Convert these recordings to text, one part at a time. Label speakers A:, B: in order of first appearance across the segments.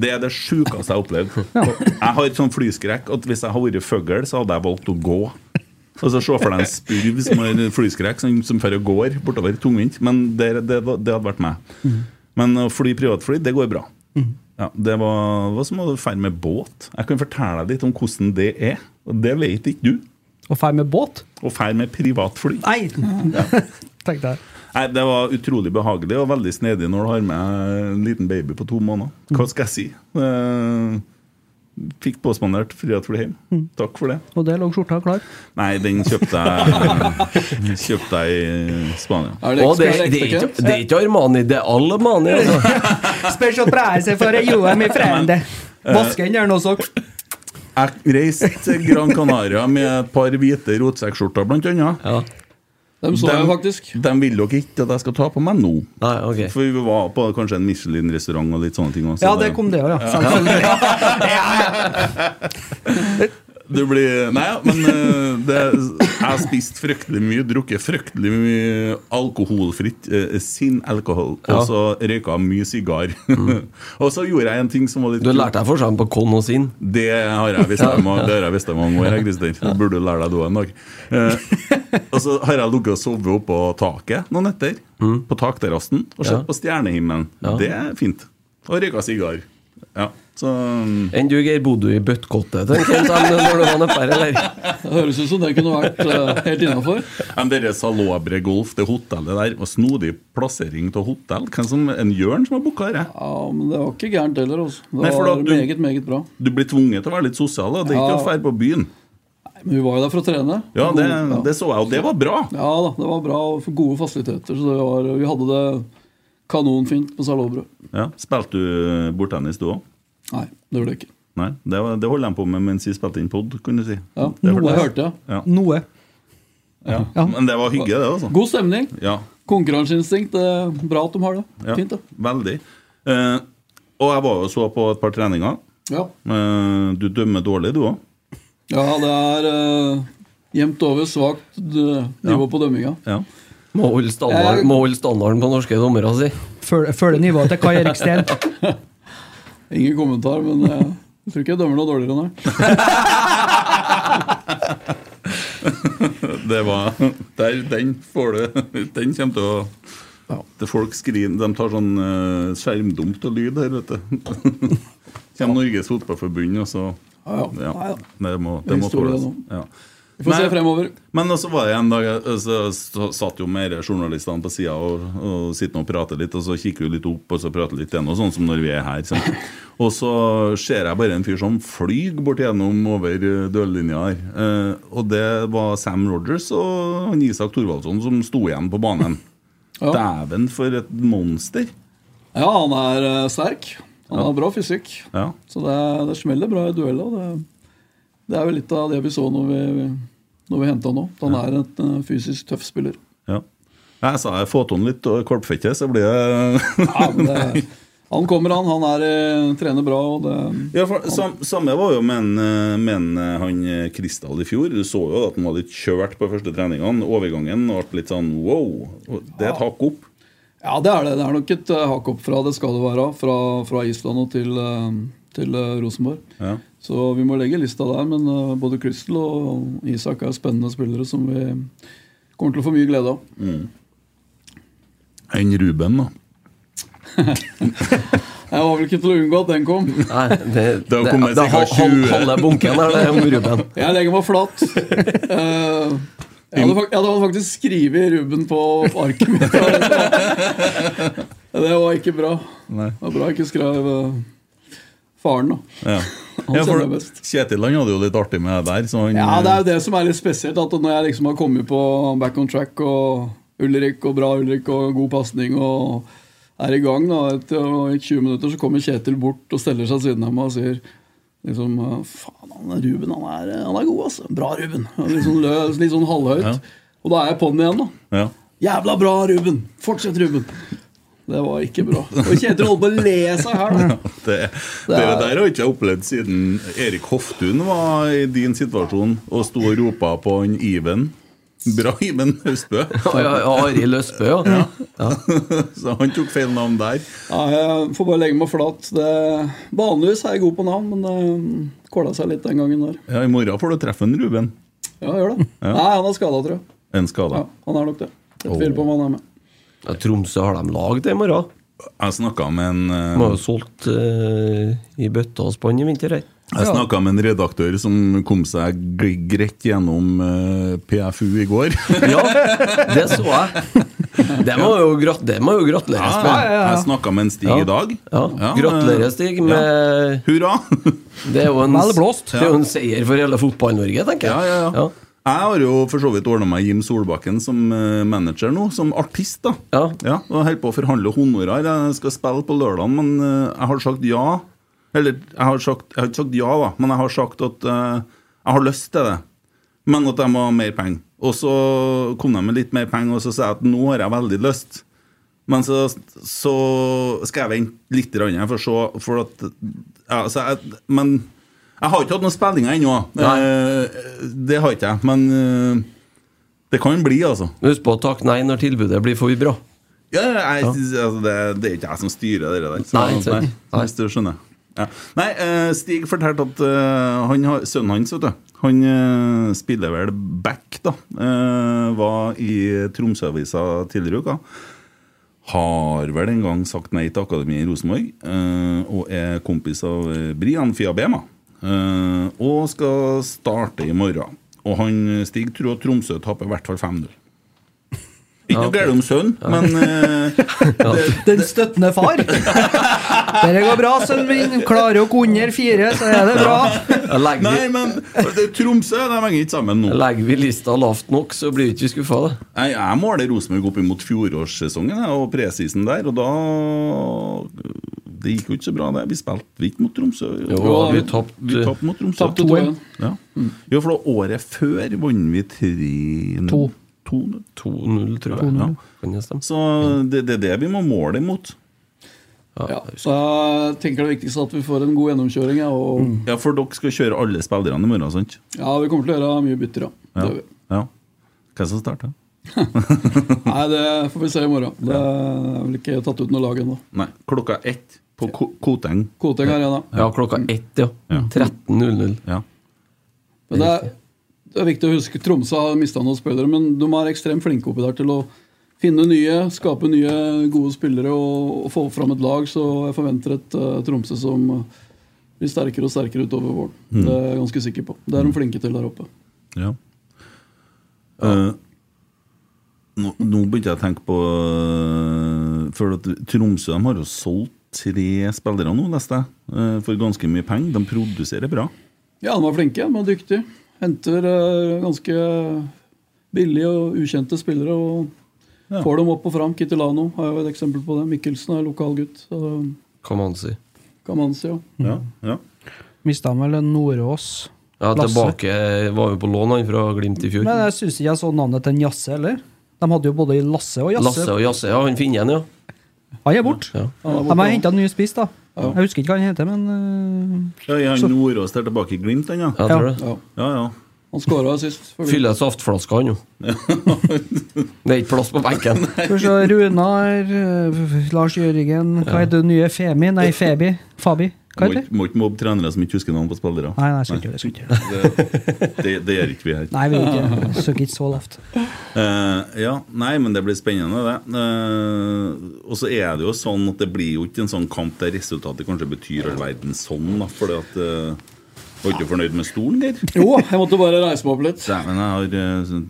A: Det er det sjukeste jeg har opplevd. Jeg har et sånn flyskrekk at hvis jeg hadde vært fugl, så hadde jeg valgt å gå. Og så Se for deg en spurv som har flyskrekk, som, som fører og går bortover tungvint. Men det, det, det hadde vært meg. Men å fly privatfly, det går bra. Ja, det var, var som å ferde med båt. Jeg kan fortelle deg litt om hvordan det er. Og det vet ikke du.
B: Og ferd med båt?
A: Å ferde med privatfly.
B: Nei! Tenkte jeg.
A: Nei, Det var utrolig behagelig og veldig snedig når du har med en liten baby på to måneder. Hva skal jeg si? Eh, Fikk påspandert frihet for det hjem. Takk for det.
B: Og der lå skjorta klar.
A: Nei, den kjøpte jeg, kjøpte jeg i Spania.
C: Er det
D: Og det, det,
C: ekstra, er det
D: er
C: ekstra
D: ikke,
C: kønt?
D: det er ikke Armani, det er Alemani. Altså.
B: Special price for Johan i Frende. Vasken gjør noe sånt.
A: Sånn Jeg reiste til Gran Canaria med et par hvite rotsekkskjorter, blant annet.
D: Ja.
C: Dem så jeg faktisk.
A: De vil dere ikke at jeg skal ta på meg nå.
D: Nei, ok.
A: For vi var på kanskje en Michelin-restaurant og litt sånne ting. også.
B: Ja, det kom det òg, ja. Selvfølgelig.
A: Du blir Nei, ja, men eh, det, jeg har spist fryktelig mye, drukket fryktelig mye alkoholfritt, eh, sin alkohol, og så røyka mye sigar. og så gjorde jeg en ting som var litt
D: Du har lært deg forskjellen på kon og sin.
A: Det har jeg visst om det har jeg visst om mange år. jeg, Christer. Det burde du lære deg du en dag. Eh, og så har jeg ligget og sovet oppå taket noen netter, på takterrassen, og sett
D: Ja.
A: på stjernehimmelen.
D: Ja.
A: Det er fint. Og røyka sigar. Ja, så mm.
D: Enn du, Geir, bodde du i bøttkottet tenker jeg, sånn, når du var nedpå her, eller?
C: Det høres ut som det kunne vært eh, helt innafor.
A: Men dere Salobre Golf, det hotellet der, og snodig plassering av hotell. Hvem som, en Jørn som har eh? booka dette?
C: Ja, men det var ikke gærent heller. Altså. Det
A: Nei, for da
C: var
A: du-
C: meget, meget bra.
A: Du blir tvunget til å være litt sosial, da. Det er ikke
C: Ja.
A: å dra på byen.
C: Nei, Men vi var jo der for å trene.
A: Ja, det,
C: Gode-
A: det så jeg, og det var bra.
C: ja. ja da, det var bra og for gode fasiliteter. Så det var, vi hadde det kanonfint på Salobro.
A: Ja. Spilte du bordtennis, du òg?
C: Nei, det gjorde det ikke.
A: Nei, det, var- det holdt jeg på med mens vi spilte inn pod, kunne du si.
C: Ja,
A: Det
C: Noe
A: hørtes.
C: hørte jeg.
A: Ja.
B: Noe.
A: Ja. Men det var hygge, det, altså.
C: God stemning.
A: Ja,
C: Konkurranseinstinkt. eh, Bra at de har det.
A: ja.
C: Fint, det.
A: Veldig. Eh, og jeg var jo og så på et par treninger.
C: Ja.
A: Eh, du dømmer dårlig, du òg.
C: ja, det er eh, jevnt over svakt eh, nivå på dømminga.
A: Ja.
D: Må holde standarden, må holde standarden på norske dommere si.
B: Føl- Følger nivået til Kai Erik Steen.
C: Ingen kommentar, men eh, jeg tror ikke jeg dømmer noe dårligere enn her.
A: det var der, Den får du Den kommer til å det folk skriver, De tar sånn eh, skjermdump av lyd her, vet du. Kommer Norges Fotballforbund, og så
B: Ja, ja. Ja, ja.
A: Det må,
B: Det
A: det
B: er
A: må
B: historie
A: tåles.
B: nå.
A: Ja.
B: Vi får se fremover.
A: Men så var det en dag jeg- Så så satt jo mer journalistene på sida og, og sitter nå og prater litt, og så kikker vi litt opp og så prater litt igjen, og sånn som når vi er her. sant? Og så ser jeg bare en fyr som flyr bort gjennom over eh, dørlinja her. Eh, og det var Sam Rogers og han Isak Thorvaldsson som sto igjen på banen. Dæven, for et monster!
B: Ja, han er eh, sterk. Han
A: Ja.
B: har bra fysikk.
A: Ja.
B: Så det, det smeller bra i dueller. og Det, det er jo litt av det vi så når vi, når vi henta han nå. Han er en eh, fysisk tøff spiller.
A: ja. Jeg sa jeg få til han litt og korpfette, så blir det
B: Ja, men det, han kommer, han. Han er, eh, trener bra. Og det,
A: Ja, for sam, Samme var jo med, en, eh, med en, eh, han eh, Kristal i fjor. Du så jo at han var litt kjørt på første treningene. Overgangen ble litt sånn wow. Og Det er et hakk opp.
B: ja, det er det. Det er nok et eh, hakk opp fra det skal det være. Fra, fra Island og til, eh, til eh, Rosenborg.
A: Ja.
B: Så vi må legge lista der, men eh, både Crystal og Isak er spennende spillere som vi kommer til å få mye glede av.
A: Enn Ruben, da.
B: Jeg var vel ikke til å unngå at den kom.
C: Nei, det,
A: Det har kommet
C: det
A: sikkert
C: er hal- hal-
A: 20.
C: halve bunken her, det er om Ruben.
B: Jeg legger meg flat. Eh, jeg, hadde, fak- jeg hadde faktisk skrevet Ruben på arket mitt. Det var ikke bra.
A: Nei.
B: Det var bra jeg ikke skrev eh, faren, da.
A: Ja.
B: Han
A: Ja, for
B: kjenner jeg best.
A: Kjetil han hadde jo litt artig med det der. Så han,
C: Mm.
B: Ja, Det er jo det som er litt spesielt, at når jeg liksom har kommet på back on track og Ulrik og bra Ulrik og god pasning og er i gang, da, etter å- i 20 minutter så kommer Kjetil bort og steller seg ved siden av meg og sier liksom eh, Faen, han Ruben, han er, han er god, altså. Bra, Ruben. Og Litt sånn, løs, litt sånn halvhøyt. Og da er jeg på den igjen, da.
A: ja.
B: Jævla bra, Ruben! Fortsett, Ruben! Det var ikke bra. Og Kjetil holdt på å le seg her, da.
A: Det, det, det der har ikke jeg opplevd siden Erik Hoftun var i din situasjon og sto og ropa på han Iben. Bra, Iben Høstbø.
C: Ja, ja, ja, Arild Østbø, ja.
A: Så han tok feil navn der.
B: Ja, jeg får bare legge meg flat. Det, vanligvis er jeg god på navn, men det kåla seg litt den gangen der.
A: Ja, I morgen får du treffe en Ruben.
B: Ja, gjør det. Nei, han er skada, tror jeg.
A: En skada.
B: Ja, han er nok det. Jeg tviler på om han er med.
C: Ja, Tromsø har de lag til i morgen.
A: Jeg snakka med en eh,
C: De har jo solgt eh, i bøtta og spann i vinter her.
A: Jeg snakka med en redaktør som kom seg gre- greit gjennom eh, PFU i går.
C: Ja, det så jeg. Det må jo, grat det må jo gratuleres
A: Ja,
C: med.
A: Jeg snakka med en Stig i dag.
C: Ja.
A: Ja,
C: Gratulerer,
A: eh,
C: Stig, med
A: Hurra!
C: Det er jo en,
E: Vel blåst.
C: det er jo en seier for hele Fotball-Norge, tenker
A: Ja,
C: jeg.
A: ja, ja.
C: Ja.
A: Jeg har jo for så vidt ordna meg Jim Solbakken som eh, manager nå, som artist. da
C: Ja.
A: Og jeg holder på å forhandle honorar. Jeg skal spille på lørdag, men eh, jeg har sagt ja. Eller jeg har, sagt, jeg har ikke sagt ja, da, men jeg har sagt at eh, jeg har lyst til det. Men at jeg må ha mer penger. Og så kom de med litt mer penger, og så sa jeg at nå har jeg veldig lyst. Men så, så skal jeg vente litt grann her for å se for at, ja, så jeg, Men jeg har ikke hatt noen spillinger ennå.
C: Nei.
A: Eh, Det har ikke jeg. Men eh, det kan bli, altså.
C: Husk på å takke nei når tilbudet blir for bra.
A: Ja, jeg, Altså, det, det er ikke jeg som styrer det der. Så,
C: Nei, ikke sant. Nei.
A: Hvis du skjønner. Ja. Nei, eh, Stig fortalte at eh, han har, sønnen hans vet du, Han eh, spiller vel back, da. Eh, var i Tromsø-avisa tidligere i uka. Har vel en gang sagt nei til akademiet i Rosenborg. eh, og er kompis av eh, Brian Fiabema. Eh, og skal starte i morgen. Og han eh, Stig tror at Tromsø taper i hvert fall 5-0. Ikke noe galt om sønnen, men eh,
E: Den støttende far. Dette går bra, sønnen min. Klarer dere under fire, så er det bra.
C: Da Legger
A: Nei,
C: vi,
A: men det- Tromsø de henger ikke sammen nå.
C: legger vi lista lavt nok, så blir vi ikke skuffa. da.
A: Jeg, jeg måler Rosenborg opp imot fjorårssesongen jeg, og presisen der, og da Det gikk jo ikke så bra, det. Vi spilte ikke mot Tromsø.
C: Jo,
B: vi
C: tapte-
A: Vi tapte mot Tromsø.
B: Tapte 2-1.
A: Ja. Jo, for da året før vant vi 3-0.
E: To.
A: 2-0.
C: 2-0, tror jeg.
A: 2-0.
C: Ja. Kan jeg stemme?
A: Så det, det er det vi må måle imot.
B: Ja, så jeg tenker det viktigste er at vi får en god gjennomkjøring. Ja, og
A: Ja, for dere skal kjøre alle spillerne i morgen, sant?
B: ja, vi kommer til å gjøre mye bytter, ja. Det, gjør vi.
A: Ja. Hvem som starter?
B: nei, det får vi se i morgen. Det er vel ikke tatt ut noe lag ennå.
A: Nei, klokka ett på Ko- Koteng.
B: Koteng Arena.
C: Ja, klokka ett, ja. 13.00.
A: Ja.
B: Men det er, det er viktig å huske Tromsø har mista noen spillere, men de er ekstremt flinke oppi der til å finne nye, skape nye gode spillere og, og få fram et lag. Så jeg forventer et eh, Tromsø som eh, blir sterkere og sterkere utover våren.
A: Mm.
B: Det er jeg ganske sikker på. Det er de flinke til der oppe.
A: Ja. Eh, nå, nå begynte jeg å tenke på eh, For at Tromsø de har jo solgt tre spillere nå, leste jeg, eh, for ganske mye penger. De produserer bra.
B: Ja, de var flinke, de var dyktige. Henter eh, ganske billige og ukjente spillere og får dem opp og fram. Kittilano har jo et eksempel på det. Mikkelsen er lokal gutt. så-
C: Kamanzi.
B: Kamanzi, ja.
E: Mhm.
A: Ja, ja.
E: Mista vel en Nordås.
C: Ja,
E: Lasse.
C: tilbake eh, var jo på lån han fra Glimt i fjor.
E: Men jeg syns ikke jeg så navnet til en Jasse heller. De hadde jo både Lasse og Jasse.
C: Lasse og Jasse, ja, han finner igjen, ja.
E: Han er borte.
C: Ja.
E: De har henta en ny spiss, da. Jeg husker ikke hva han heter, men eh,
A: Ja, er han Nordås der tilbake i Glimt, han, ja?
C: Ja, tror det.
B: Ja.
A: ja, ja.
B: Han skåra sist. for
C: Fyller saftflaska, han jo. Det er ikke plass på benken.
E: øh, Skal vi se Runar, øh, Lars Jørgen Hva
A: Ja.
E: heter det nye Femi? Nei, Febi. Fabi. Hva
A: Må
E: heter det?
A: ikke- må ikke mobbe trenere som ikke husker navn på spillere.
E: Nei, nei, skal ikke
A: det. Det, det gjør ikke vi her.
E: Nei, vi vil ikke. Søker ikke så lavt.
A: Eh, ja, nei, men det blir spennende, det. Eh, og så er det jo sånn at det blir jo ikke en sånn kamp der resultatet kanskje betyr all verden sånn, da, fordi at eh, Var ikke du fornøyd med stolen, Geir?
B: Jo, jeg måtte bare reise meg opp litt.
A: Dæven, jeg har eh, sånn,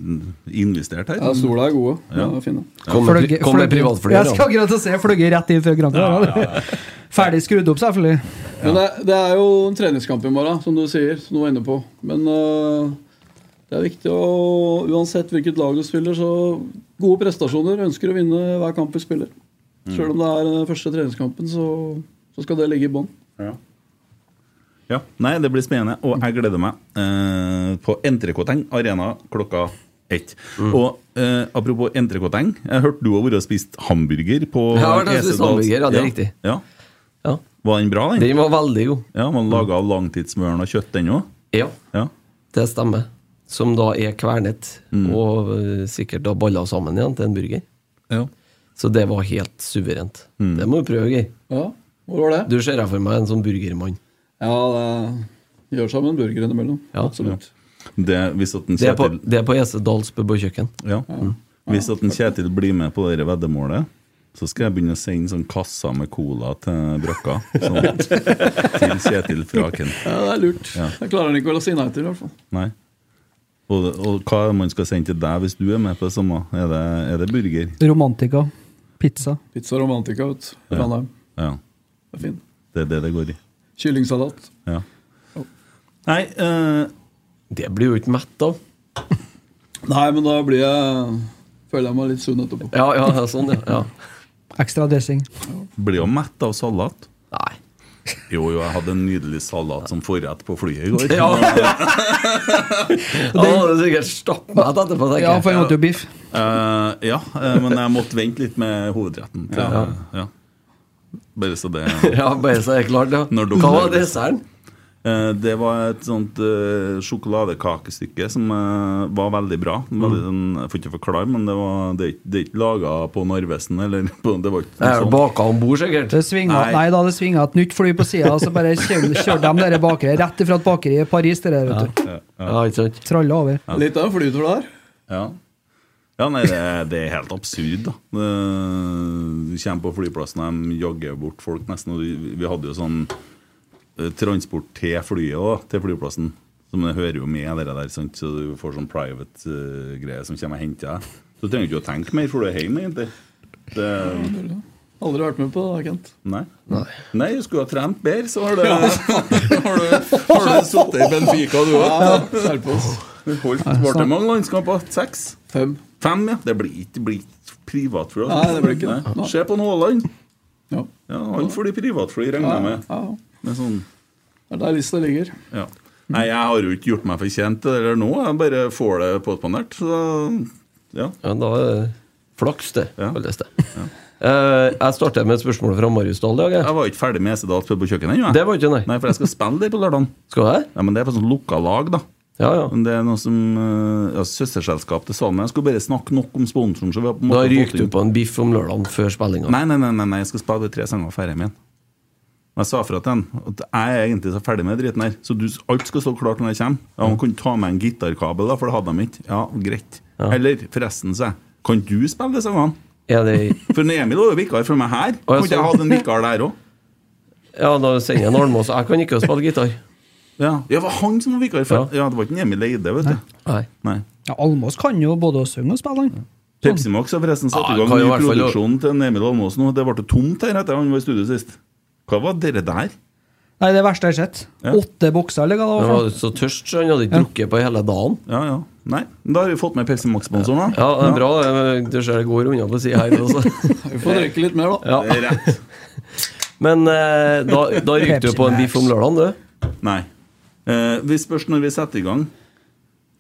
A: investert her.
B: Ja, stoler er gode.
A: Ja.
B: De er fine.
A: Kom med pri- kom med privatfly,
E: Jeg
A: da.
E: skal akkurat til å si jeg fløy rett inn fra Granca. Ferdig skrudd opp, selvfølgelig.
B: Men det, det er jo en treningskamp i morgen, som du sier. Som du var inne på. Men øh, det er viktig å Uansett hvilket lag du spiller, så gode prestasjoner. Ønsker å vinne hver kamp vi spiller.
A: Mm.
B: Selv om det er den første treningskampen, så, så skal det ligge i bånn.
A: Ja. Ja, nei, det blir spennende, og jeg gleder meg eh, på Entrecôteng Arena klokka ett.
C: Mm.
A: Og eh, apropos Entrecôteng, jeg hørte du har vært og spist hamburger på
C: Jeg har vært og spist
A: Esedals-
C: hamburger, ja, det er riktig.
A: Ja. Var den bra, den?
C: Den var veldig god.
A: Ja, Man laga av langtidsmøren og kjøtt, den òg?
C: Ja.
A: Ja.
C: Det stemmer. Som da er kvernet,
A: Mm.
C: og eh, sikkert da balla sammen igjen til en burger.
A: Ja. Mm.
C: Så det var helt suverent. Det må du prøve, Geir.
B: Ja, hvor var det?
C: Du ser jeg for meg en sånn burgermann.
B: Ja, det gjør seg med en burger innimellom.
C: Ja.
B: Absolutt.
A: Det, hvis at en
C: Det er på,
A: Kjetil,
C: det er på Ese Dals pub og kjøkken.
A: ja. hvis at en Kjetil blir med på det veddemålet, så skal jeg begynne å sende sånn kasser med cola til Brøkka. Sånn, til Kjetil Fraken.
B: Ja, det er lurt.
A: Ja.
B: Jeg klarer ikke å si nei til, i hvert fall.
A: Nei. Og, og hva er det man skal sende til deg hvis du er med på det samme? Er det, er det burger?
E: Romantika. Pizza.
B: Pizza romantica, vet du.
A: Ja.
B: Ranheim.
A: Ja.
B: Det er fint.
A: Det er det det går i.
B: Kyllingsalat.
A: Ja. Nei eh,
C: Det blir jo ikke mett av.
B: Nei, men da blir jeg føler jeg meg litt sunn etterpå.
C: Ja, ja, sånn, ja.
E: Ekstra dressing.
A: Blir jo mett av salat.
C: Nei.
A: Jo, jo, jeg hadde en nydelig salat som forrett på flyet i går.
C: Ja. Da hadde du sikkert stappmett etterpå, tenker jeg.
E: Ja, for jeg måtte jo biff.
A: Eh, ja, eh, men jeg måtte vente litt med hovedretten. Til, ja.
C: Ja.
A: Bare så det
C: Ja, bare så det er klart, ja.
A: Når dere-
C: Hva var desserten?
A: Eh, Det var et sånt eh, sjokoladekakestykke som eh, var veldig bra.
C: Mm.
A: Veldig, sånn- Jeg får ikke forklare, men det, var, det, er ikke- det er ikke laga på Narvesen. Eller på, det var ikke noe
C: Jeg
A: sånt.
C: baka om bord, sikkert.
E: Det svinga,
A: Nei.
E: nei. da det svinga et nytt fly på sida, så bare kjør- kjørte de dere bakere rett ifra et bakeri i Paris. Det der, vet du.
A: Ja,
C: Ja, ikke sant?
E: Tralla over.
B: Litt av en flytur der.
A: ja. ja, nei, det, det er helt absurd, da. Det- Du kommer på flyplassen, og de jagger bort folk nesten. Og vi, vi hadde jo sånn eh, transport til flyet òg, til flyplassen. Som det hører jo med, dere der, sant? så du får sånn private eh, greier som kommer og henter deg. Så trenger du ikke å tenke mer, for du er hjemme, egentlig. Det,
B: Aldri vært med på det, Kent.
A: Nei. Nei. du skulle ha trent bedre, så har du, har du, har du sittet i Benfica, du òg.
B: Serpås.
A: Holdt Ble det mange landskamper? Seks?
B: Fem.
A: Fem, ja. Det blir ikke- det blir ikke privatfly. altså.
B: Nei, det blir ikke det.
A: Nei. Se på en Haaland.
B: Ja.
A: Ja, han får de privatfly, regner jeg med.
B: Ja,
A: med sånn,
B: Det er der lista ligger.
A: ja. Nei, jeg har jo ikke gjort meg fortjent til det der nå. Jeg bare får det påspandert. Så ja.
C: Ja, da er det flaks, det. kalles det. Eh, jeg starter med et spørsmål fra Marius Dahl i dag. jeg.
A: Jeg var ikke ferdig med Esedals pub på kjøkkenet ennå. jeg.
C: Det var ikke nei.
A: Nei, for jeg skal spille der på lørdag.
C: Skal jeg?
A: Ja, men det er på sånn lukka lag, da.
C: Ja, ja.
A: Men det er noe som eh, ja, Søsterselskap til Salmen. Jeg skulle bare snakke nok om sponsoren. Så vi har på en
C: Da
A: måte
C: ryker
A: fått
C: du
A: inn-
C: på en biff om lørdagen før spillinga.
A: Nei, nei, nei, nei, nei, jeg skal spille tre sanger og drar hjem igjen. Og jeg sa fra til han at jeg er egentlig så ferdig med driten her, så du, alt skal stå klart når jeg kommer. Ja, han kunne ta med en gitarkabel, da, for det hadde de ikke. Ja, greit. Eller forresten, sa jeg, kan du spille de sangene? For Emil var jo vikar for meg her.
C: Å, ja,
A: Kunne ikke jeg
C: så-
A: hatt en vikar der òg?
C: Ja, da sender jeg en Almås. Jeg kan ikke spille gitar.
A: Ja. det var han som var vikar for Ja, det var ikke en Emil Eide, vet du.
C: Nei.
E: Ja, Almås kan jo både å synge og spille, han.
A: Pepsi Max har forresten satt
C: Ja,
A: i gang
C: kan jo i
A: ny
C: hvert fall-
A: produksjon til en Emil Almås nå. Det ble tomt her etter han var i studio sist. Hva var dere der?
E: Nei, det verste jeg har sett.
A: Ja.
E: Åtte bokser, eller hva det
C: Han
E: var. for
C: var
E: noe?
C: så tørst, så han hadde ikke drukket på hele dagen.
A: Ja, ja. Nei, men da har vi fått med Pepsi Max-sponsoren, da.
C: Ja, det er bra. det. Du ser det går unna på sida her også.
B: Vi får drikke litt mer, da.
C: Ja.
A: Det er rett.
C: Men eh, da, da ryker du på en biff om lørdagen, du.
A: Nei. Eh, vi spørs når vi setter i gang.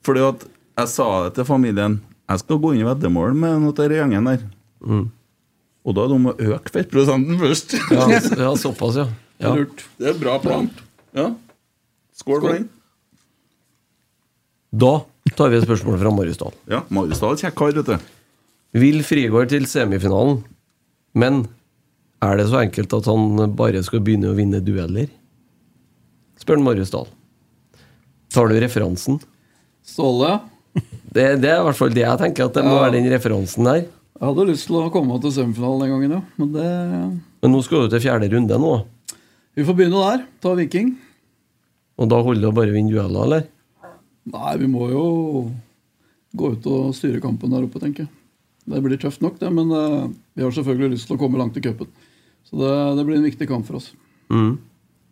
A: Fordi at jeg sa det til familien Jeg skal gå inn i veddemål med noen av denne gjengen der.
C: Mm.
A: Og da er det om å øke fettprosenten først.
C: Ja, s- ja, såpass, ja. ja.
B: Lurt.
A: Det er en bra plan. Ja. Skål for den.
C: Da tar vi et spørsmål fra Marius Dahl.
A: Ja, Marius Dahl er kjekk kar, vet du.
C: Vil Frigård til semifinalen, men er det så enkelt at han bare skal begynne å vinne dueller? Spør han Marius Dahl. Tar du referansen?
B: Ståle,
C: Det, det er i hvert fall det jeg tenker, at det må
B: Ja.
C: være den referansen der.
B: jeg hadde lyst til å komme til semifinalen den gangen, ja. Men det
C: Men nå skal du til fjerde runde nå,
B: Vi får begynne der. Ta Viking.
C: og da holder det å bare vinne dueller, eller?
B: Nei, vi må jo gå ut og styre kampen der oppe, tenker jeg. Det blir tøft nok, det, men eh, vi har selvfølgelig lyst til å komme langt i cupen. Så det, det blir en viktig kamp for oss.
C: Mm.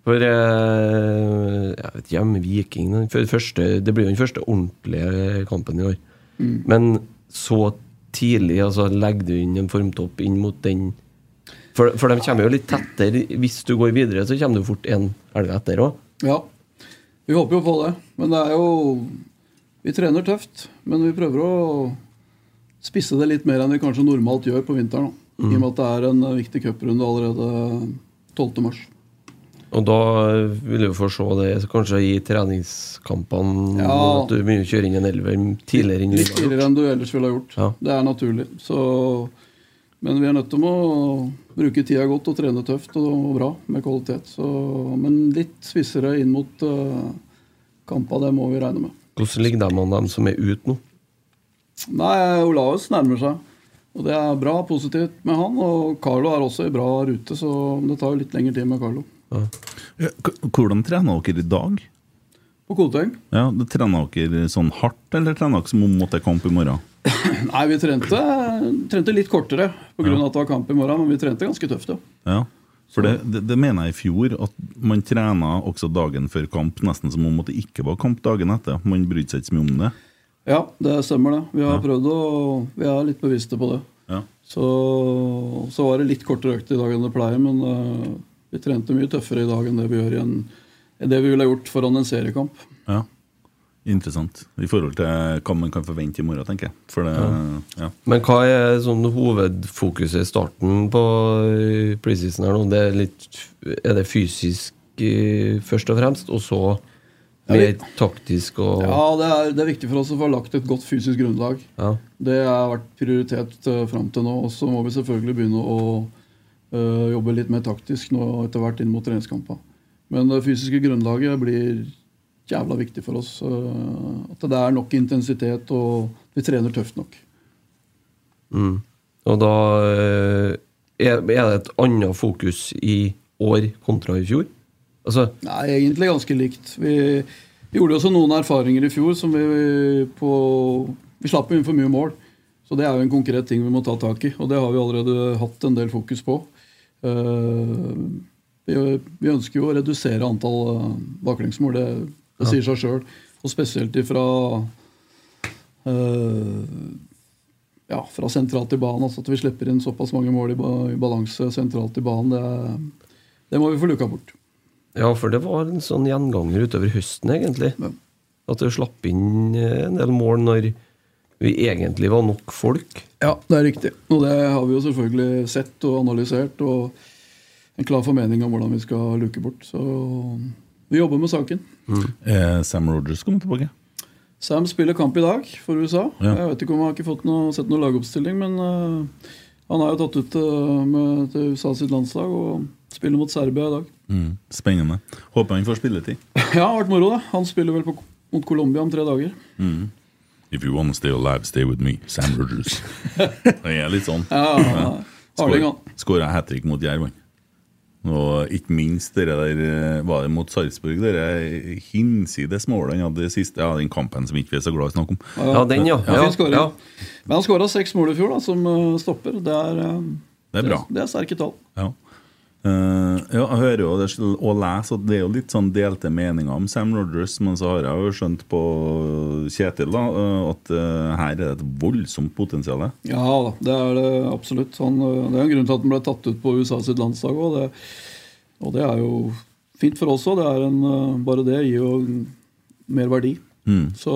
C: For eh, jeg vet ikke om Viking den fø- første, Det blir jo den første ordentlige kampen i år.
B: Mm.
C: Men så tidlig altså, legger du inn en formtopp inn mot den For, for de kommer jo litt tettere. Hvis du går videre, så kommer du fort en elg etter òg.
B: Ja, vi håper jo på det. Men det er jo Vi trener tøft, men vi prøver å spisse det litt mer enn vi kanskje normalt gjør på vinteren. Da. I og med at det er en eh, viktig cuprunde allerede 12. mars.
C: Og da vil du få se det kanskje i treningskampene
B: Ja.
C: at du begynner å kjøre inn en elver tidligere enn du
B: Litt
C: ville ha gjort.
B: tidligere enn du ellers ville ha gjort.
C: Ja.
B: Det er naturlig. Så, men vi er nødt til å bruke tida godt og trene tøft og, bra med kvalitet. Så, men litt spissere inn mot uh, kampa, det må vi regne med.
C: Hvordan ligger de an, dem som er ute nå?
B: Nei, Olaus nærmer seg. Og det er bra positivt med han. Og Carlo er også i bra rute, så det tar jo litt lengre tid med Carlo.
A: Ja, k- Hvordan trener dere i dag?
B: På Koteng?
A: Ja, det Trener dere sånn hardt, eller trener dere som om at det er kamp i morgen?
B: Nei, vi trente, trente litt kortere pga. av at det var kamp i morgen, men vi trente ganske tøft, ja.
A: Ja, for det, det, det mener jeg i fjor, at man trener også dagen før kamp, nesten som om at det ikke var kamp dagen etter. Man brydde seg ikke så mye om det.
B: Ja, det stemmer det. Vi har prøvd å Vi er litt bevisste på det.
A: Ja.
B: Så, så var det litt kortere økt i dag enn det pleier, men eh, vi trente mye tøffere i dag enn det vi gjør i en enn det vi ville gjort foran en seriekamp.
A: ja. Interessant. I forhold til hva man kan forvente i morgen, tenker jeg. For det, ja.
C: Men hva er sånn hovedfokuset i starten på eh, preseason her nå? Det er, litt, er det fysisk eh, først og fremst, og så mer taktisk og
B: Ja, det er, det er viktig for oss å få lagt et godt fysisk grunnlag.
C: Ja.
B: Det har vært prioritet eh, fram til nå. Og så må vi selvfølgelig begynne å eh, jobbe litt mer taktisk nå etter hvert inn mot treningskamper. Men det fysiske grunnlaget blir jævla viktig for oss. eh, at det er nok intensitet, og vi trener tøft nok.
C: Mm. Og da eh, er, er det et annet fokus i år kontra i fjor? Altså
B: Nei, egentlig ganske likt. Vi, vi gjorde også noen erfaringer i fjor som vi på Vi slapp jo inn for mye mål. Så det er jo en konkret ting vi må ta tak i, og det har vi allerede hatt en del fokus på. Eh, vi, vi ønsker jo å redusere antall eh, baklengsmål, det, det sier seg sjøl. Og spesielt ifra eh, ja, fra sentralt i banen. Altså at vi slipper inn såpass mange mål i, ba, i balanse sentralt i banen, det, det må vi få luka bort.
C: Ja, for det var en sånn gjenganger utover høsten, egentlig.
B: Ja.
C: At det slapp inn eh, en del mål når vi egentlig var nok folk.
B: Ja, det er riktig. Og det har vi jo selvfølgelig sett og analysert. Og en klar formening om hvordan vi skal luke bort. Så vi jobber med saken.
A: Eh, Sam Rogers kommer tilbake.
B: Sam spiller kamp i dag for USA.
A: Ja.
B: Jeg vet ikke om han har ikke fått noe, eh, sett eh, noen lagoppstilling, men øh, han er jo tatt ut øh, med, til USA sitt landslag. Og Spiller mot Serbia i dag.
A: Mm. Spennende. Håper han får spilletid.
B: Ja, vært moro, da. Han spiller vel på, mot Colombia om tre dager.
A: Mm. If you wanna stay alive, stay with me. Sam Rogers. Jeg er litt sånn.
B: Ja, ja, ja. Harding, han.
A: Skåra hat trick mot Jerv. han. Og ikke minst det der eh, Var det mot Sarpsborg, det der eh, hinsides målet han hadde i siste Ja, den kampen som ikke vi er så glad i å snakke om.
C: Ja, den, ja.
B: Fin scoring. Men han skåra seks mål i fjor, da, som eh, stopper. Det er, eh,
A: Det er bra.
B: Det er sterke tall.
A: Ja. Eh, ja, jeg hører jo det, og leser at det er jo litt sånn delte meninger om Sam Rogers, men så har jeg jo skjønt på Kjetil da, eh, at eh, her er det et voldsomt potensial.
B: Ja da, det er det absolutt. Han, øh, det er en grunn til at han ble tatt ut på USA sitt landslag òg. Det, og det er jo fint for oss òg. eh, Bare det gir jo mer verdi.
A: Mm.
B: Så,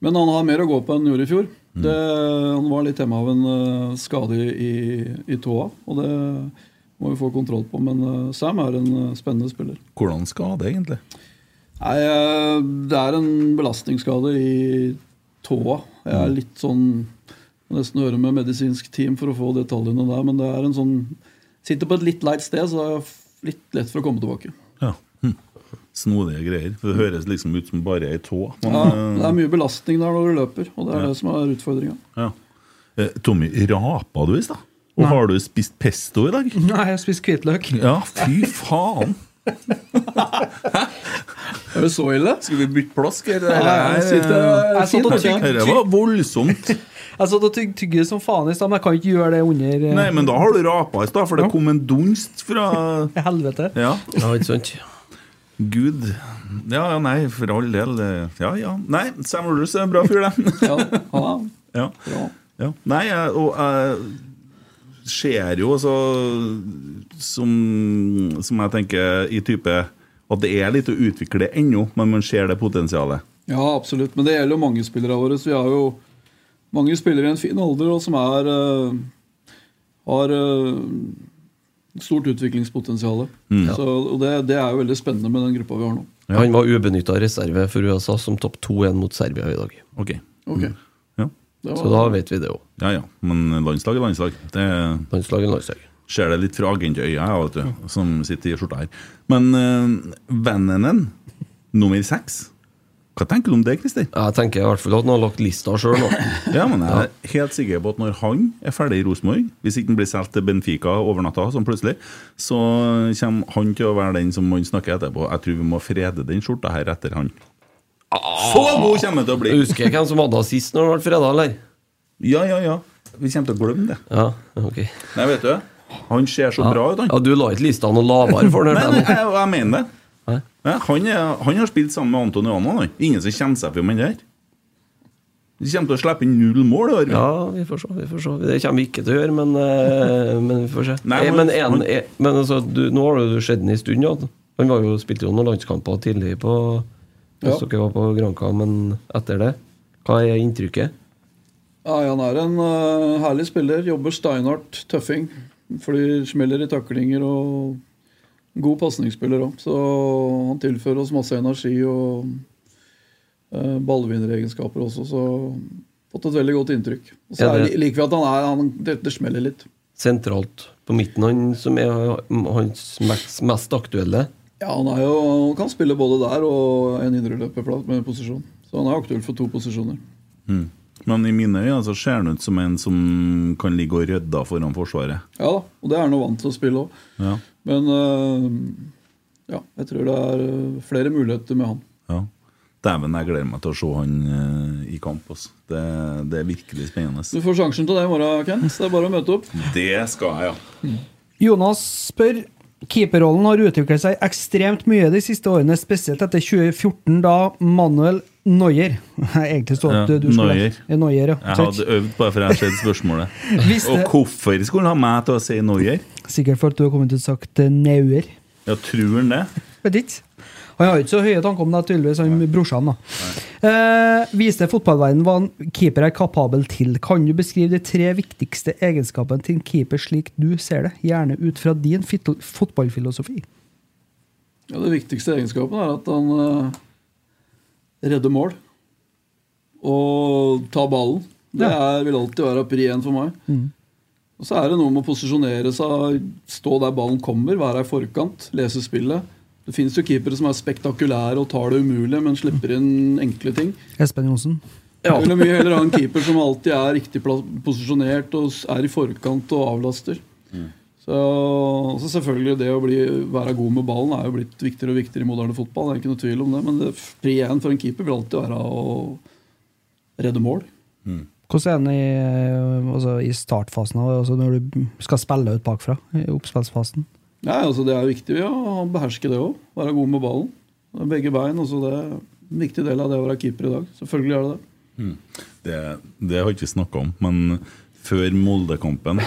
B: men han har mer å gå på enn han gjorde i fjor. Det, han var litt hjemme av en øh, skade i, i tåa, og det må vi få kontroll på. Men øh, Sam er en øh, spennende spiller.
A: Hvordan skal det egentlig?
B: Nei, eh, det er en belastningsskade i tåa. Jeg er litt sånn må Nesten høre med medisinsk team for å få detaljene der, men det er en sånn Sitter på et litt leit sted, så det er f- litt lett for å komme tilbake.
A: Ja. Hm. Snodige greier. For det høres liksom ut som bare ei tå. men,
B: Ja,
A: eh,
B: det er mye belastning der når du løper, og det er det som er utfordringa.
A: Ja. Eh, Tommy, rapa du i stad? Og har du spist pesto i dag?
E: Nei, jeg spiste hvitløk.
A: Ja, fy faen!
B: Er det så ille?
A: Skal vi bytte plask, eller?
E: Nei, jeg sitter- jeg sitter og tygger.
A: Dette var voldsomt.
E: Jeg satt og tyg, tygde som faen i stad, men jeg kan ikke gjøre det under eh,
A: Nei, men da har du rapa i stad, for det kom en dunst fra
E: helvete.
A: Ja,
C: Ja, ikke sant?
A: Gud. Ja, ja, nei, for all del. det- Ja, ja. Nei, Sam Rogers er en bra fyr, det.
B: Ja, ja,
A: Ja.
B: bra.
A: Ja. Nei, jeg, og jeg ser jo altså som, som jeg tenker i type at det er litt å utvikle ennå, men man ser det potensialet.
B: ja, absolutt. Men det gjelder jo mange spillere våre. Så vi har jo mange spillere i en fin alder og som er eh, har eh, stort utviklingspotensial.
A: Mm.
B: Så, og det, det er jo veldig spennende med den gruppa vi har nå.
C: Han var ubenytta reserve for USA som topp 2-1 mot Serbia i dag. Mm.
A: Ok.
B: Ok,
A: Mm. Ja.
B: det var,
C: Så da vet vi det òg.
A: ja ja, men landslag er landslag. Det
C: Landslag er landslag.
A: ser det litt fra agentøya, jeg, vet du, som sitter i skjorta her. Men uh, Vennenen, nummer seks. Hva tenker du om det, Christer?
C: Jeg tenker i hvert fall at han har lagt lista sjøl nå.
A: Ja, men jeg er helt sikker på at når han er ferdig i Rosenborg, hvis ikke han blir solgt til Benfica over natta, sånn plutselig, så kommer han til å være den som man snakker etterpå. Jeg tror vi må frede den skjorta her etter han. Så god kommer han til å bli!
C: Husker jeg hvem som hadde assist når det ble fredag, eller?
A: Ja, ja, ja. Vi kommer til å glemme det.
C: Ja, ok.
A: Nei, vet du, han ser så bra ut, han.
C: Ja, Du la ikke lista noe lavere for den?
A: Nei, nei,
C: her nå.
A: jeg, jeg mener det.
C: Nei.
A: Nei, han, er, han har spilt sammen med Anton Johanna. han. Ingen som kjenner seg for med det her. De kommer til å slippe inn null mål. i år.
C: Ja, vi får se. vi får se Det kommer vi ikke til å gjøre, men, eh, men vi får se.
A: Nei,
C: Eh,
A: men-
C: men en, eh, men altså, du, nå har du sett den en stund, ja. Han var jo, spilte jo noen landskamper tidlig på Hvis
B: Ja.
C: dere var på Granca, men etter det? Hva er inntrykket?
B: ja, han er en eh, herlig spiller. Jobber steinhardt, tøffing. Flyr, smeller i taklinger og god pasningsspiller òg. Så han tilfører oss masse energi og uh, ballvinneregenskaper også, så fått et veldig godt inntrykk. Og så
C: Ja,
B: er
C: det-
B: li- liker vi at han er han, det, det smeller litt.
C: Sentralt på midten, han som er hans mest, mest aktuelle?
B: Ja, han, er jo, han kan spille både der og en indreløperplass med posisjon. Så han er aktuell for to posisjoner.
A: Mm. Men i mine øyne så ser han ut som en som kan ligge og rydde foran Forsvaret.
B: Ja da, og det er han jo vant til å spille òg.
A: Ja,
B: Men eh, ja, jeg tror det er eh, flere muligheter med han.
A: ja. Dæven, jeg gleder meg til å se han eh, i kamp. altså. Det, det er virkelig
B: Du
A: spennende.
B: får sjansen til det i morgen, Kent. Så det er bare å møte opp.
A: Det skal jeg, ja.
E: Jonas spør Keeperrollen har utviklet seg ekstremt mye de siste årene, spesielt etter 2014, da Manuel Neuer Egentlig står det at
A: Ja,
E: du skulle
A: Neuer.
E: Ja, Neuer, ja.
A: Jeg hadde øvd bare for jeg har sett spørsmålet.
E: Hvis
A: Og
E: det-
A: hvorfor skulle han ha meg til å si Noyer?
E: Sikkert for at du har kommet til å sagt eh, Neuer.
A: Ja, tror han det?
E: Vet ikke. Han har jo ikke så høye tanker om deg, tydeligvis, han brorsan. da. Eh, viste fotballverdenen hva en keeper er kapabel til. Kan du beskrive de tre viktigste egenskapene til en keeper slik du ser det? Gjerne ut fra din fit fotballfilosofi.
B: Ja, det viktigste egenskapen er at han eh, redder mål. Og tar ballen. Det er, vil alltid være pri én for meg. Og Så er det noe med å posisjonere seg, stå der ballen kommer, være i forkant, lese spillet. Det finnes jo keepere som er spektakulære og tar det umulige, men slipper inn enkle ting.
E: Espen Johnsen.
B: Jeg vil mye heller ha en keeper som alltid er riktig plass- posisjonert og s- er i forkant og avlaster. Så, så selvfølgelig det å bli, være god med ballen er jo blitt viktigere og viktigere i moderne fotball. Det er ikke noe tvil om det, Men det fri én for en keeper vil alltid være å redde mål.
E: Hvordan er den i, altså, i startfasen, av, altså når du skal spille ut bakfra? I oppspillsfasen?
B: Nei, altså Det er viktig å beherske det òg. Være god med ballen. Begge bein. Altså det er en viktig del av det å være keeper i dag. Selvfølgelig er det det.
A: Det, det har ikke vi snakka om, men før Molde-kampen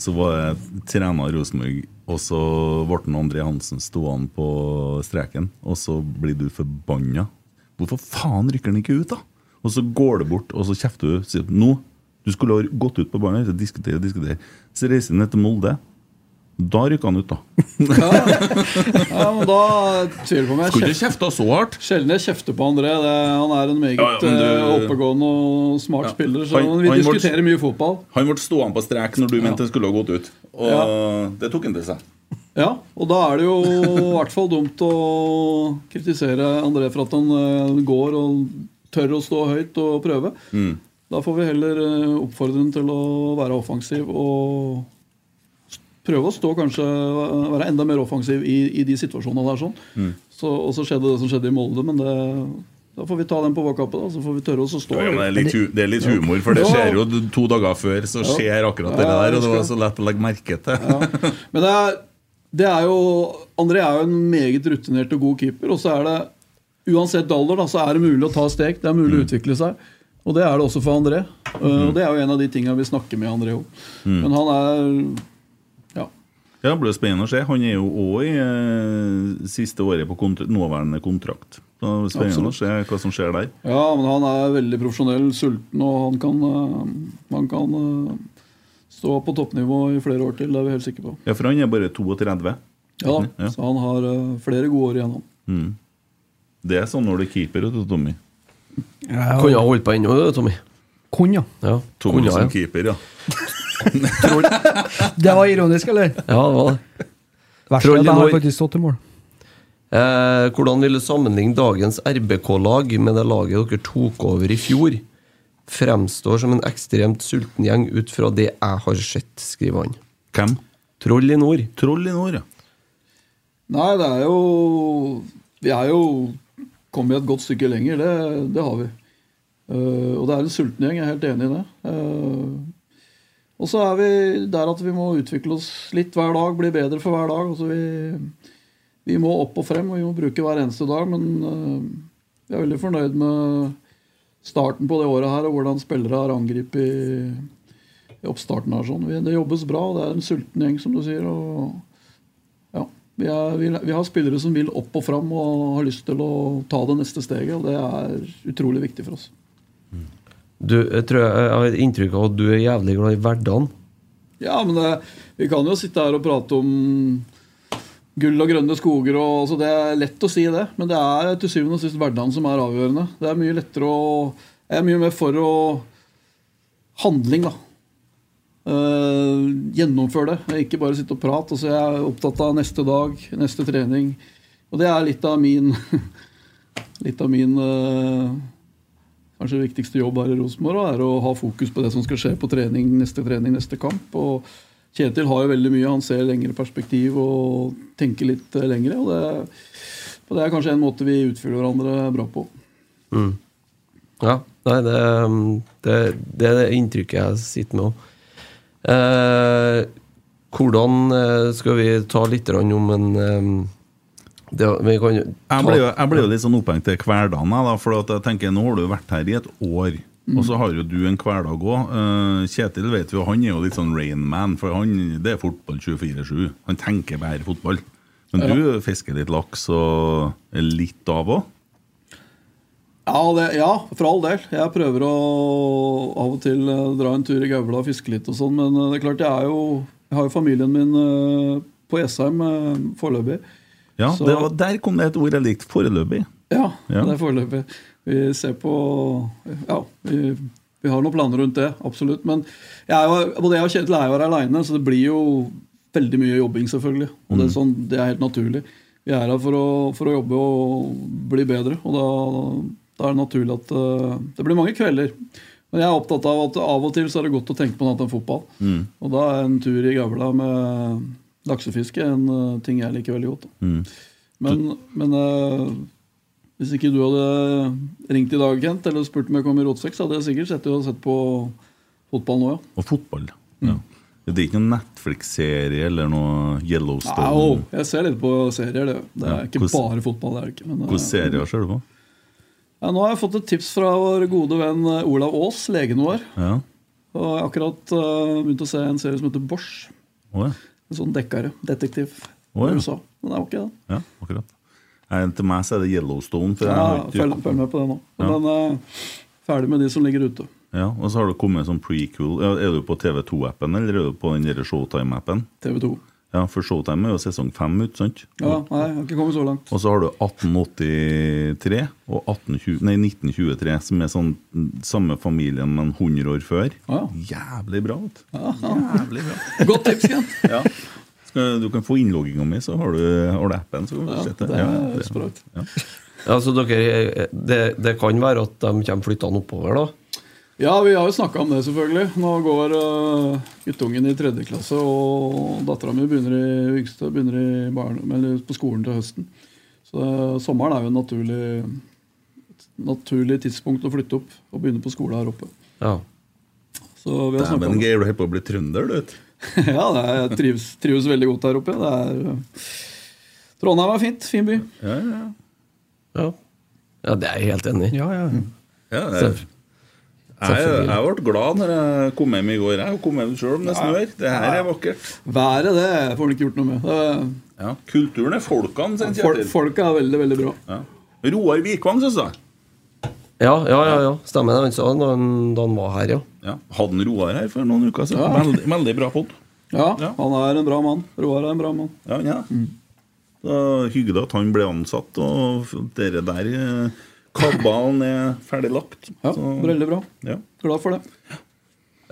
A: så var jeg trener i Rosenborg, og så ble den André Hansen stående på streken, og så blir du forbanna. Hvorfor faen rykker han ikke ut, da? Og så går du bort, og så kjefter du. Sier nå, du skulle ha gått ut på banen og diskutere, diskutere. Så reiser han ned til Molde. Da rykker han ut, da.
B: Ja, men da tviler jeg på meg.
A: Skulle ikke kjefta så hardt.
B: Sjelden jeg kjefter på André. Det, han er en meget
A: Ja, ja, men du-
B: eh, oppegående og smart spiller. Så
A: Han-
B: vi
A: han må-
B: diskuterer mye fotball.
A: Han ble stående på strek når du mente han skulle ha gått ut, og det tok han til seg.
B: Ja, Og da er det jo i hvert fall dumt å kritisere André for at han eh, går og tør å stå høyt og prøve.
A: Mm.
B: Da får vi heller eh, oppfordre ham til å være offensiv og s- prøve å stå kanskje være enda mer offensiv i, i de situasjonene der. sånn.
A: Mm.
B: Så, og så skjedde det som skjedde i Molde, men det, da får vi ta den på bakkappet. da, Så får vi tørre oss å stå.
A: Ja, ja, men det, er litt,
B: høyt.
A: hu- det er litt humor, for det
B: Ja.
A: skjer jo to dager før. Så
B: Ja.
A: skjer akkurat det
B: Ja,
A: der, og det
B: jeg
A: var
B: husker
A: så lett å legge merke til.
B: Men det er, det er jo André er jo en meget rutinert og god keeper. Og så er det, uansett alder, da, så er det mulig å ta steg. Det er mulig
A: Mm.
B: å utvikle seg. Og det er det også for André. Eh, Og det er jo en av de tinga vi snakker med André om. Men han er Ja.
A: Ja, det blir jo spennende å se. Han er jo òg i eh, siste året på kontra nåværende kontrakt. Så det blir spennende å se hva som skjer der.
B: Ja, men han er veldig profesjonell, sulten, og han kan, eh, han kan eh, stå på toppnivå i flere år til. Det er vi helt sikre på.
A: Ja, For han er bare 32.
B: Ja,
A: Mm, Ja.
B: da, Så han har eh, flere gode år igjen, han.
A: Mm. Det er sånn når du er keeper, vet du, Tommy.
C: Kunne ha holdt på ennå, du, Tommy.
E: Kun, ja.
C: Ja,
A: Tommy
C: kunne ha,
A: som
C: ja.
A: keeper, ja.
E: Det var ironisk, eller?
C: ja, det var det.
E: Verst er
C: Troll
E: at
C: i
E: jeg har
C: nord.
E: faktisk stått i mål.
C: Eh, hvordan vil du sammenligne dagens RBK-lag med det laget dere tok over i fjor? Fremstår som en ekstremt sulten gjeng ut fra det jeg har sett, skriver han.
A: Hvem?
C: Troll i nord.
A: Troll i nord, ja.
B: Nei, det er jo Vi er jo kommet et godt stykke lenger. Det, det har vi. Eh, og det er en sulten gjeng. Jeg er helt enig i det. Eh, og så er vi der at vi må utvikle oss litt hver dag, bli bedre for hver dag. Altså vi, vi må opp og frem, og vi må bruke hver eneste dag. Men eh, jeg er veldig fornøyd med starten på det året her, og hvordan spillere har angrepet i, i oppstarten. her. Sånn. Vi, det jobbes bra, og det er en sulten gjeng, som du sier. og ja, vi, er, vi, vi har spillere som vil opp og fram og har lyst til å ta det neste steget. og Det er utrolig viktig for oss.
C: Du, jeg, tror jeg, jeg har inntrykk av at du er jævlig glad i hverdagen.
B: Ja, men det, Vi kan jo sitte her og prate om gull og grønne skoger. Og, altså det er lett å si det, men det er til syvende og sist hverdagen som er avgjørende. Det er mye lettere å Jeg er mye mer for å handling, da. Eh, gjennomføre det, ikke bare sitte og prate. Altså, jeg er opptatt av neste dag, neste trening. Og det er litt av min Litt av min eh, kanskje viktigste jobb her i Rosenborg er å ha fokus på det som skal skje på trening, neste trening, neste kamp. Og Kjetil har jo veldig mye. Han ser lengre perspektiv og tenker litt eh, lengre. Og det, og det er kanskje en måte vi utfyller hverandre bra på.
C: Ja, nei, det, det, det er det inntrykket jeg sitter med òg. Eh, hvordan eh, Skal vi ta litt grann om en eh, det, Vi kan jo ta
A: Jeg ble, jo, jeg ble jo litt sånn opphengt til hverdagen, jeg, da, for at jeg tenker, nå har du jo vært her i et år. Og
B: Mm.
A: så har jo du en hverdag òg. Kjetil vet vi jo, han er jo litt sånn Rainman, for han, det er fotball 24-7. Han tenker bare fotball. Men du fisker litt laks og er litt av òg?
B: Ja, det, ja, for all del. Jeg prøver å av og til eh, dra en tur i Gaula og fiske litt og sånn, men eh, det er klart jeg er jo Jeg har jo familien min eh, på Jessheim eh, foreløpig.
A: Ja,
B: Så-
A: det var, der kom det et ord jeg likte. Foreløpig.
B: Ja,
A: Ja.
B: det er foreløpig. Vi ser på Ja, vi Vi har noen planer rundt det, absolutt. Men jeg er jo, både jeg og Kjetil er jo her aleine, så det blir jo veldig mye jobbing, selvfølgelig.
A: Mm.
B: Og det, er sånn, det er helt naturlig. Vi er her for å, for å jobbe og bli bedre, og da, da er det naturlig at eh, det blir mange kvelder. Men jeg er opptatt av at av og til så er det godt å tenke på noe annet enn fotball.
A: Mm.
B: Og da er en tur i gavla med laksefiske en eh, ting jeg liker veldig godt. da.
A: Mm.
B: Men, men eh, hvis ikke du hadde ringt i dag, Kent, eller spurt om jeg kom i rotsekk, så hadde jeg sikkert sett, sett på fotball nå, ja.
A: Og fotball.
B: Mm.
A: Ja. Det er ikke noen Netflix-serie eller noe Yellowstone?
B: Nei, jo, jeg ser litt på serier, det. Det er
A: Ja,
B: ikke
A: hvordan-
B: bare fotball. det er det ikke. Men, eh,
A: Hvilke serier ser du på?
B: ja, nå har jeg fått et tips fra vår gode venn eh, Olav Aas, legen vår.
A: Ja.
B: Og jeg har akkurat eh, begynt å se en serie som heter Bosch.
A: Å, ja.
B: En sånn dekkere. Detektiv.
A: Å, ja.
B: i USA. Den er ok, den.
A: ja, akkurat. Nei, til meg så er det Yellowstone. For jeg
B: Ja,
A: har ikke-
B: følg, følg med på det nå.
A: Ja.
B: Men eh, ferdig med de som ligger ute.
A: Ja, Og så har det kommet sånn prequel. Ja, Er du på TV2-appen, eller er du på den der Showtime-appen?
B: TV2.
A: Ja, for Showtime er jo sesong fem ut, sant?
B: Ja, nei, jeg har ikke kommet så langt.
A: Og så har du 1883 og 1820, nei, 1923, som er sånn samme familien, men 100 år før. Jævlig bra. Vet. du. Jævlig bra.
B: Godt tips, Kent.
A: ja. Skal, du kan få innlogginga mi, så har du, har du appen. Så kan du
B: Ja,
A: sette.
B: det er sprøtt.
A: Ja.
C: Ja, så dere, det, det kan være at de kommer flyttende oppover, da?
B: Ja, vi har jo snakka om det, selvfølgelig. Nå går eh, guttungen i tredje klasse, og dattera mi begynner i yngste begynner i barne, eller på skolen til høsten. Så eh, sommeren er jo en naturlig, et naturlig tidspunkt å flytte opp og begynne på skole her oppe.
C: Ja.
B: Så vi har snakket om
A: Dæven,
B: det.
A: Geir, du holder på å bli trønder, du. vet.
B: ja, det er, jeg trives, trives veldig godt her oppe. Det er, eh, Trondheim er fint. Fin by.
A: Ja, ja, ja.
C: Ja, ja det er jeg helt enig i.
E: Ja, ja.
A: Ja, det er- jeg, jeg, jeg ble glad når jeg kom hjem i går. Jeg kom hjem sjøl om det snør. Det her er vakkert.
B: Været det får han ikke gjort noe med. Det,
A: Ja, Kulturen er folkene, sier
B: fol
A: Kjetil.
B: folket er veldig, veldig bra.
A: Ja. Roar Vikvang, syns jeg.
C: Ja, ja, ja, ja. stemmer det. Han sa det da han- da han var her, ja.
A: Ja. Hadde en Roar her for noen uker siden. Veldig, veldig bra pod.
B: Ja, han er en bra mann. Roar er en bra mann.
A: Ja, ja. Da, hyggelig at han ble ansatt, og f- dere der eh, Kabalen er ferdig lagt.
B: Ja,
A: Så-
B: Veldig bra.
A: Ja.
B: Glad for det.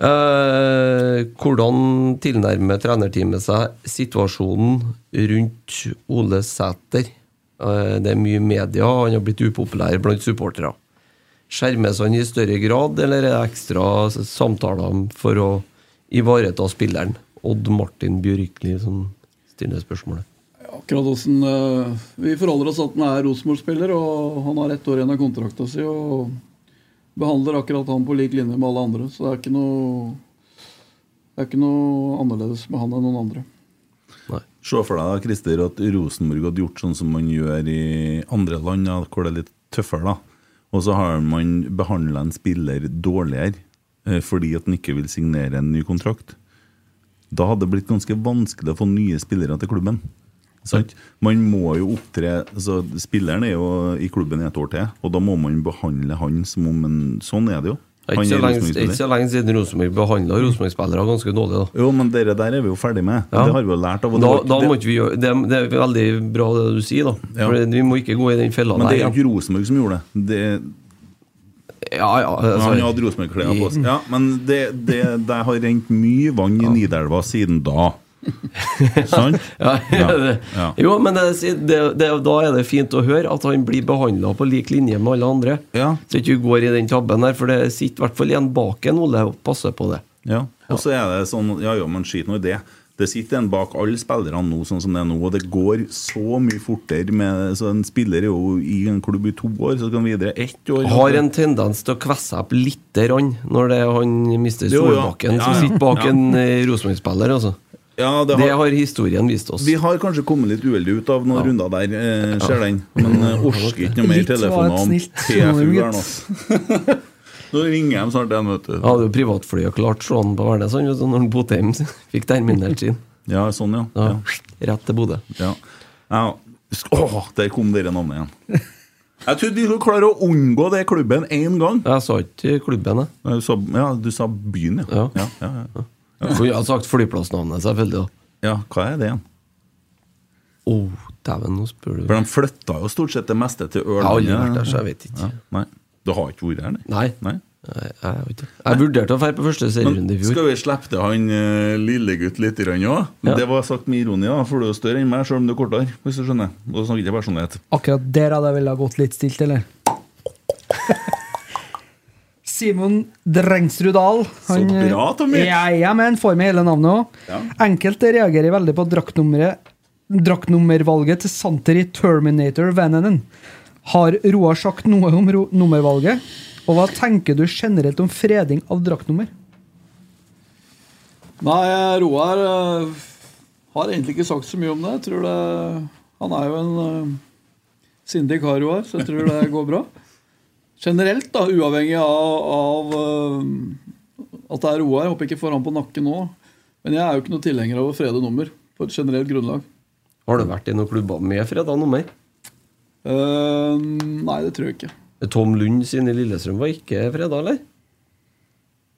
C: Eh, hvordan tilnærmer trenerteamet seg situasjonen rundt Ole Sæter? Eh, det er mye media, og han har blitt upopulær blant supportere. Skjermes han i større grad, eller er det ekstra s- samtaler for å ivareta spilleren? Odd Martin Bjørkli som stiller spørsmålet.
B: Akkurat hvordan, eh, Vi forholder oss til at han er Rosenborg-spiller, og han har ett år igjen av kontrakta si. Og behandler akkurat han på lik linje med alle andre. Så det er ikke noe det er ikke noe annerledes med han enn noen andre.
A: Se for deg da, Christer, at Rosenborg hadde gjort sånn som man gjør i andre land, da, hvor det er litt tøffere. da. Og så har man behandla en spiller dårligere eh, fordi at han ikke vil signere en ny kontrakt. Da hadde det blitt ganske vanskelig å få nye spillere til klubben. Sant? Man må jo opptre altså, Spilleren er jo i klubben i et år til, og da må man behandle han som om en Sånn er det jo.
C: Det er
A: Han
C: ikke så
A: er
C: lenge,
A: Rosenborg-spiller.
C: ikke så lenge siden Rosenborg behandla Rosenborg-spillere ganske dårlig, da.
A: Jo, men dere der er vi jo ferdig med.
C: Ja.
A: Det har vi jo lært av. og
C: Da,
A: det var-
C: da
A: det-
C: må ikke vi gjøre, det, er- det er veldig bra det du sier, da.
A: Ja.
C: For vi må ikke gå i den fella
A: Men det
C: der.
A: er
C: ja.
A: jo ikke Rosenborg som gjorde det. det
C: Ja, ja, altså,
A: Han hadde Rosenborg-klær på seg. Ja, men det, det, det har rent mye vann i Nidelva siden da. Sant?
C: ja, det-
A: Ja.
C: Jo, men det, det, det, da er det fint å høre at han blir behandla på lik linje med alle andre.
A: Ja.
C: Så ikke vi går i den tabben der, for det sitter i hvert fall en bak en Ole og passer på det.
A: Ja. Og så er det sånn Ja, ja, men skit nå i det. Det sitter en bak alle spillerne nå, sånn som det er nå, og det går så mye fortere med Så en spiller er jo i en klubb i to år, så kan vi videre ett år
C: Har en tendens til å kvesse opp lite grann når det er han mister
A: Jo, ja.
C: Solbakken
A: Ja, ja.
C: som sitter bak
A: Ja.
C: en eh, Rosenborg-spiller, altså.
A: Ja, det
C: Det
A: har
C: har historien vist oss.
A: vi har kanskje kommet litt uheldig ut av noen runder der, eh, ser den. Men eh, orker ikke noe mer
E: Litt var et
A: telefoner om
E: snilt
A: TFU her
E: ord,
A: nå. Nå ringer de snart igjen, vet du.
C: Han hadde jo privatfly og klart slå han på Værnes han, vet du, når han bodde hjemme. Fikk terminert sin.
A: Ja, sånn, ja.
C: Da,
A: ja.
C: Rett til Bodø.
A: Ja. Ja. sk- Åh, der kom dere navnet igjen. Jeg trodde vi skulle klare å unngå det klubben én gang.
C: Jeg sa ikke klubben, jeg.
A: Nei, Du sa, ja, du sa byen, ja.
C: Ja.
A: Ja, ja, ja.
C: For jeg hadde sagt flyplassnavnet, selvfølgelig. da.
A: ja hva er det igjen?
C: Å, dæven, nå spør du.
A: For de flytta jo stort sett det meste til
C: Jeg har aldri vært
A: Ørlandet.
C: der, så jeg vet ikke.
A: Ja, nei. Du har ikke vært her, nei?
C: Nei.
A: nei?
C: Nei, Jeg, vet ikke. jeg vurderte å dra på første serierunde i fjor.
A: Skal vi slippe til han eh, lillegutt litt òg?
C: Ja.
A: Det var sagt med ironi, da, for du er større enn meg, selv om du er kortere. Hvis du skjønner. Og da snakker jeg ikke personlighet.
E: Akkurat der hadde jeg ville ha gått litt stilt, eller? Simon Drengsrud Dahl.
A: Så bra, Tommy.
E: Ja, ja, men får med hele navnet òg.
A: Ja.
E: Enkelte reagerer veldig på draktnummeret Draktnummervalget til Santeri Terminator Vananen. Har Roar sagt noe om ro nummervalget? Og hva tenker du generelt om freding av draktnummer?
B: Nei, Roar eh, har egentlig ikke sagt så mye om det. Jeg tror det Han er jo en eh, sindig kar, Roar, så jeg tror det går bra. Generelt, da, uavhengig av, av eh, at det er Roar. Jeg håper ikke jeg får han på nakken nå. Men jeg er jo ikke noe tilhenger av å frede nummer på et generelt grunnlag.
C: Har du vært i noen klubber med freda nummer?
B: Eh, nei, det tror jeg ikke.
C: Tom Lund sin i Lillestrøm var ikke freda, eller?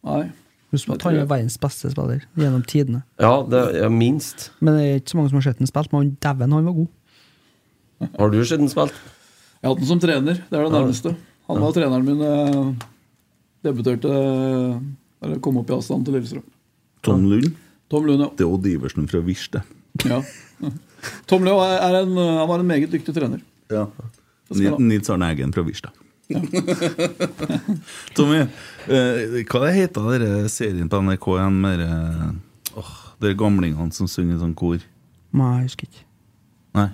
B: Nei.
E: Husk på at han er verdens beste spiller gjennom tidene.
C: Ja, det er ja, minst.
E: Men det er ikke så mange som har sett han spilt, men dæven, han var god.
C: Har du sett den spilt?
B: Jeg har hatt den som trener. Det er det nærmeste. Han var treneren min eh, debuterte eh, Eller kom opp i avstand til Lillestrøm.
A: Tom Lund.
B: Tom Lund, ja.
A: Det er Odd Iversen fra Wish, det.
B: Ja. Tom Leo er er en, han var en meget dyktig trener.
A: Ja.
B: skal han ha.
A: Nils Arne Eggen fra Wish, da. Tommy, eh, hva heter dere serien på NRK igjen med dere åh, dere gamlingene som synger sånn kor?
E: Nei, jeg husker ikke.
A: Nei.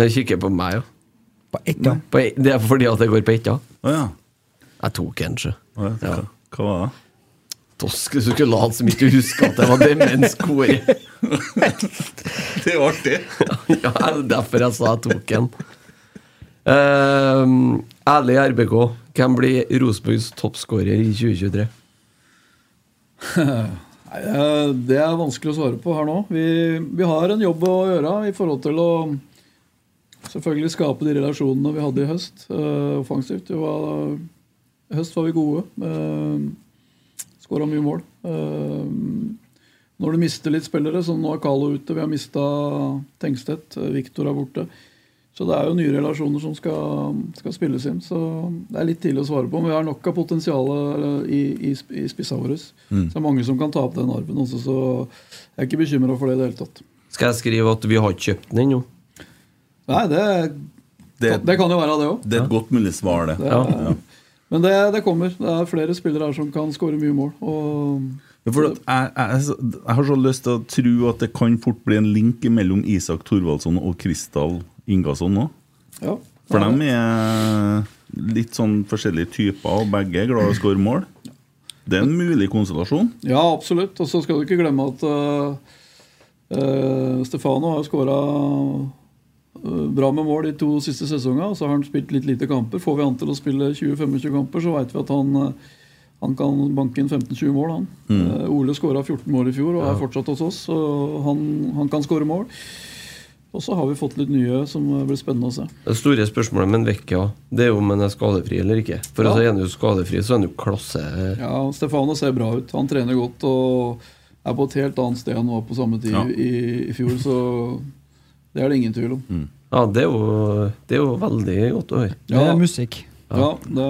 C: Jeg kikker på meg, ja.
E: På ett, da.
C: På e- Det er fordi at det går på ett, ja.
A: Å ja.
C: Jeg tok en, sjø.
A: Å ja. Hva,
C: Ja.
A: hva var det?
C: Tosk, du skulle late som ikke du husker at det var demenskoret.
A: Det er artig!
C: ja, det er derfor jeg sa jeg tok en. Uh, ærlig RBK, hvem blir Rosenborgs toppskårer i 2023?
B: Nei, eh, Det er vanskelig å svare på her nå. Vi, vi har en jobb å gjøre i forhold til å selvfølgelig skape de relasjonene vi hadde i høst, eh, offensivt. Det var, I høst var vi gode. Uh, Skåra mye mål. Eh, når du mister litt spillere, som nå er Carlo ute, vi har mista Tengstedt, eh, Viktor er borte. Så det er jo nye relasjoner som skal, skal spilles inn. Så det er litt tidlig å svare på. Men vi har nok av potensial eh, i, i, sp- i spissa våre. Så det er mange som kan ta opp den arven. Også, så jeg er ikke bekymra for det i det hele tatt.
C: Skal jeg skrive at vi har ikke kjøpt den ennå?
B: Nei, det,
A: Det,
B: det kan jo være det òg.
A: det er et godt mulig svar, det.
C: Ja.
B: Men det, det kommer. Det er flere spillere her som kan skåre mye mål. Og
A: Ja, For at jeg, jeg, jeg har så lyst til å tro at det kan fort bli en link mellom Isak Thorvaldsson og Kristal Ingasson nå.
B: ja.
A: For dem er litt sånn forskjellige typer, og begge er glad i å skåre mål. Det er en mulig konstellasjon.
B: Ja, absolutt. Og så skal du ikke glemme at eh, eh, Stefano har skåra bra med mål de to siste sesongene. og Så har han spilt litt lite kamper. Får vi han til å spille 20-25 kamper, så veit vi at han, eh, han kan banke inn 15-20 mål. Han. Eh, Ole skåra 14 mål i fjor og er fortsatt hos oss. Og han, han kan skåre mål. Og så har vi fått litt nye som eh, blir spennende å se.
C: Det store spørsmålet med en Vecchia det er jo om han er skadefri eller ikke. For
B: Ja.
C: altså, er han jo skadefri, så er han jo klasse
B: Ja, Stefano ser bra ut. Han trener godt og er på et helt annet sted enn han var på samme tid
A: Ja.
B: i, i fjor, så det er det ingen tvil om.
C: Ja, det er jo, det er jo veldig godt å høre.
E: Det er musikk.
B: Ja, det,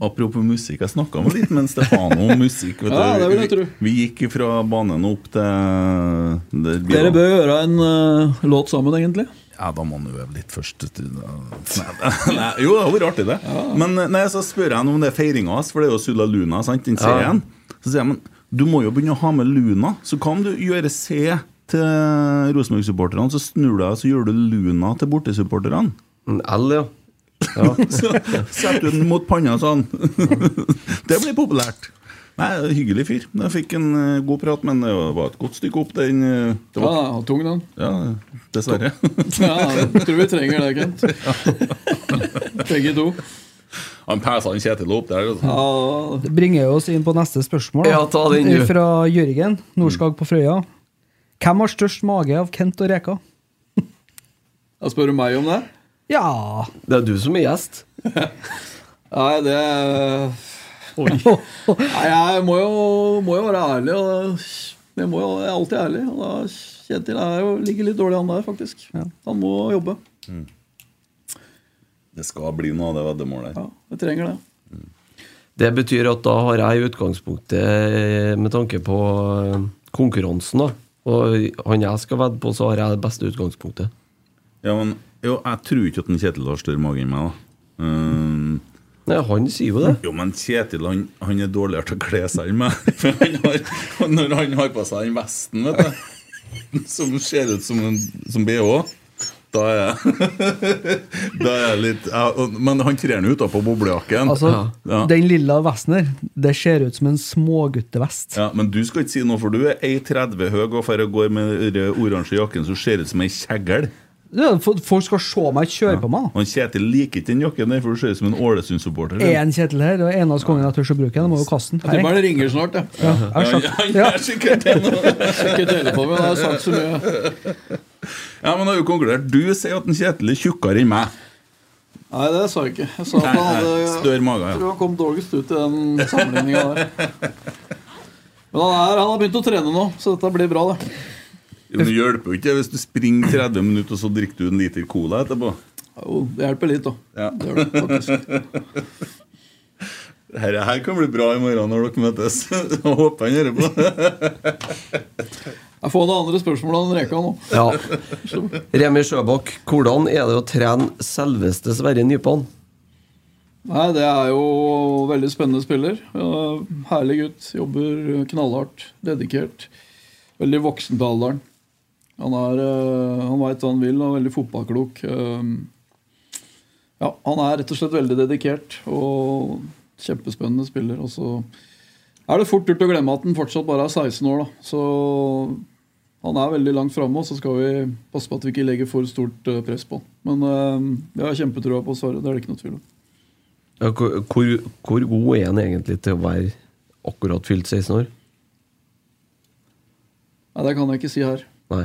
A: Apropos musikk, jeg snakka med litt med Stefano om musikk. Vet du.
B: Ja, det vil
A: Vi-
B: jeg tro.
A: Vi gikk fra banen og opp til der
B: Dere
A: bilene-
B: bør gjøre en eh, låt sammen, egentlig.
A: Ja, da må han øve litt først. vet du. Nei, nei, jo, det hadde vært artig, det. Men eh, nei, så spør jeg han om det er feiringa hans, for det er jo Sulla Luna, sant, den serien. Så sier jeg, men du må jo begynne å ha med Luna. Så hva om du gjør C til Rosenborg-supporterne, så snur du deg og så gjør du Luna til bortesupporterne?
C: En L, ja. ja.
A: Så setter du den mot panna sånn. Det blir populært. Nei, hyggelig fyr. Jeg fikk en eh, god prat, men det var et godt stykke opp den eh, Det
B: Ja,
A: var
B: ja, tung den.
A: Ja, dessverre.
B: Ja, jeg tror vi trenger det, Kent. Begge to.
A: Han pæsa han Kjetil opp der. altså.
B: Ja,
E: Det bringer oss inn på neste spørsmål. da.
C: Ja, ta den, du.
E: Fra Jørgen Norskag på Frøya. Hvem har størst mage av Kent og Reka?
B: jeg spør du meg om det?
E: Ja
C: Det er du som er gjest.
B: Nei, det Nei, jeg må jo, må jo være ærlig. Og da- jeg, må jo, jeg er alltid ærlig. Og da Kjetil er jo, ligger litt dårlig an der, faktisk. Han må jobbe.
A: Det skal bli noe av det veddemålet.
B: Ja, jeg trenger det.
F: Det betyr at da har jeg i utgangspunktet, eh, med tanke på eh, konkurransen, da og han jeg skal vedde på, så har jeg det beste utgangspunktet.
A: Ja, men jo, jeg tror ikke at en Kjetil har større mage enn meg, da. Eh,
F: Nei, han sier jo det.
A: Jo, men Kjetil han, han er dårligere til å kle seg enn meg. For han har, når han har på seg den vesten, vet du, som ser ut som en som BH, da er jeg Da er jeg litt ja, og- Men han trer nå utapå boblejakken.
B: Altså,
A: ja.
B: Den lilla vesten der, det ser ut som en småguttevest.
A: Ja, men du skal ikke si noe, for du er 1,30 høy og for å gå med den oransje jakken som ser ut som ei kjegle.
B: Ja, fo- folk skal se meg kjøre på meg.
A: Og han Kjetil liker ikke den jakken der, for du ser ut som en Ålesund-supporter.
B: Er en Kjetil her, og en av oss kongen jeg tør å bruke den, må jo kaste den.
C: Jeg tror bare det ringer snart, jeg.
B: Ja, jeg har sagt-
A: Han er sikkert det nå.
C: Ikke dele på meg, da har jeg sagt så mye.
A: Ja, men da har vi konkludert. Du sier at en Kjetil er tjukkere enn meg.
C: Nei, det sa jeg ikke. Jeg sa at
A: Nei,
C: han
A: nei,
C: hadde
A: Større mage,
C: Jeg
A: ja.
C: tror han kom dårligst ut i den sammenligninga der. Men han, er, han har begynt å trene nå, så dette blir bra, det.
A: Jo, men Det hjelper jo ikke hvis du springer 30 minutter, og så drikker du en liter cola etterpå.
C: Jo, det hjelper litt, da.
A: Ja.
C: Det gjør det faktisk.
A: Dette her kan bli bra i morgen når dere møtes. Jeg håper han hører på.
C: Jeg får noen andre spørsmål enn Reka nå.
F: Ja. Remi Sjøbakk, hvordan er det å trene selveste Sverre Nypan?
C: Nei, det er jo veldig spennende spiller. Eh, Herlig gutt. Jobber knallhardt, dedikert. Veldig voksen til alderen. Han, er, eh, han veit hva han vil og er veldig fotballklok. Eh, Ja, han er rett og slett veldig dedikert og kjempespennende spiller. Og så er det fort gjort å glemme at han fortsatt bare er 16 år, da. Så han er veldig langt framme, og så skal vi passe på at vi ikke legger for stort eh, press på han. Men eh, jeg har kjempetrua på Sverre, det er det ikke noe tvil om.
F: Ja, hvor, hvor, hvor god er han egentlig til å være akkurat fylt 16 år?
C: Nei, det kan jeg ikke si her.
F: Nei.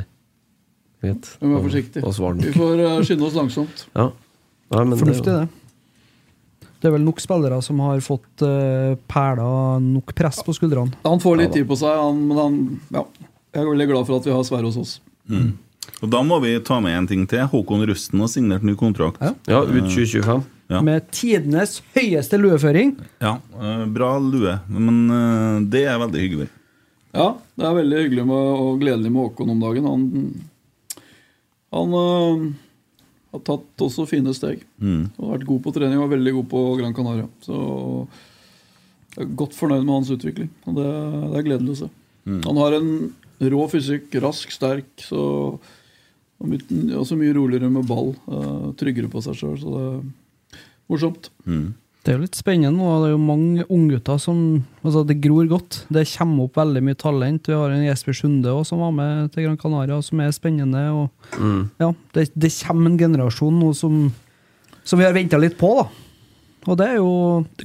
F: Greit.
C: Vi må være forsiktig.
F: Da svarer
C: Vi
F: han.
C: får eh, skynde oss langsomt.
F: Ja. Nei, men
B: Fornuftig,
F: det.
B: det. Det er vel nok spillere som har fått uh, perler nok press på skuldrene.
C: Han får litt tid på seg, han, men han Ja. Jeg er veldig glad for at vi har Sverre hos oss.
A: Og da må vi ta med en ting til. Håkon Rusten har signert ny kontrakt. Ja,
F: Ja, ut 2025.
A: Ja.
B: Med tidenes høyeste lueføring.
A: eh, Bra lue, men eh, det er veldig hyggelig.
C: Ja, det er veldig hyggelig med, og gledelig med Håkon om dagen. Han, han eh, har tatt også fine steg. Og har vært god på trening og er veldig god på Gran Canaria. Så jeg er godt fornøyd med hans utvikling. Og det, det er gledelig å se. Han har en rå fysikk, rask, sterk, så og mye- også mye roligere med ball. eh, Tryggere på seg sjøl, så det er morsomt.
B: Det er jo litt spennende nå. Det er jo mange unggutter som altså Det gror godt. Det kommer opp veldig mye talent. Vi har en Jesper Sunde også, som var med til Gran Canaria, som er spennende. Og, ja, det, det kommer en generasjon nå som, som vi har venta litt på, da. Og det er jo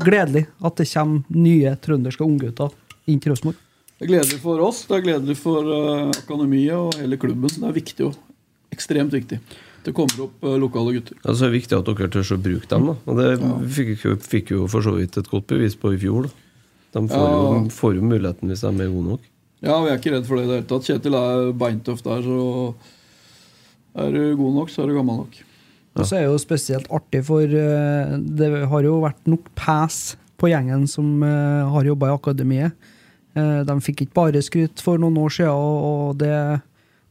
B: gledelig at det kommer nye trønderske unggutter inn til Rosenborg.
C: Det er gledelig for oss, det er gledelig for eh, akademiet og hele klubben. Så det er viktig og ekstremt viktig. Det kommer opp eh, lokale gutter.
F: Ja, så er det viktig at dere tør å bruke dem. da Og Det fikk, jo- fikk jo for så vidt et godt bevis på i fjor. da De får jo,
C: Ja.
F: får jo muligheten hvis de er gode nok.
C: Ja, vi er ikke redd for det i det hele tatt. Kjetil er beintøff der, så er du god nok, så er du gammel nok.
B: Og så er det jo spesielt artig, for eh, det har jo vært nok pes på gjengen som eh, har jobba i akademiet. Eh, De fikk ikke bare skryt for noen år siden, og og det,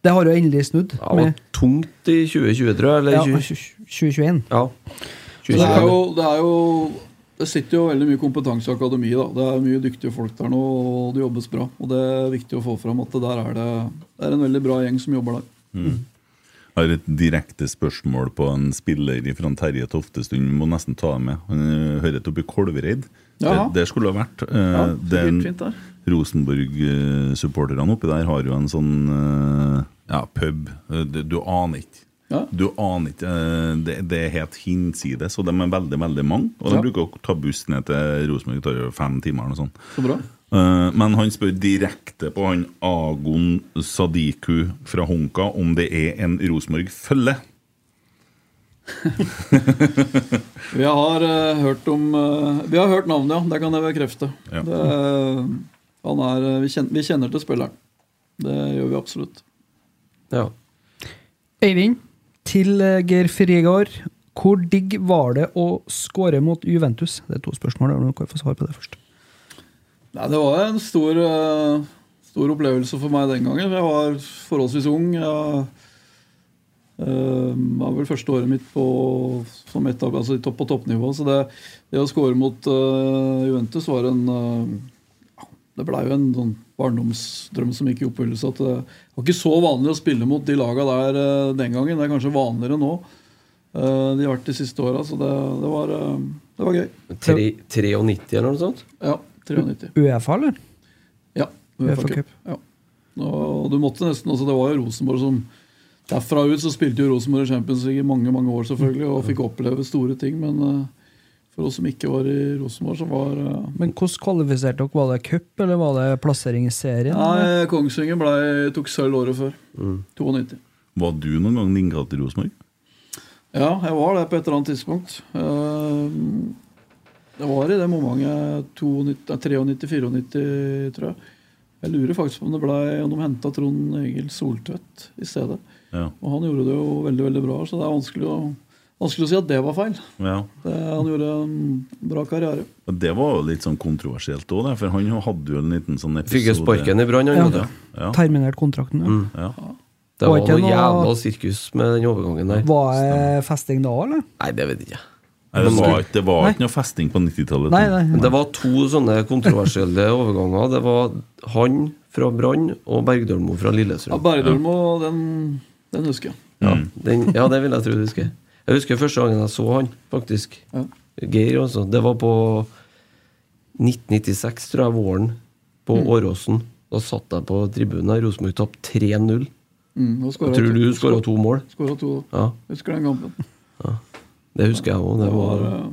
B: det har jo endelig snudd.
F: Ja, det var tungt i 2020, tror jeg. Eller
B: ja,
F: 20,
B: 2021.
F: ja.
C: Så det,
F: 2025.
C: er jo, det er jo Det sitter jo veldig mye kompetanse i akademiet. da. Det er mye dyktige folk der nå, og det jobbes bra. Og det er viktig å få fram at det der er det, det er en veldig bra gjeng som jobber der.
A: Jeg har et direkte spørsmål på en spiller fra Terje Toftestund. Vi må nesten ta ham med. Han eh, hører til oppe i Kolvereid.
C: Jaha.
A: Det, det skulle ha vært. eh,
C: Ja, det
A: den-
C: blir fint der.
A: Rosenborg-supporterne oppi der har jo en sånn eh, ja, pub. Eh, Du, du aner ikke.
C: Ja.
A: Du aner ikke. eh, Det, det er helt hinsides, og de er veldig veldig mange. Og de
C: Ja.
A: bruker å ta buss ned til Rosenborg, det tar jo fem timer eller noe sånt.
C: Så bra.
A: Eh, Men han spør direkte på han Agon Sadiku fra Honka om det er en Rosenborg-følge.
C: Vi har eh, hørt om eh, Vi har hørt navnet, ja. Det kan jeg bekrefte.
A: Ja.
C: Det, eh, han er, eh, vi, kjenner, vi kjenner til spilleren. Det gjør vi absolutt.
F: Ja.
B: Øyvind, til eh, Geir Frigård.
E: Hvor digg var det å skåre mot Juventus? Det er to spørsmål. og Du kan få svar på det først.
B: Nei, det var en stor, eh, stor opplevelse for meg den gangen. Jeg var forholdsvis ung. Jeg eh, var vel første året mitt på, som et, altså, i topp- på toppnivå. Så det, det å score mot eh, Juventus var en eh, ja, Det blei jo en sånn barndomsdrøm som gikk i oppfyllelse. At det var ikke så vanlig å spille mot de laga der eh, den gangen. Det er kanskje vanligere nå. Eh, de har vært de siste åra, så det, det, var, eh, det var gøy.
C: Tre- 93 eller noe sånt?
B: Ja, 93.
E: Uefa, eller?
B: Ja.
E: UEFA
B: UEFA Cup. Ja. Og du måtte nesten også, Det var jo Rosenborg som Derfra ut så spilte jo Rosenborg i Champions League i mange mange år selvfølgelig, og fikk oppleve store ting. Men eh, for oss som ikke var i Rosenborg, så var eh,
E: Men hvordan kvalifiserte dere? Var det cup, eller var det plassering i serien? eller?
B: Nei, eh, Kongsvinger ble, tok sølv året før.
C: Mm.
B: 92.
A: Var du noen gang innkalt til Rosenborg?
B: Ja, jeg var det på et eller annet tidspunkt. Eh, Det var i det momentet 93-94, tror jeg. Jeg lurer faktisk på om det ble, om de henta Trond Egil Soltvedt i stedet.
A: Ja.
B: Og han gjorde det jo veldig veldig bra, så det er vanskelig å, vanskelig å si at det var feil.
A: ja.
B: Det, han gjorde en bra karriere.
A: Og Det var jo litt sånn kontroversielt òg, for han hadde jo en liten sånn episode
C: Fikk jo sparken i brann, han,
A: Ja.
C: vet du.
A: Ja.
E: Terminert kontrakten, ja.
C: Mm. Det
E: Var
C: var
E: ikke
C: noe
E: noe-
C: jævla sirkus med den overgangen der.
E: Var det festing da, eller?
C: Nei, det vet jeg ikke.
A: Nei, det var ikke, det var ikke noe festing på 90-tallet.
E: Nei, nei.
C: Men Det var to sånne kontroversielle overganger. Det var han fra Brann og Bergdølmo fra
B: Ja,
C: Lillestrøm.
B: Bergdølmo, den, den husker jeg.
C: Ja, den, ja, det vil jeg tro du husker. Jeg husker første gangen jeg så han, faktisk. Geir, altså. Det var på 1996, tror jeg, våren, på
B: Mm.
C: Åråsen. Da satt jeg på tribunen her. Rosenborg tapte 3-0.
B: Mm, og skåret
C: Tror
B: to-
C: du skåra to mål?
B: Skåra to, da.
C: Ja,
B: Husker den kampen.
C: det husker jeg òg. Det var
B: eh,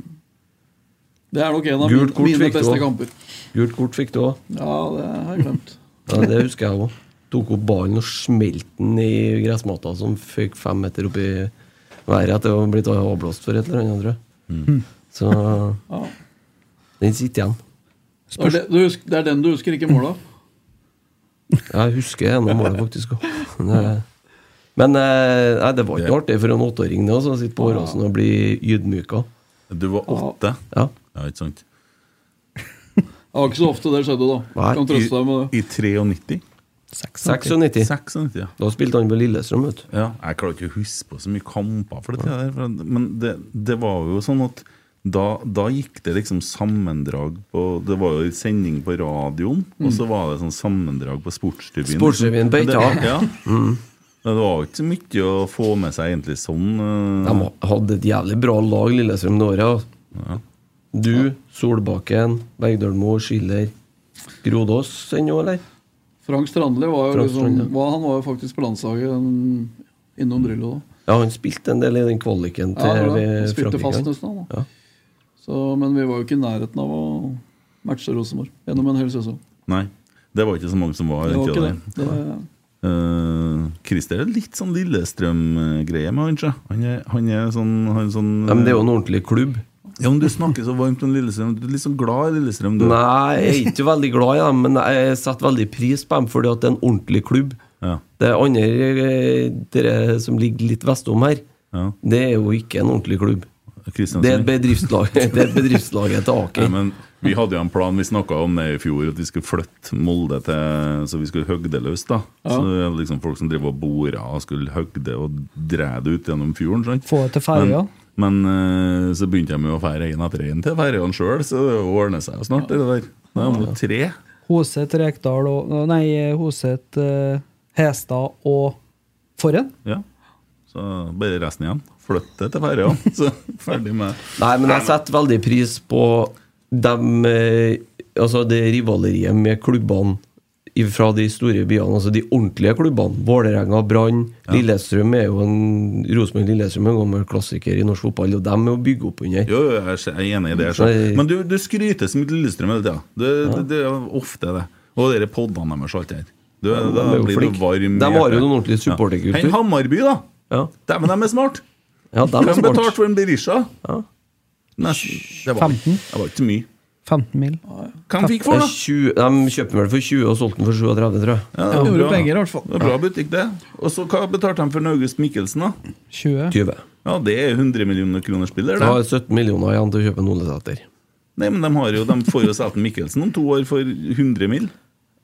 B: Det er nok en av
C: Gult kort
B: mine, mine
C: fikk du
B: beste
C: også.
B: kamper.
C: Gult kort fikk du òg.
B: Ja, det har jeg glemt.
C: Ja, det husker jeg òg. Tok opp ballen og smelte den i gressmatta, som føk fem meter opp i været etter å ha blitt avblåst for et eller annet, tror jeg. Så
B: Ja.
C: den sitter igjen.
B: Det er, det, du husker, det er den du husker, ikke måla?
E: Mm.
C: Jeg husker ennå målet, faktisk. også. Det- Men eh, nei, det var ikke noe artig for en åtteåring det, altså, å sitte på Åråsen og bli ydmyka.
A: Du var åtte?
C: Ja.
A: Ja, ikke sant?
B: Det var ikke så ofte det skjedde, da.
C: Nei,
B: Jeg kan trøste deg med det.
A: I 93?
C: 96.
A: 96, ja.
C: Da spilte han på Lillestrøm, vet du.
A: Ja, jeg klarer ikke å huske på så mye kamper for det der, for- men det, det var jo sånn at da, da gikk det liksom sammendrag på Det var jo sending på radioen, og så var det sånn sammendrag på Sportsrevyen.
C: Sportsrevyen på
A: Det-
C: Eita.
A: Ja. Det var jo ikke så mye å få med seg egentlig sånn. eh,
C: De hadde et jævlig bra lag, Lillestrøm det året. altså. Du, Solbakken, Bergdølmo, Schiller Grodås ennå, eller?
B: Frank Strandli var jo
C: Frank
B: liksom,
C: Strandli.
B: var, han var jo faktisk på landslaget den- innom Drillo. da.
C: Ja, han spilte en del i den kvaliken til eh,
B: Ja, det var det. Han spilte
C: Frankrike.
B: fast altså. nesten, han, da.
C: Ja.
B: Så, men vi var jo ikke i nærheten av å matche Rosenborg gjennom en hel sesong.
A: Nei, det var ikke så mange som var.
B: Det var
A: ikke
B: ikke
A: det.
B: det. det
A: Eh, Christer er litt sånn Lillestrøm-greie med han, sjø. Han er, han er sånn, han er sånn eh,
C: Ja, men det er jo en ordentlig klubb.
A: Ja, men Du snakker så varmt om Lillestrøm. Du er litt sånn glad i Lillestrøm. Du.
C: Nei, jeg er ikke veldig glad i dem, men jeg setter veldig pris på dem fordi at det er en ordentlig klubb.
A: Ja.
C: Det andre eh, dere som ligger litt vestom her,
A: Ja.
C: det er jo ikke en ordentlig klubb.
A: Kristiansund.
C: Det er bedriftslaget, det er bedriftslaget til
A: Nei,
C: Aker.
A: men vi hadde jo en plan, vi snakka om det i fjor, at vi skulle flytte Molde til Så vi skulle høgde løs, da. Så det er liksom folk som driver og borer og skulle høgde og dra det ut gjennom fjorden. sant?
E: Få det til ferja?
A: Men, men eh, så begynte de jo å fære en etter en til ferjene sjøl, så det ordner seg jo snart, det der. Nå er de jo tre.
E: Hoset, Rekdal og Nei, Hoset, eh, Hestad og Forhen?
A: Ja. Så bare resten igjen. Flytt det til ferja, så ferdig med
C: Nei, men jeg setter veldig pris på dem, eh, altså det rivaleriet med klubbene i- fra de store byene, altså de ordentlige klubbene. Vålerenga, Brann, Lillestrøm er jo en Rosenborg-Lillestrøm er en gammel klassiker i norsk fotball, og dem er å bygge opp under.
A: Jo, jo, jeg er jeg er enig i det. jeg skjønner.
C: Nei.
A: Men du, du skryter så mye til Lillestrøm hele tida. Det, det, det er ofte det. Og de der poddene deres og alt det her. Du, da
C: er jo
A: blir
C: flink.
A: du varm. i
C: De har jo
A: hjertet.
C: en ordentlig supporterkultur.
A: Ja. Hei, Hammarby, da!
C: Ja,
A: Dæven, de er smart!
C: ja dem
A: De
C: er
A: har betalt
C: smart.
A: for en Berisha.
C: Ja.
A: Nesten. Det var,
E: 15.
A: det var ikke så mye.
E: 15 mil.
A: Hva de fikk
C: Det
A: for,
C: er
A: da?
C: 20, de kjøpte den vel for 20 og solgte den for 37, tror jeg.
A: Ja, det
B: Ja,
A: var
B: gjorde
A: bra.
B: penger, i hvert fall.
A: Det var bra butikk, det. Og så hva betalte de for en August Mikkelsen, da?
E: 20.
C: 20.
A: Ja, det er 100 millioner kroner spiller,
C: Jeg har
A: det.
C: 17 millioner igjen til å kjøpe en Olesæter.
A: Nei, men de, har jo, de får jo Selten Mikkelsen om to år for 100 mill.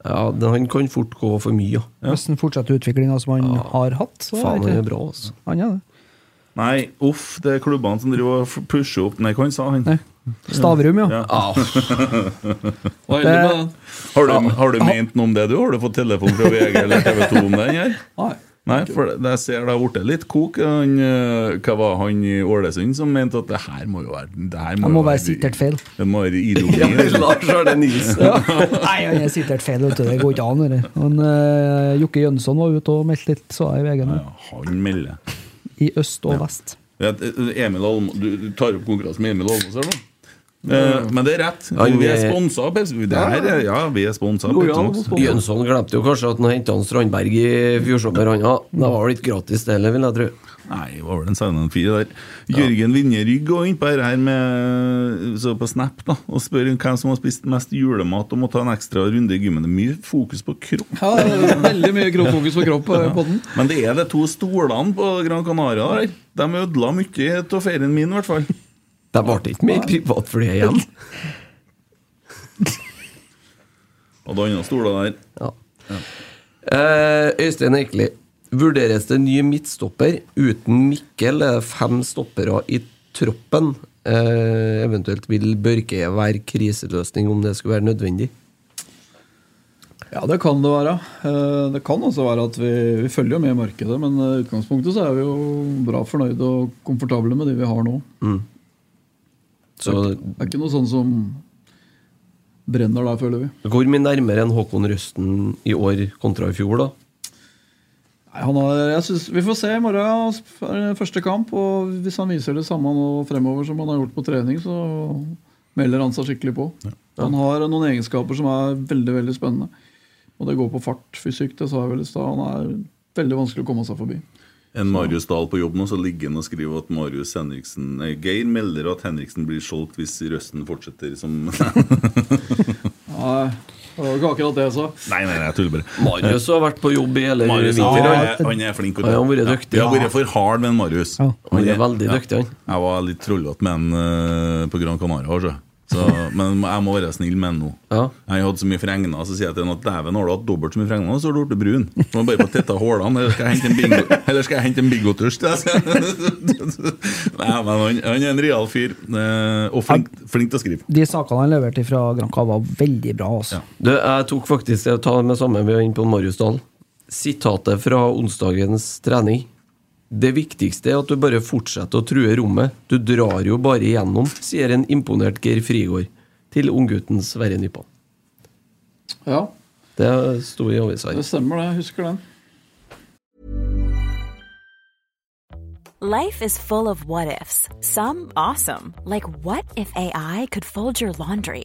C: Ja, den- han kan fort gå for mye.
E: Hvis han fortsetter utviklinga som han har hatt, så
C: Faen,
E: det-
C: han er bra, altså.
E: Han er det.
A: Nei, uff, det er klubbene som driver og f- pusher opp Nei, hva han sa han?
E: Eh, Stavrum, ja.
C: Au.
A: Hva
E: er det med den?
A: Har du, har du ment noe om det, du? Har du fått telefon fra VG eller TV 2 om den her? Nei, for det, det jeg ser det har blitt litt kok. Han, eh, hva var han i Ålesund som mente at det her må jo være Det her må,
E: Han må
A: jo
E: være sikkert feil.
A: Det må være ironi.
C: Eh. Arne Nilsen.
E: Ja. Nei, han er sikkert feil, vet du. Det går ikke an. Det. Men, eh, Jokke Jønsson var ute og meldte litt, så jeg i VG nå.
A: Han melder.
E: I øst og vest.
A: Ja, eh, Emil Almo, du du tar opp konkurransen med Emil Almås, eller? Eh, men det er rett.
C: Han
A: Vi er
C: er-
A: sponsa av Pepsi. Det her er- Ja, vi er sponsa av Pepsi Max.
C: Jønsson glemte jo kanskje at han henta Strandberg i fjor sommer. han, ja.
B: Mm.
C: Det var litt gratis, det heller, vil jeg tro.
A: Nei, det var vel en sauna en fire der. Jørgen Vinje Rygg går inn på her, her med, så på Snap da, og spør hvem som har spist mest julemat og må ta en ekstra runde i gymmen. Det er mye fokus på kropp.
B: Ja, det er veldig mye kropp- fokus på kropp på podden.
A: Men det er de to stolene på Gran Canaria der. De ødela mye av ferien min, i hvert fall.
C: Det ble ikke mer privatfly igjen.
A: Hadde andre stoler der.
C: Ja. Eh, Øystein Eikeli. Vurderes det ny midtstopper? Uten Mikkel er det fem stoppere i troppen. Eh, eventuelt vil Børke være kriseløsning om det skulle være nødvendig.
B: Ja, det kan det være. Eh, Det kan også være at vi, vi følger jo med i markedet, men eh, i utgangspunktet så er vi jo bra fornøyde og komfortable med de vi har nå.
C: Så
B: Det er ikke noe sånn som brenner der, føler vi.
C: hvor mye nærmere enn Håkon Røsten i år kontra i fjor, da?
B: Nei, han har, jeg synes, vi får se i morgen. er det Første kamp. Og hvis han viser det samme nå fremover som han har gjort på trening, så melder han seg skikkelig på. Han har noen egenskaper som er veldig veldig spennende. Og det går på fart, fysikk. Det sa jeg vel i stad. Han er veldig vanskelig å komme seg forbi.
A: En Marius Dahl på jobb nå, så ligger han og skriver at Marius Henriksen nei, Geir melder at Henriksen blir solgt hvis røsten fortsetter som
B: Nei, det var ikke akkurat det jeg sa.
A: Nei, nei, nei, jeg tuller bare.
C: Marius har vært på jobb i hele
A: Marius
C: vinter,
A: han,
C: han.
A: er, han er flink.
C: Han har vært dyktig.
A: Ja, vi har vært for hard med en Marius.
C: Han er veldig dyktig, han.
A: Jeg var litt trollete med en eh, på Gran Canaria. altså. Så, men jeg må være snill med en nå. Jeg hadde så mye fregner, så sier jeg til han at dæven, har du hatt dobbelt så mye fregner, så har du blitt brun. Du må bare få tetta hålene, eller skal jeg hente en bingo- eller skal jeg hente en bigotusj til deg? Nei, men han, han er en real fyr, eh, og flink, flink til å skrive.
E: De sakene han leverte fra Granca, var veldig bra. Altså.
C: Du, jeg tok faktisk Jeg tar med samme vi var inne på Marius Dahl. Sitatet fra onsdagens trening. Det viktigste er at du bare fortsetter å true rommet. Du drar jo bare igjennom, sier en imponert Geir Frigård til unggutten Sverre Nypan.
B: Ja,
C: Det sto i avisa
B: det
C: her.
B: stemmer det. Jeg husker den.
G: Life is full of what ifs. Some awesome, like what if AI could fold your laundry?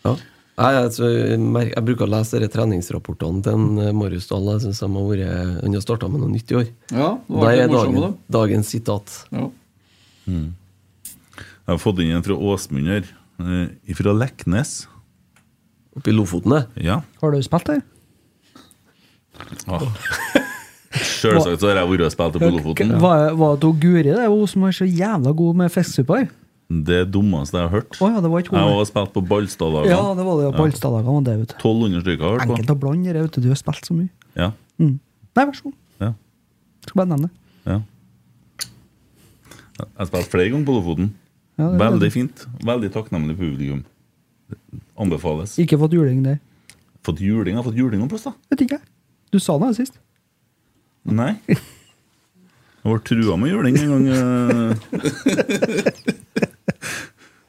C: Ja. Nei, altså, jeg, mer- jeg bruker å lese dere treningsrapportene til en, eh, Marius Dahl. Jeg synes de har vært, Han har starta med noe nytt i år.
B: Ja, det var
C: Der
B: litt
C: er
B: morsomt med
C: dagen, dagens sitat.
A: Jeg har fått inn en fra Åsmund her. eh, Fra Leknes.
C: Oppe i Lofoten, det?
A: Ja.
E: Har du spilt der?
A: Ah. Selvsagt så har jeg vært og spilt på Lofoten.
E: Var, var det hun Guri det er hun som er så jævla god med fiskesupper?
A: Det dummeste jeg har hørt.
E: Å ja, det var ikke
A: Jeg har
E: hun.
A: også spilt på Ballstad-lagene.
E: Ja, det var det. ja, På Alstadlagene var det, vet du.
A: 1200 stykker har jeg hørt på.
E: Enkelt å blande det, vet du. Du har spilt så mye.
A: Ja,
E: Mm. Nei, vær så god.
A: ja,
E: Skal bare nevne det.
A: ja. Jeg har spilt flere ganger på Lofoten.
E: Ja, det er
A: Veldig
E: det.
A: fint. Veldig takknemlig publikum. Anbefales.
E: Ikke fått juling der.
A: Fått juling? Jeg har fått juling noen plass, da.
E: Vet ikke jeg. Du sa det her sist.
A: Nei. Jeg ble trua med juling en gang. eh.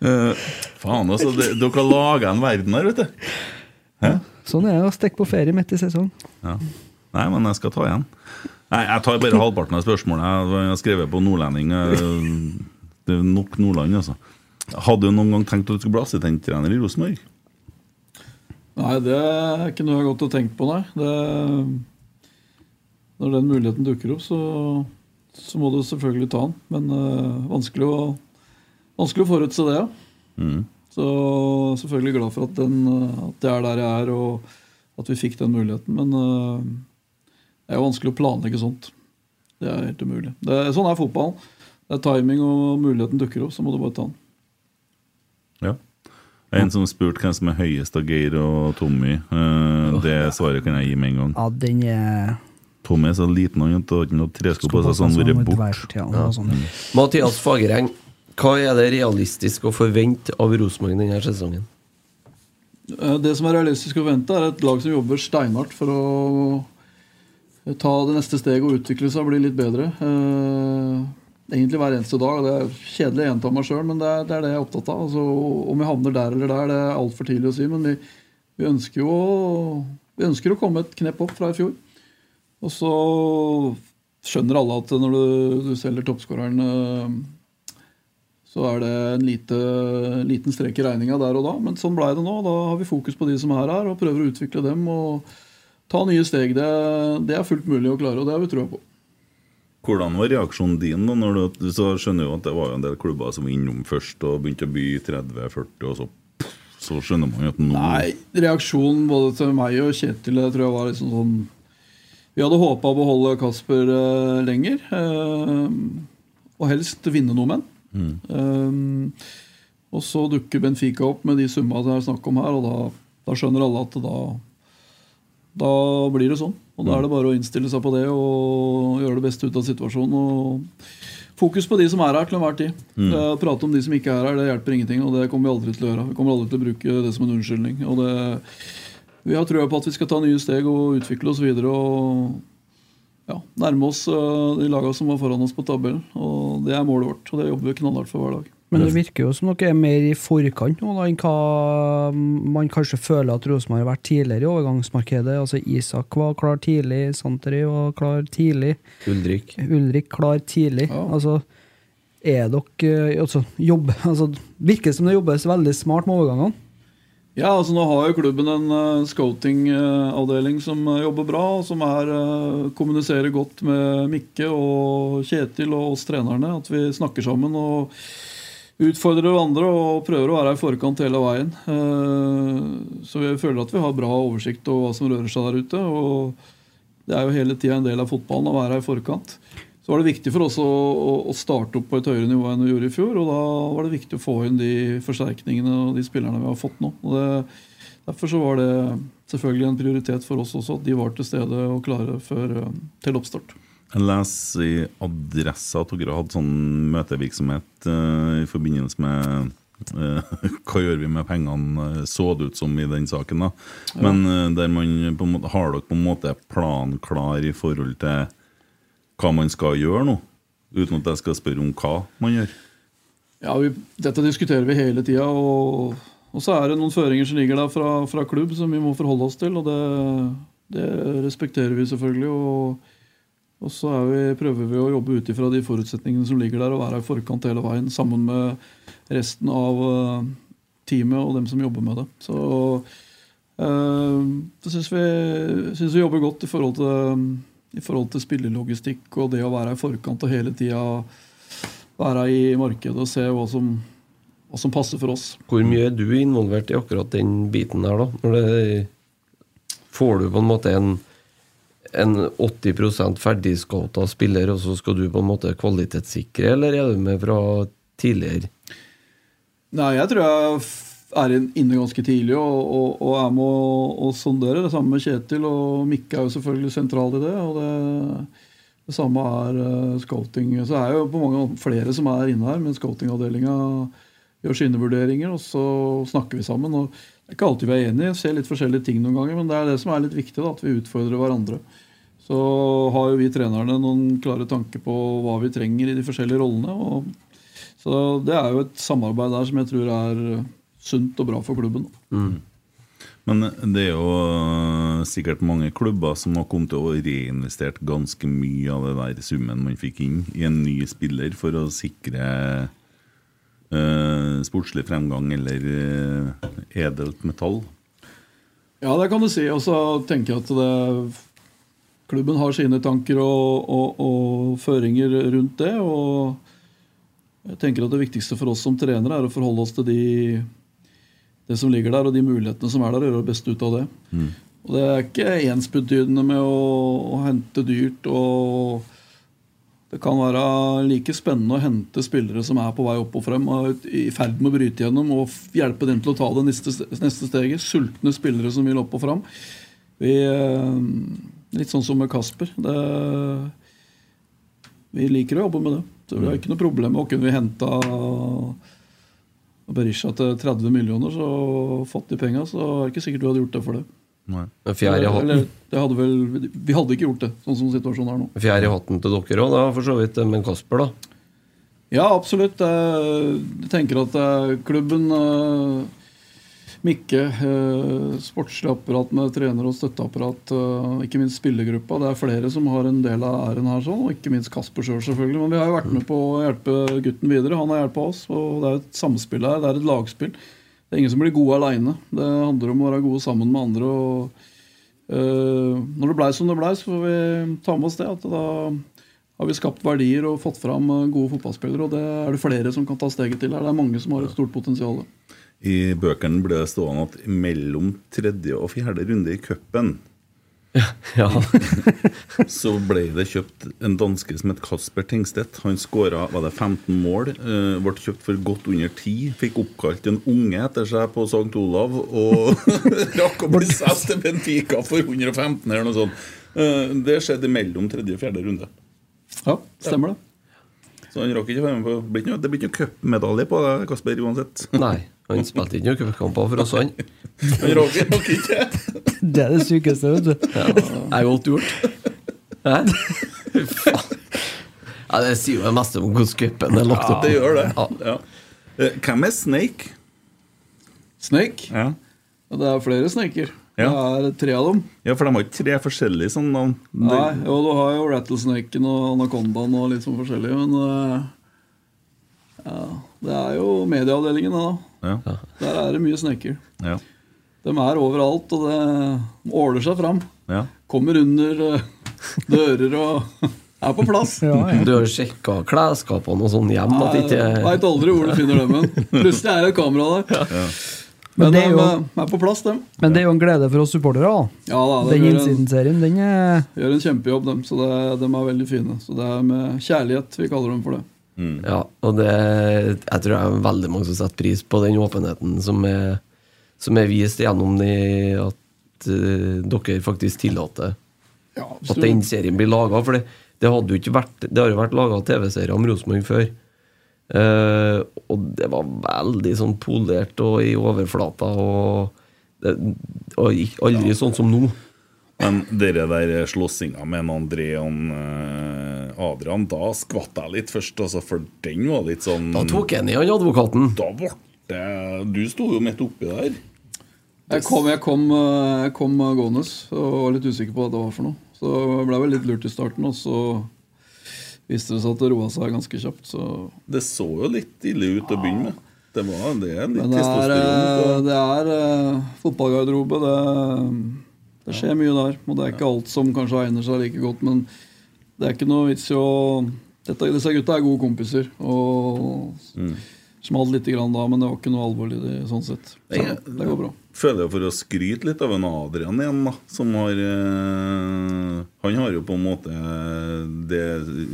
A: Eh, faen, altså. Det, dere har laga en verden her, vet du.
E: Sånn er det å stikke på ferie midt i sesong.
A: Ja. Nei, men jeg skal ta igjen. Nei, Jeg tar bare halvparten av spørsmålet. Jeg- Jeg har skrevet på nordlending. eh, Det er nok Nordland, altså. Hadde du noen gang tenkt at du skulle bli assistenttrener i Rosenborg?
B: Nei, det er ikke noe jeg har gått og tenkt på, nei. Det, når den muligheten dukker opp, så, så må du selvfølgelig ta den. Men eh, vanskelig, å, vanskelig å forutse det, ja.
A: Mm.
B: Så selvfølgelig glad for at, den, eh, at jeg er der jeg er, og at vi fikk den muligheten. Men eh, det er jo vanskelig å planlegge sånt. Det er helt umulig. Det, sånn er fotballen. Det er timing, og muligheten dukker opp, så må du bare ta den.
A: Ja. En som spurte hvem som er høyest av Geir og Tommy. Eh, Det svaret kan jeg gi med en gang.
E: Ja, den er
A: Tommy er så liten, han har ikke noe tresko på seg, sånn så han har vært borte.
E: sånn Ja, sånn. noe sånt.
A: Mm.
C: Mathias Fagereng, hva er det realistisk å forvente av Rosenborg denne sesongen?
B: Eh, Det som er realistisk å vente, er et lag som jobber steinhardt for å eh, ta det neste steget og utvikle seg og bli litt bedre. Eh, Egentlig hver eneste dag. og Det er kjedelig å gjenta meg sjøl, men det er, det er det jeg er opptatt av. Altså, om vi havner der eller der, det er altfor tidlig å si, men vi, vi ønsker jo å- vi ønsker å komme et knepp opp fra i fjor. Og så skjønner alle at når du, du selger toppskåreren eh, så er det en lite, liten strek i regninga der og da. Men sånn blei det nå. Da har vi fokus på de som er her, og prøver å utvikle dem og ta nye steg. Det, det er fullt mulig å klare, og det har vi trua på.
A: Hvordan var reaksjonen din da? Når du, så skjønner jeg jo at det var jo en del klubber som var innom først og begynte å by 30-40, og så Så skjønner man jo at nå
B: Nei, reaksjonen både til meg og Kjetil jeg tror jeg var liksom sånn Vi hadde håpa å beholde Kasper eh, lenger, eh, og helst vinne noe med han.
A: Mm.
B: Um, og så dukker Benfica opp med de summa det er snakk om her, og da, da skjønner alle at da, da blir det sånn. Og da er det bare å innstille seg på det og gjøre det beste ut av situasjonen. Og fokus på de som er her til enhver tid.
A: Mm.
B: Eh, prate om de som ikke er her, det hjelper ingenting, og det kommer vi aldri til å gjøre. Vi kommer aldri til å bruke det som en unnskyldning. Og det, vi har trua på at vi skal ta nye steg og utvikle oss videre. og ja, nærme oss eh, de lagene som var foran oss på tabellen. Og Det er målet vårt, og det jobber vi knallhardt for hver dag.
E: Men det virker jo som dere er mer i forkant nå da, enn hva man kanskje føler at Rosenborg har vært tidligere i overgangsmarkedet. Altså Isak var klar tidlig, Santeri var klar tidlig,
C: Ulrik.
E: Ulrik klar tidlig. Altså, er dere altså, jobb, altså, Virker som det jobbes veldig smart med overgangene.
B: Ja, altså Nå har jo klubben en uh, scouting-avdeling som eh, jobber bra, og som er, eh, kommuniserer godt med Mikke og Kjetil og oss trenerne. At vi snakker sammen og utfordrer hverandre og prøver å være i forkant hele veien. Eh, så vi føler at vi har bra oversikt over hva som rører seg der ute. og Det er jo hele tida en del av fotballen å være i forkant. Så var det viktig for oss å, å, å starte opp på et høyere nivå enn vi gjorde i fjor. Og da var det viktig å få inn de forsterkningene og de spillerne vi har fått nå. Og det, derfor så var det selvfølgelig en prioritet for oss også at de var til stede og klare før, eh, til oppstart.
A: Jeg leser i Adressa at dere har hatt sånn møtevirksomhet eh, i forbindelse med eh, Hva gjør vi med pengene, eh, så det ut som i den saken, da. Men eh, der man på en måte, har dere på en måte planen klar i forhold til hva man skal gjøre nå? Uten at jeg skal spørre om hva man gjør.
B: Ja, vi, Dette diskuterer vi hele tida. Og, og så er det noen føringer som ligger der fra, fra klubb som vi må forholde oss til. Og det, det respekterer vi selvfølgelig. Og, og så er vi, prøver vi å jobbe ut ifra de forutsetningene som ligger der, og være i forkant hele veien sammen med resten av eh, teamet og dem som jobber med det. Så eh, det syns vi, synes vi jobber godt i forhold, til, i forhold til spillelogistikk og det å være i forkant og hele tida være i markedet og se hva som, hva som passer for oss.
C: Hvor mye er du involvert i akkurat den biten her, da? Når det, får du på en måte en, en 80 ferdigscouta spiller, og så skal du på en måte kvalitetssikre, eller er du med fra tidligere?
B: Nei, jeg tror jeg f- er inn- inne ganske tidlig og, og, og er med å- å sondere. Det samme med Kjetil, og Mikke er jo selvfølgelig sentral i det. Og det, det samme er eh, scouting. Så det er jo på mange flere som er inne her, men scoutingavdelinga gjør sine vurderinger, og så snakker vi sammen. og Det er ikke alltid vi er enige, ser litt forskjellige ting noen ganger, men det er det som er litt viktig, da, at vi utfordrer hverandre. Så har jo vi trenerne noen klare tanker på hva vi trenger i de forskjellige rollene. og så det er jo et samarbeid der som jeg tror er sunt og bra for klubben.
A: Men det er jo sikkert mange klubber som har kommet til å reinvestert ganske mye av det der summen man fikk inn i en ny spiller for å sikre eh, sportslig fremgang eller eh, edelt metall.
B: Ja, det kan du si. Og så tenker jeg at det, klubben har sine tanker og, og, og føringer rundt det. Og jeg tenker at det viktigste for oss som trenere er å forholde oss til de, det som ligger der, og de mulighetene som er der, og gjøre det beste ut av det. Og det er ikke ensbetydende med å, å hente dyrt og det kan være like spennende å hente spillere som er på vei opp og frem, og er i ferd med å bryte gjennom, og f- hjelpe dem til å ta det neste, neste steget. Sultne spillere som vil opp og frem. Vi, eh, litt sånn som med Kasper. Det, vi liker å jobbe med det. Så
C: Mm.
B: vi har ikke noe problem med å kunne vi henta Berisha til 30 millioner, så fått de penga, så er det ikke sikkert vi hadde gjort det for det.
C: En fjær i hatten.
B: Eller, det hadde vel, vi hadde ikke gjort det, sånn som situasjonen er nå.
C: Fjær i hatten til dere òg, for så vidt. eh, Men Kasper, da?
B: Ja, absolutt. Eh, Jeg tenker at eh, klubben, eh, Mikke, eh, sportslig apparat med trener og støtteapparat, eh, ikke minst spillergruppa. Det er flere som har en del av æren her, sånn, og ikke minst Kasper sjøl, selv, selvfølgelig. Men vi har jo vært med på å hjelpe gutten videre. Han har hjulpet oss. og Det er et samspill her, det er et lagspill. Det er ingen som blir gode aleine. Det handler om å være gode sammen med andre. og Eh, når det blei som det blei, så får vi ta med oss det. At da har vi skapt verdier og fått fram eh, gode fotballspillere. Og det er det flere som kan ta steget til her. Det er mange som har et stort potensial.
A: I bøkene ble det stående at mellom tredje og fjerde runde i cupen Så ble det kjøpt en danske som het Kasper Tengstedt. Han skåra 15 mål. eh, Ble kjøpt for godt under 10. Fikk oppkalt en unge etter seg på St. Olav. Og rakk å bli solgt til Benfica for 115 eller noe sånt. Eh, Det skjedde mellom tredje og fjerde runde.
B: Ja, stemmer det.
A: Så han rakk ikke å være med på Det blir ikke noe- det blir ikke noe cupmedalje på deg, Kasper, uansett.
C: Nei, han spilte ikke noen cupkamper for oss, han.
A: Han rakk det nok ikke.
E: Det er det sykeste, vet du.
C: Ja, det er godt gjort. Hæ? Faen. Ja, det sier jo det meste om hvordan cupen er lagt
A: Ja,
C: opp.
A: det gjør det.
C: Ja.
A: Ja. Eh, Hvem er Snake?
B: Snake.
A: Ja.
B: Og Det er flere sneker.
A: Ja.
B: Det er tre av dem.
A: ja, for de har ikke tre forskjellige sånne navn.
B: Nei,
A: Det-
B: jo, du har jo rattlesnaken og anakondaen og litt sånn forskjellig, men eh, ja, Det er jo medieavdelingen, da.
A: Ja.
B: Der er det mye sneker.
A: Ja.
B: De er overalt, og det de åler seg fram.
A: Ja.
B: Kommer under eh, dører og er på plass.
C: Du har sjekka klesskapene og sånn hjem at ikke
B: Veit aldri hvor du finner dem. hen. Plutselig er det et kamera der. Men
E: Men det
B: de
E: er jo,
B: eh, er på plass, dem.
E: men det er jo en glede for oss supportere. da.
B: Ja, da, de
E: Den
B: gjør en,
E: innsidenserien, den er
B: gjør en kjempejobb, dem. Så det, de er veldig fine. Så det er med kjærlighet vi kaller dem for det.
C: Ja, og det Jeg tror det er veldig mange som setter pris på den åpenheten som er, som er vist gjennom det at eh, dere faktisk tillater
B: Ja, hvis
C: at
B: du-
C: den serien blir laga. For det, det hadde jo ikke vært Det har jo vært laga TV-serier om Rosenborg før. Eh, og det var veldig sånn polert og i overflata og, det, og ikke- aldri sånn som nå.
A: Men dere der slåssinga med en André og en, eh, Adrian, da skvatt jeg litt først, altså, for den var litt sånn
C: Da tok jeg ned han advokaten.
A: Da ble det Du sto jo midt oppi der.
B: Jeg kom, jeg kom, eh, jeg kom eh, gående og var litt usikker på hva det var for noe. Så jeg ble vel litt lurt i starten, og så viste det seg at det roa seg ganske kjapt. Så
A: Det så jo litt ille ut å begynne med. Det, var, det er litt
B: Men det er, eh,
A: testosteron. på-
B: det er eh, fotballgarderobe. Det, det skjer mye der. Og det er ikke alt som kanskje egner seg like godt, men det er ikke noe vits i å dette, Disse gutta er gode kompiser. Og smalt lite grann da, men det var ikke noe alvorlig det, sånn sett. Så
A: Jeg-
B: det går bra.
A: Føler jeg for å skryte litt av en Adrian igjen, da. Som har eh, Han har jo på en måte det,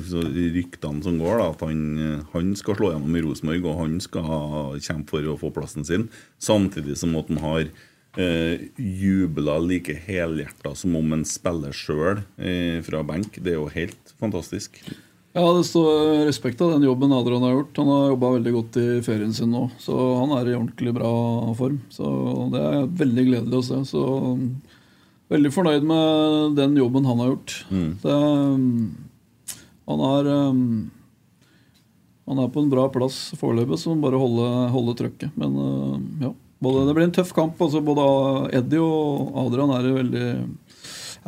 A: så ryktene som går, da. At han, han skal slå gjennom i Rosenborg, og han skal kjempe for å få plassen sin. Samtidig som at han har eh, jubla like helhjerta som om han spiller sjøl eh, fra benk. Det er jo helt fantastisk.
B: Ja, det står respekt av den jobben Adrian har gjort. Han har jobba veldig godt i ferien sin nå, så han er i ordentlig bra form. Så det er veldig gledelig å se. Så um, veldig fornøyd med den jobben han har gjort.
A: Mm.
B: Det, um, han er um, han er på en bra plass foreløpig, så han bare holde, holde trøkket. Men uh, ja, både, det blir en tøff kamp. Altså både Eddie og Adrian er, i veldig,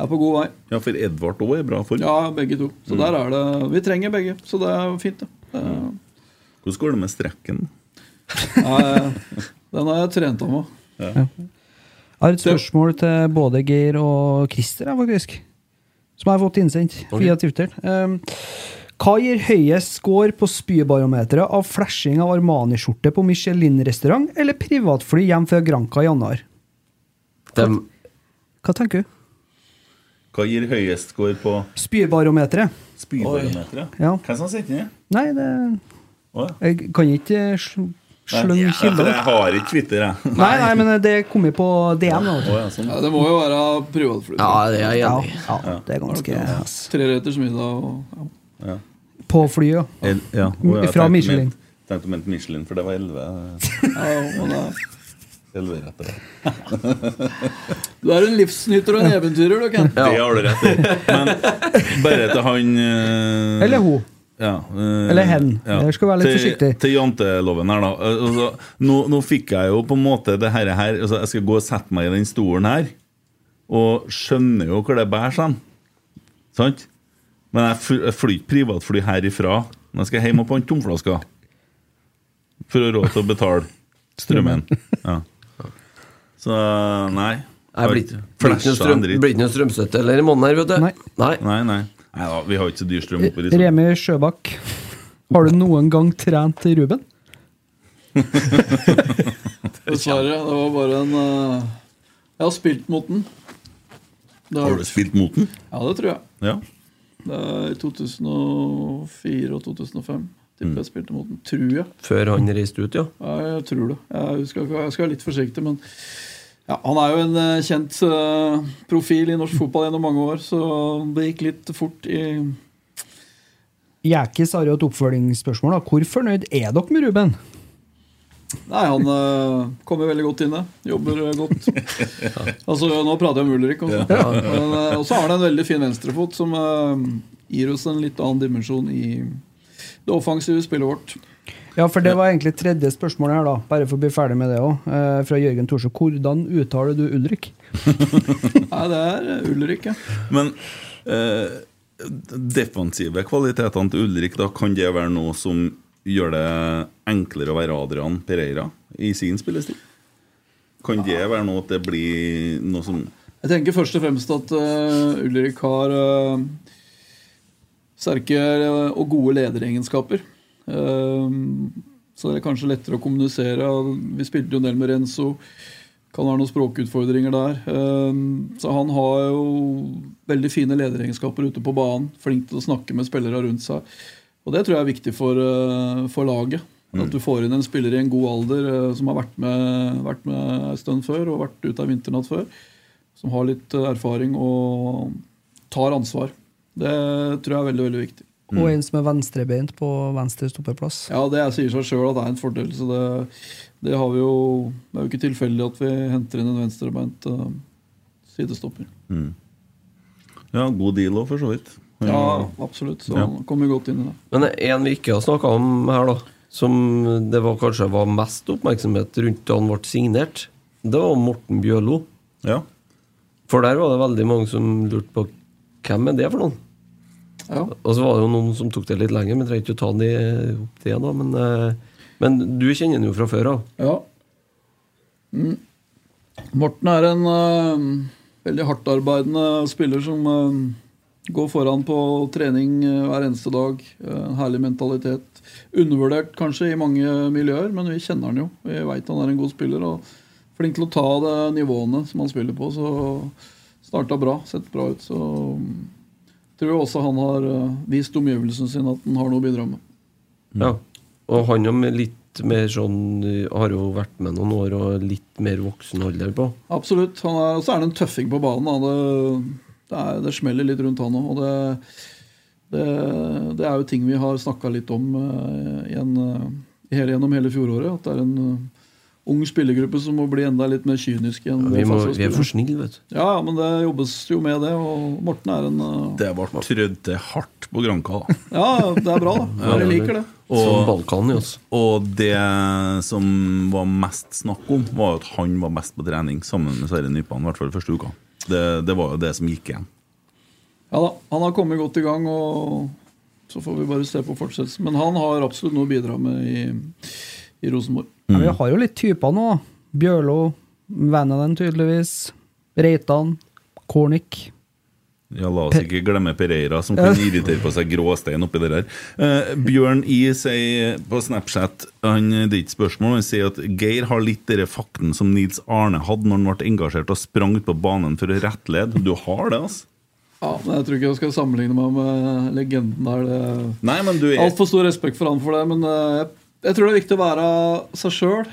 B: er på god vei.
A: Ja, for Edvard òg er i bra form.
B: Ja, begge to.
A: Mm.
B: Så der er det Vi trenger begge, så det er fint, det. det er,
A: Hvordan går det med strekken?
B: Nei, den har jeg trent av meg.
A: Ja.
E: Jeg har et spørsmål til både Geir og Christer, jeg, faktisk. Som jeg har fått innsendt via Twitter. Um, hva gir høyest score på spybarometeret av flashing av Armani-skjorte på Michelin-restaurant eller privatfly hjem fra Granca i januar?
C: Dem-
E: Hva tenker du?
A: Hva gir høyest score på
E: Spybarometeret?
A: spybarometeret?
E: Ja.
A: Hvem som sitter ned?
E: Nei, det
A: Å,
E: Jeg kan ikke eh, sl slønge
A: Nei,
E: kilder.
A: Jeg har ikke Twitter, jeg.
E: Nei, nei, men det kom jo på DM. da, vet du.
A: Å, ja, sånn.
B: Ja, det må jo være privatfly.
C: Ja, det er jeg enig i.
E: Ja, ja, det er ganske ass.
B: Treretters middag og ja.
E: På flyet, ja.
A: El- ja. Å, ja, jeg
E: Fra
A: tenkte
E: Michelin.
A: ment- Tenkte du mente Michelin, for det var 11
B: Ja, men det er-
A: 11 rett der.
B: Du er en livsnyter og en eventyrer, du, Ken.
A: Det har du rett i. Men bare til han eh,
E: Eller hun.
A: Ja, eh,
E: Eller hen. Jeg skal være litt
A: til,
E: forsiktig.
A: Til janteloven her, da. Eh, Altså, nå, nå fikk jeg jo på en måte det her, her altså, Jeg skal gå og sette meg i den stolen her, og skjønner jo hvor det bærer seg. Sant? Men jeg fly- jeg flyr ikke privatfly herifra. Når jeg skal hjem og pante tomflasker. For å ha råd til å betale strømmen. Ja. Så nei.
C: Nei, blir blir ikke noe
A: Flasha
C: strøm-
A: en dritt.
C: blir ikke noe strømstøtte eller i måneden her, vet du.
E: Nei.
C: Nei.
A: Nei, nei. nei da, vi har ikke så dyr strøm oppe i Risør.
E: Remi Sjøbakk, har du noen gang trent Ruben?
B: Dessverre. Det var bare en eh, Jeg har spilt mot den. Det
A: Har du spilt mot den?
B: Ja, det tror jeg.
A: Ja.
B: Det er i 2004 og 2005. Tipper jeg spilte mot den. Tror jeg.
C: Før han reiste ut, ja.
B: Ja, jeg tror det. Jeg skal, jeg skal være litt forsiktig, men ja, han er jo en eh, kjent eh, profil i norsk fotball gjennom mange år, så det gikk litt fort i
E: Jekis har jo et oppfølgingsspørsmål. da. Hvor fornøyd er dere med Ruben?
B: Nei, han eh, kommer veldig godt inn, det. Jobber eh, godt. Altså, nå prater jeg om Ulrik også. Men, eh, og så har han en veldig fin venstrefot som eh, gir oss en litt annen dimensjon i det offensive spillet vårt.
E: Ja, for det var egentlig tredje spørsmålet her, da. Bare for å bli ferdig med det òg. Eh, fra Jørgen Thorsø. Hvordan uttaler du Ulrik?
B: Nei, det er eh, Ulrik, ja.
A: Men eh, defensive kvalitetene til Ulrik, da kan det være noe som gjør det enklere å være Adrian Pereira i sin spillestil? Kan det være noe at det blir noe som
B: Jeg tenker først og fremst at eh, Ulrik har eh, sterke eh, og gode lederegenskaper. Eh, så det er kanskje lettere å kommunisere. Vi spilte jo en del med Renzo. Kan ha noen språkutfordringer der. Eh, så han har jo veldig fine lederegenskaper ute på banen. Flink til å snakke med spillere rundt seg. Og det tror jeg er viktig for, eh, for laget. At du får inn en spiller i en god alder eh, som har vært med, vært med en stund før og vært ute av vinternatt før som har litt eh, erfaring og tar ansvar. Det tror jeg er veldig veldig viktig.
E: Og en som er venstrebeint på venstre stoppeplass.
B: Ja, Det jeg sier seg sjøl at det er en fordel. så Det, det, har vi jo, det er jo ikke tilfeldig at vi henter inn en venstrebeint eh, sidestopper.
A: Ja, god deal òg, for så vidt.
B: Ja, absolutt. Så
A: Ja.
B: han kommer godt inn i det.
C: Men en vi ikke har snakka om her, da, som det var kanskje var mest oppmerksomhet rundt da han ble signert, det var Morten Bjørlo.
A: Ja.
C: For der var det veldig mange som lurte på hvem er det for noen?
B: Ja.
C: Og så var det jo noen som tok det litt lenger, men trengte ikke å ta det opp det, da. Men eh, Men du kjenner han jo fra før av.
B: Ja. Mm. Morten er en eh, veldig hardtarbeidende spiller som eh, går foran på trening eh, hver eneste dag. Eh, En herlig mentalitet. Undervurdert kanskje i mange miljøer, men vi kjenner han jo. Vi veit han er en god spiller og flink til å ta det nivåene som han spiller på. Så starta bra, sett bra ut. Så mm, tror jeg også han har eh, vist omgivelsene sine at han har noe å bidra med. Mm.
C: Ja. Og han er med litt mer sånn eh, Har jo vært med noen år og litt mer voksen alder på.
B: Absolutt. Han er, og så er han en tøffing på banen. Da. Det, det, er, det smeller litt rundt han òg. Og det, det, det er jo ting vi har snakka litt om eh, i en, eh, hele, gjennom hele fjoråret. At det er en eh, ung spillergruppe som må bli enda litt mer kynisk. i en
C: Ja, vi må-
B: offensiv
C: vi er
B: spiller.
C: for snille, vet du.
B: Ja, men det jobbes jo med det. Og Morten er en eh,
A: Det ble trødde hardt på Granka, da.
B: Ja, det er bra, da. Dere liker det.
C: Som Balkan, ja.
A: og det som var mest snakk om, var at han var best på trening sammen med Sverre Nypan, i hvert fall første uka. Det, det var jo det som gikk igjen.
B: Ja da, han har kommet godt i gang, og så får vi bare se på fortsettelsen. Men han har absolutt noe å bidra med i, i Rosenborg.
E: Ja, vi har jo litt typer nå. da. Bjørlo, Vanaden tydeligvis. Reitan. Kornik.
A: Ja, La oss ikke glemme Pereira, som kan irritere på seg gråstein oppi det der. Eh, Bjørn I sier på Snapchat han, Det er ikke spørsmål, han sier at Geir har litt den fakten som Nils Arne hadde når han ble engasjert og sprang ut på banen for å rettlede. Du har det, altså?
B: Ja, men Jeg tror ikke jeg skal sammenligne meg med legenden her. Det...
A: Nei, men du er-
B: Altfor stor respekt for han for det, men eh, jeg, jeg tror det er viktig å være seg sjøl.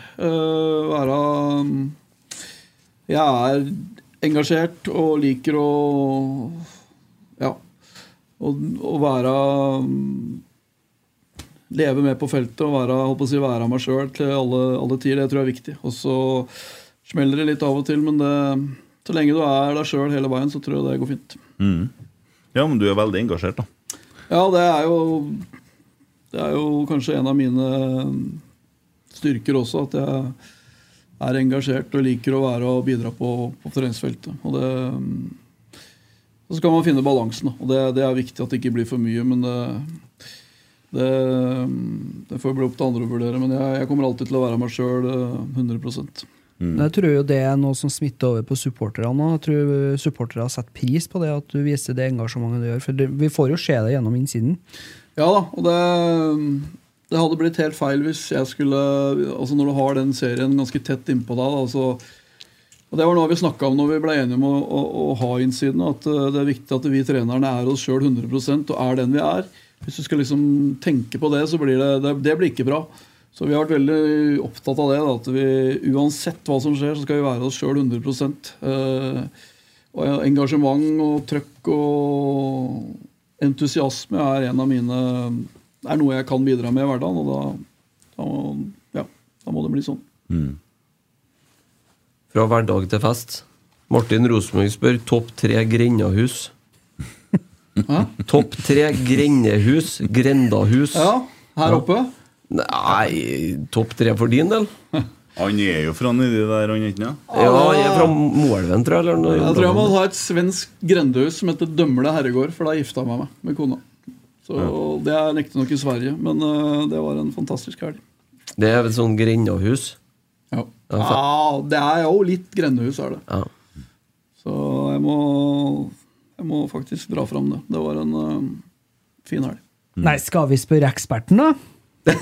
B: være mm, Jeg er engasjert og liker å Ja. Å, å være mm, Leve med på feltet og være, holdt på å si, være meg sjøl til alle, alle tider. Det tror jeg er viktig. Og så smeller det litt av og til, men det, så lenge du er deg sjøl hele veien, så tror jeg det går fint.
A: Mm. Ja, men du er veldig engasjert, da.
B: Ja, det er jo Det er jo kanskje en av mine styrker også, at jeg er engasjert og liker å være og bidra på, på treningsfeltet. Og det Så skal man finne balansen, da. og det, det er viktig at det ikke blir for mye. Men det, det, det får bli opp til andre å vurdere. Men jeg, jeg kommer alltid til å være meg eh, sjøl 100 Mm.
E: Men Jeg tror jo det er noe som smitter over på supporterne. nå. Jeg tror supportere har satt pris på det, at du viser det engasjementet du gjør. For det, vi får jo se det gjennom innsiden.
B: Ja da, og det, det hadde blitt helt feil hvis jeg skulle Altså Når du har den serien ganske tett innpå deg da, altså, Og Det var noe vi snakka om når vi ble enige om å, å, å ha innsiden. At eh, det er viktig at vi trenerne er oss sjøl 100 og er den vi er. Hvis du skal liksom tenke på det, så blir det, det, det blir ikke bra. Så vi har vært veldig opptatt av det. Da, at vi, uansett hva som skjer, så skal vi være oss sjøl 100 eh, og engasjement og trøkk og entusiasme er en av mine er noe jeg kan bidra med i hverdagen, og da, da, må- ja, da må det bli sånn.
C: Fra hverdag til fest. Martin Rosenborg spør topp tre grendahus. Topp tre grendehus? Grendahus?
B: Ja, her oppe?
C: Nei, topp tre for din del?
A: Han er jo fra nedi der, han er ikke det?
C: Ja, jeg er fra Moelven, tror jeg. Eller noe.
B: Jeg tror jeg må ha et svensk grendehus som heter Dømle herregård, for da gifta jeg meg med- med kona. Så Det er riktignok i Sverige, men eh, det var en fantastisk helg.
C: Det er vel sånn grendahus?
B: Ja.
C: Ja,
B: Ja, det er jo litt grendehus, er det.
C: Ja.
B: Så jeg må, jeg må faktisk dra fram det. Det var en eh, fin helg.
E: Nei, skal vi spørre eksperten, da?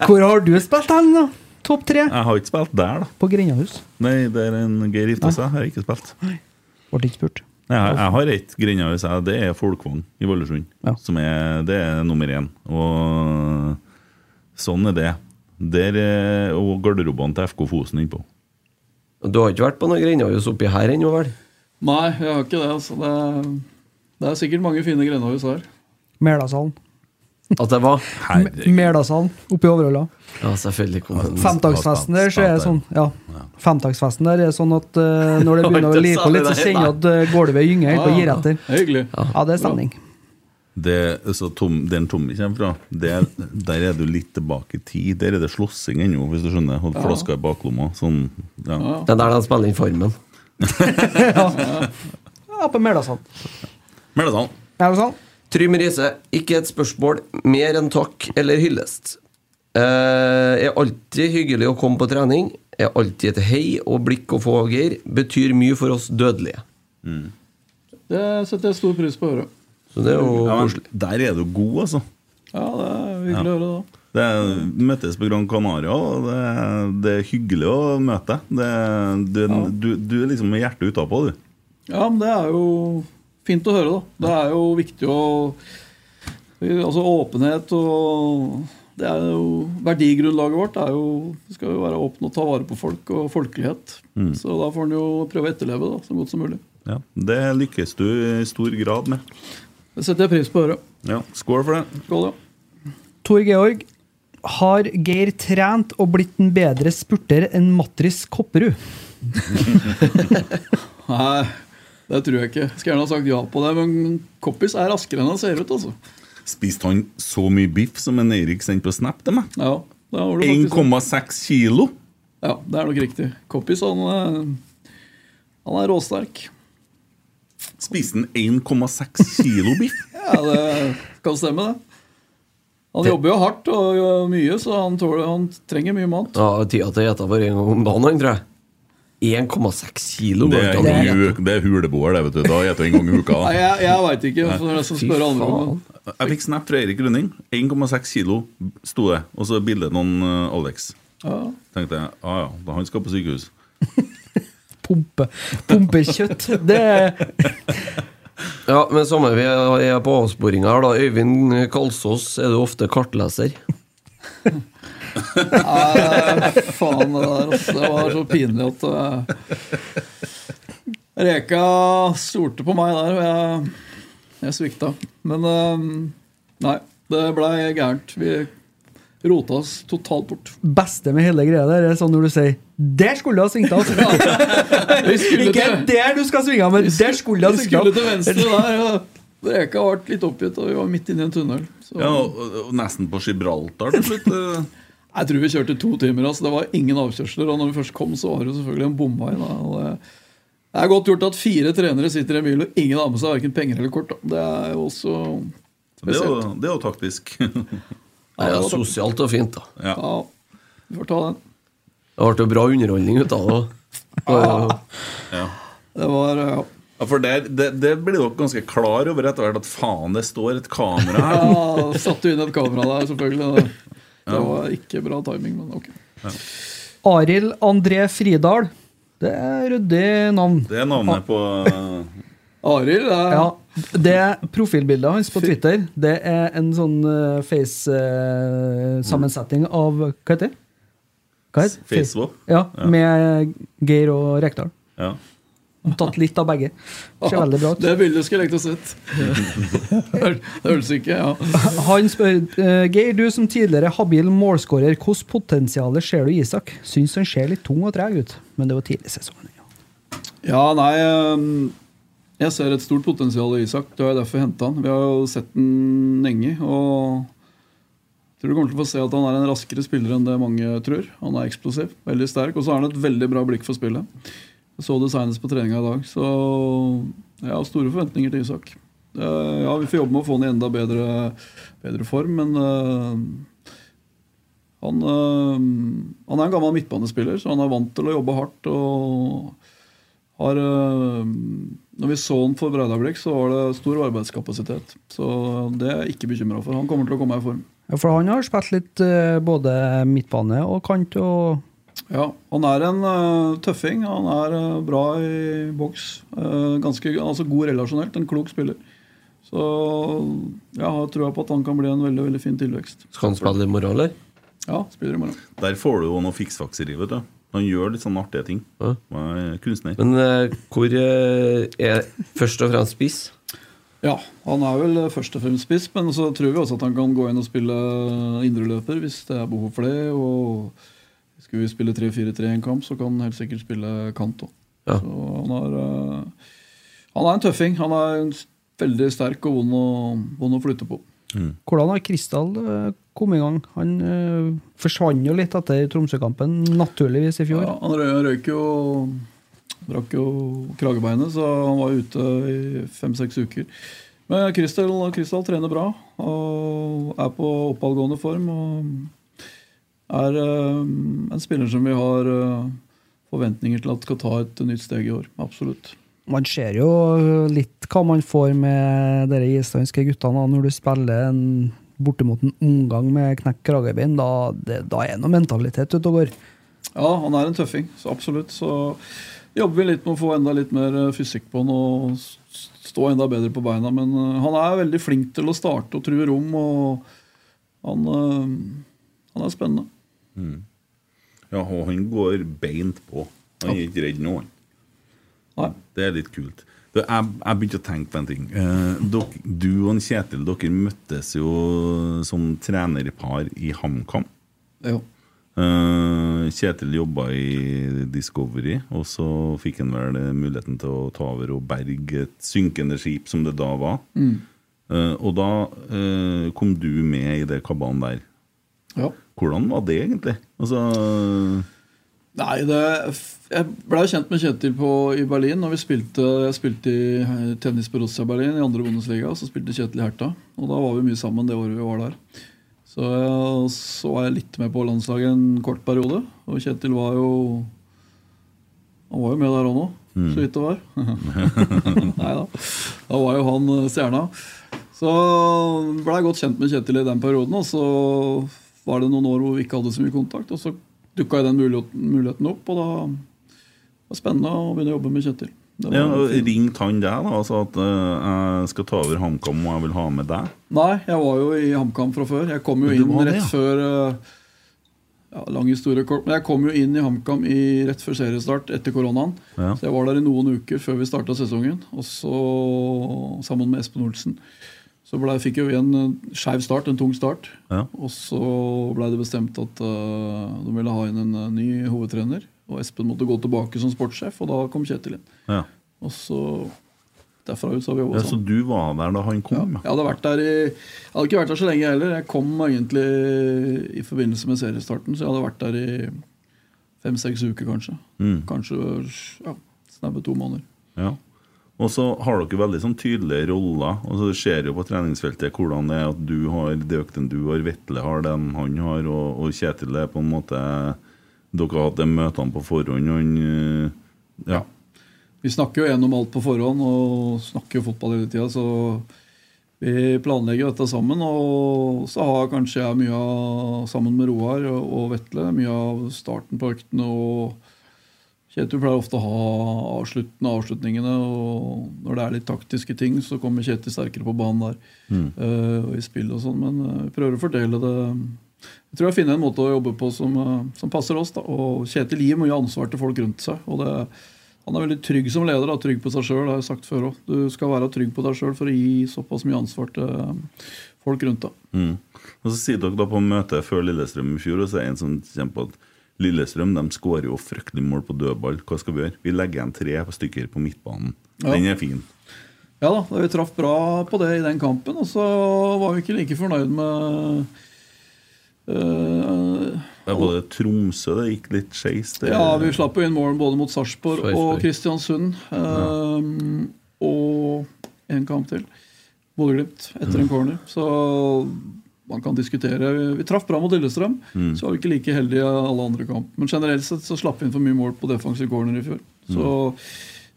E: Hvor har du spilt hen, da? Topp tre?
A: Jeg har ikke spilt der, da.
E: På Grindahus.
A: Nei, der en Geir gifta seg, har jeg ikke spilt.
E: Ble ikke spurt.
A: Nei, Jeg, jeg har ett grendehus, jeg. Det er Folkvogn i Valdresund. Som er, det er nummer én. Og sånn er det. Der er og garderobene til FK Fosen innpå.
C: Du har ikke vært på noe grendahus oppi her ennå, vel?
B: Nei, jeg har ikke det. Altså. Det, er, det er sikkert mange fine grendehus her.
E: Meldasalen.
C: At det var?
E: Meldasalen oppe i Overhalla.
C: Ja, selvfølgelig. kom den.
E: Femtagsfesten der så er det sånn Mm. ja. Femtagsfesten der er sånn at eh, når det begynner å
C: Ikke
E: lipe
C: særlig
E: litt, så
C: det,
E: kjenner du at eh, gulvet gynger helt og gir etter.
B: Hyggelig.
E: Ja, det er stemning.
A: Det, så tom, den Tommy kommer fra, det, der er du litt tilbake i tid. Der er det slåssing ennå, hvis du skjønner. Holdt
C: Ja.
A: flaska i baklomma. Sånn, ja.
C: Ja. Det er der de spiller inn Farmen.
E: Ja, på Meldasalen.
A: Meldasand.
E: Meldasand.
C: Trym Riise, ikke et spørsmål, mer enn takk eller hyllest.
H: Eh, er alltid hyggelig å komme på trening. Er alltid et hei og blikk å få av Geir. Betyr mye for oss dødelige.
A: Mm.
C: Det setter jeg stor pris på å høre.
H: Så det er jo
A: Ja, men
H: koselig.
A: Der er du god, altså.
C: Ja, det er hyggelig å
A: Ja.
C: høre, da.
A: Det er, møttes på Gran Canaria, og det, er- det er hyggelig å møte deg. Det- Du, du, du er liksom med hjertet utapå, du.
C: Ja, men det er jo fint å høre, da. Det er jo viktig å Altså åpenhet og Det er jo Verdigrunnlaget vårt er jo det skal jo være åpne og ta vare på folk og folkelighet.
A: Mm.
C: Så da får en jo prøve å etterleve da, så godt som mulig.
A: Ja, det lykkes du i stor grad med.
C: Det setter jeg pris på å høre.
A: Ja, Skål for det.
C: Skål, ja.
B: Tor Georg, har Geir trent og blitt en bedre spurter enn Matris Kopperud?
C: Nei, det tror jeg ikke. Skulle gjerne ha sagt ja på det, men Koppis er raskere enn han ser ut, altså.
A: Spiste han så mye biff som en Eirik sendte på Snap til meg?
C: Ja, da var det faktisk
A: 1,6 kilo!
C: Ja, det er nok riktig. Koppis, han, eh, han er råsterk.
A: Spiste han 1,6 kilo biff?
C: Ja, det kan stemme, det. Han jobber jo hardt og gjør mye, så han, tåler, han trenger mye mat.
H: Ja, tida til å gjette bare en gang om dagen, han, tror jeg. 1,6 kilo.
A: Det
H: går
A: er,
H: ikke an å gjette.
A: hu- det er huleboer, det, vet du. Da gjetter jeg en gang i uka.
C: Nei,
A: da.
C: jeg, jeg veit ikke. Så det er jeg som
H: Fy
C: spør andre om
H: faen.
C: det.
A: Jeg fikk snap fra Eirik Rønning. 1,6 kilo sto det. Og så bilde av noen eh, Alex.
C: Ja.
A: tenkte jeg ah, ja, da han skal på sykehus.
B: Pumpe. Pumpekjøtt. Det er
H: Ja, men samme vi er på avsporinga her, da. Øyvind Kalsås, er du ofte kartleser?
C: Nei, faen det der, altså. Det var så pinlig at eh, Reka stolte på meg der, og jeg, jeg svikta. Men eh, nei, det blei gærent. Vi rota oss totalt bort.
B: beste med hele greia der, er sånn når du sier 'Der skulle du ha svingt av'!
C: Vi skulle
B: Ikke
C: til,
B: der du skal svinge av, men der skulle du ha
C: vi
B: svingt
C: skulle
B: av!
C: til venstre der. Og Reka ble litt oppgitt, og vi var midt inne i en tunnel. Så
A: Ja, og, og nesten på Gibraltar til slutt. eh.
C: Jeg tror vi kjørte to timer. Altså. Det var ingen avkjørsler. Og når vi først kom, så var det jo selvfølgelig en bomvei. Da. Og det- Det er godt gjort at fire trenere sitter i en bil, og ingen har med seg verken penger eller kort. Da. Det er jo også
A: Det er,
C: spesielt.
A: jo, det er jo taktisk.
H: Nei, det er sosialt og fint, da.
A: Ja.
C: Ja, vi får ta den.
H: Det ble jo bra underholdning ut av det. Og,
C: Det var ja.
A: Ja, for der, det, det blir dere ganske klar over etter hvert, at faen, det står et kamera her.
C: ja Satte jo inn et kamera der, selvfølgelig. Det, det var ikke bra timing, men ok.
B: Arild André Fridal. Det er ryddig navn.
A: Det er navnet på eh,
C: Arild eh, er
B: Ja, det Profilbildet hans på Twitter Det er en sånn face-sammensetning av Hva heter det? Hva heter det?
A: Facebook.
B: Ja, med Geir og Rekdal.
A: Ja.
B: Tatt litt av begge. Ser veldig bra ut.
C: Det bildet skulle jeg likt å sett. Det hørtes ikke ja.
B: Han spør eh, Geir, du som tidligere habil målskårer, hvordan potensialet ser du i Isak? Syns han ser litt tung og treg ut, men det var tidlig i sesongen. Ja.
C: Ja, nei ehm, Jeg ser et stort potensial i Isak. Det er derfor jeg henta han. Vi har jo sett den lenge. Og jeg tror du kommer til å få se at han er en raskere spiller enn det mange tror. Han er eksplosiv, veldig sterk, og så har han et veldig bra blikk for spillet. Jeg så det senest på treninga i dag, så jeg har store forventninger til Isak. Eh, Ja, vi får jobbe med å få han i enda bedre, bedre form, men eh, han, eh, han er en gammel midtbanespiller, så han er vant til å jobbe hardt. og har, eh, når vi så han for Breidablikk, så var det stor arbeidskapasitet. Så det er jeg ikke bekymra for. Han kommer til å komme i form.
B: Ja, For han har spilt litt eh, både midtbane og kant og
C: Ja, Han er en eh, tøffing. Han er eh, bra i boks. Eh, ganske altså god relasjonelt. En klok spiller. Så jeg har trua på at han kan bli en veldig veldig fin tilvekst.
H: skal han spille i morgen, eller?
C: Ja, spiller i morgen.
A: Der får du jo noe fiksfakseri, vet du. Han gjør litt sånn artige ting.
H: Ja.
A: Han er kunstner.
H: Men eh, hvor eh, er først og fremst spiss?
C: Ja, han er vel først og fremst spiss, men så tror vi også at han kan gå inn og spille indreløper hvis det er behov for det. Og skulle vi spille 3-4-3 i en kamp, så kan han helt sikkert spille kant òg.
H: Ja.
C: Så han er, eh, han er en tøffing. Han er en s- veldig sterk og vond, å- vond å flytte på.
B: Hvordan har Kristal eh, kommet i gang? Han eh, forsvant jo litt etter Tromsø-kampen, naturligvis, i fjor.
C: Ja, han rø- røyk jo Drakk jo kragebeinet, så han var ute i fem-seks uker. Men Kristal, Kristal trener bra og er på oppadgående form. Og er eh, en spiller som vi har eh, forventninger til at skal ta et nytt steg i år. Absolutt.
B: Man ser jo eh, litt hva man får med de islandske guttene da, når du spiller en bortimot en omgang med knekk kragebein. Da, det, da er det noe mentalitet ute og går.
C: Ja, han er en tøffing, så absolutt. Så jobber vi litt med å få enda litt mer eh, fysikk på han og s- stå enda bedre på beina. Men eh, han er veldig flink til å starte og true rom, og han, eh, han er spennende.
A: Mm. Ja, og han går beint på. Han er ikke redd nå, han. Det er litt kult. Du, jeg, jeg begynte å tenke på en ting. Eh, dok, du og en Kjetil dere møttes jo som trenerpar i HamKam.
C: Jo.
A: Eh, Kjetil jobba i Discovery, og så fikk han vel muligheten til å ta over og berge et synkende skip, som det da var.
C: Mm.
A: Eh, og da eh, kom du med i det kabalen der.
C: Ja.
A: Hvordan var det egentlig? Altså
C: Nei, det, jeg ble jo kjent med Kjetil på, i Berlin. Når vi spilte, jeg spilte i eh, tennis på Russia Berlin i andre Bundesliga. Så spilte Kjetil i Herta. Og da var vi mye sammen det året vi var der. Så, jeg, så var jeg litt med på landslaget en kort periode. Og Kjetil var jo Han var jo med der òg nå,
A: Mm.
C: så vidt det var. Nei da. Da var jo han eh, stjerna. Så ble jeg godt kjent med Kjetil i den perioden. Og så var det noen år hvor vi ikke hadde så mye kontakt. Og så dukka den mulighet- muligheten opp, og da var det spennende å begynne å jobbe med Kjetil. Det var
A: ja, og
C: fint.
A: Ringte han deg da og sa at eh, jeg skal ta over HamKam og jeg vil ha med deg?
C: Nei, jeg var jo i HamKam fra før. Jeg kom jo
A: Du
C: inn
A: var det,
C: rett
A: ja.
C: før eh, ja, Lang historie kort, men jeg kom jo inn i HamKam i- rett før seriestart etter koronaen.
A: Ja.
C: Så jeg var der i noen uker før vi starta sesongen, og så sammen med Espen Olsen. Så ble, fikk jo vi en eh, skeiv start, en tung start.
A: Ja.
C: Og så ble det bestemt at eh, de ville ha inn en eh, ny hovedtrener. Og Espen måtte gå tilbake som sportssjef, og da kom Kjetil inn.
A: Ja.
C: Og så Derfra ut så har vi
A: Ja,
C: jobba
A: så
C: sammen.
A: du var der da han kom?
C: Jeg hadde, vært der i, jeg hadde ikke vært der så lenge heller. Jeg kom egentlig i forbindelse med seriestarten, så jeg hadde vært der i fem-seks uker, kanskje.
A: Mm.
C: Kanskje ja, snaue to måneder.
A: Ja. Og så har dere veldig sånn tydelige roller. Og så ser jo på treningsfeltet hvordan det er at du har Døkten, du har Vetle har den han har, og, og Kjetil er på en måte Dere har hatt de møtene på forhånd, og han eh, Ja.
C: Vi snakker jo gjennom alt på forhånd og snakker jo fotball hele tida, så vi planlegger jo dette sammen. Og så har kanskje jeg mye av, sammen med Roar og og Vetle, mye av starten på øktene. og Kjetil pleier ofte å ha avsluttende avslutningene, og når det er litt taktiske ting, så kommer Kjetil sterkere på banen der.
A: Mm.
C: eh, og i spill og sånn, men eh, vi prøver å fordele det. Jeg tror jeg finner en måte å jobbe på som, eh, som passer oss. da, og Kjetil gir mye ansvar til folk rundt seg. og det han er veldig trygg som leder, da, trygg på seg sjøl. Det har jeg sagt før òg. Du skal være trygg på deg sjøl for å gi såpass mye ansvar til um, folk rundt deg.
A: Mm. Og så sier dere da på møtet før Lillestrøm i fjor, og så er det en som kommer på at Lillestrøm de skårer jo fryktelig mål på dødball. Hva skal vi gjøre? Vi legger igjen tre stykker på midtbanen.
C: Ja.
A: Den er fin.
C: Ja da, vi traff bra på det i den kampen, og så var vi ikke like fornøyd med eh,
A: Det var det Tromsø det gikk litt skeis. det-
C: Ja, vi slapp jo inn mål både mot Sarpsborg
A: Sarpsborg.
C: og Kristiansund. ehm, Og en kamp til. Bodø-Glimt etter en
A: Mm.
C: corner. Så man kan diskutere. Vi- Vi traff bra mot Lillestrøm,
A: Mm.
C: så var vi ikke like heldige i alle andre kamp. Men generelt sett så slapp vi inn for mye mål på defensive corner i fjor.
A: Mm.
C: Så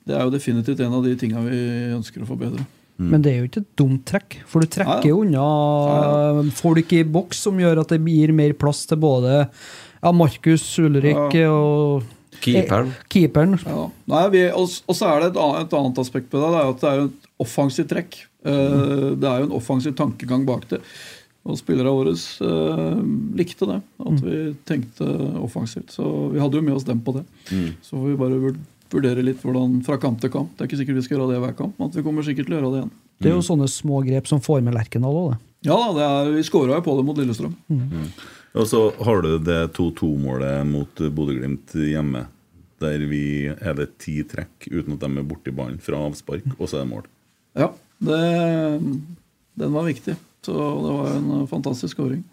C: det er jo definitivt en av de tinga vi ønsker å forbedre.
B: Men det er jo ikke et dumt trekk, for du trekker jo unna folk i boks, som gjør at det gir mer plass til både ja, Markus, Ulrik og
I: Keeperen.
B: Eh, keeperen.
C: Ja. Nei, vi, og, og så er det et annet, et annet aspekt på det. Det er jo at det er jo et offensivt trekk. Eh,
A: Mm.
C: det er jo en offensiv tankegang bak det. Og spillerne våre eh, likte det.
A: Mm.
C: At vi tenkte offensivt. Så vi hadde jo med oss dem på det.
A: Mm.
C: Så får vi bare vur- vurdere litt hvordan fra kamp til kamp. Det er ikke sikkert vi skal gjøre det hver kamp, men at vi kommer sikkert til å gjøre det igjen.
I: Mm.
B: Det er jo sånne små grep som får med Lerkendal òg, det.
C: Ja da, det er, vi skåra jo på det mot Lillestrøm.
A: Mm. Og så har du det 2-2-målet mot Bodø-Glimt hjemme. Der vi er det ti trekk uten at de er borti ballen fra avspark, og så er det mål.
C: Ja, det, den var viktig. Så det var en eh, fantastisk skåring.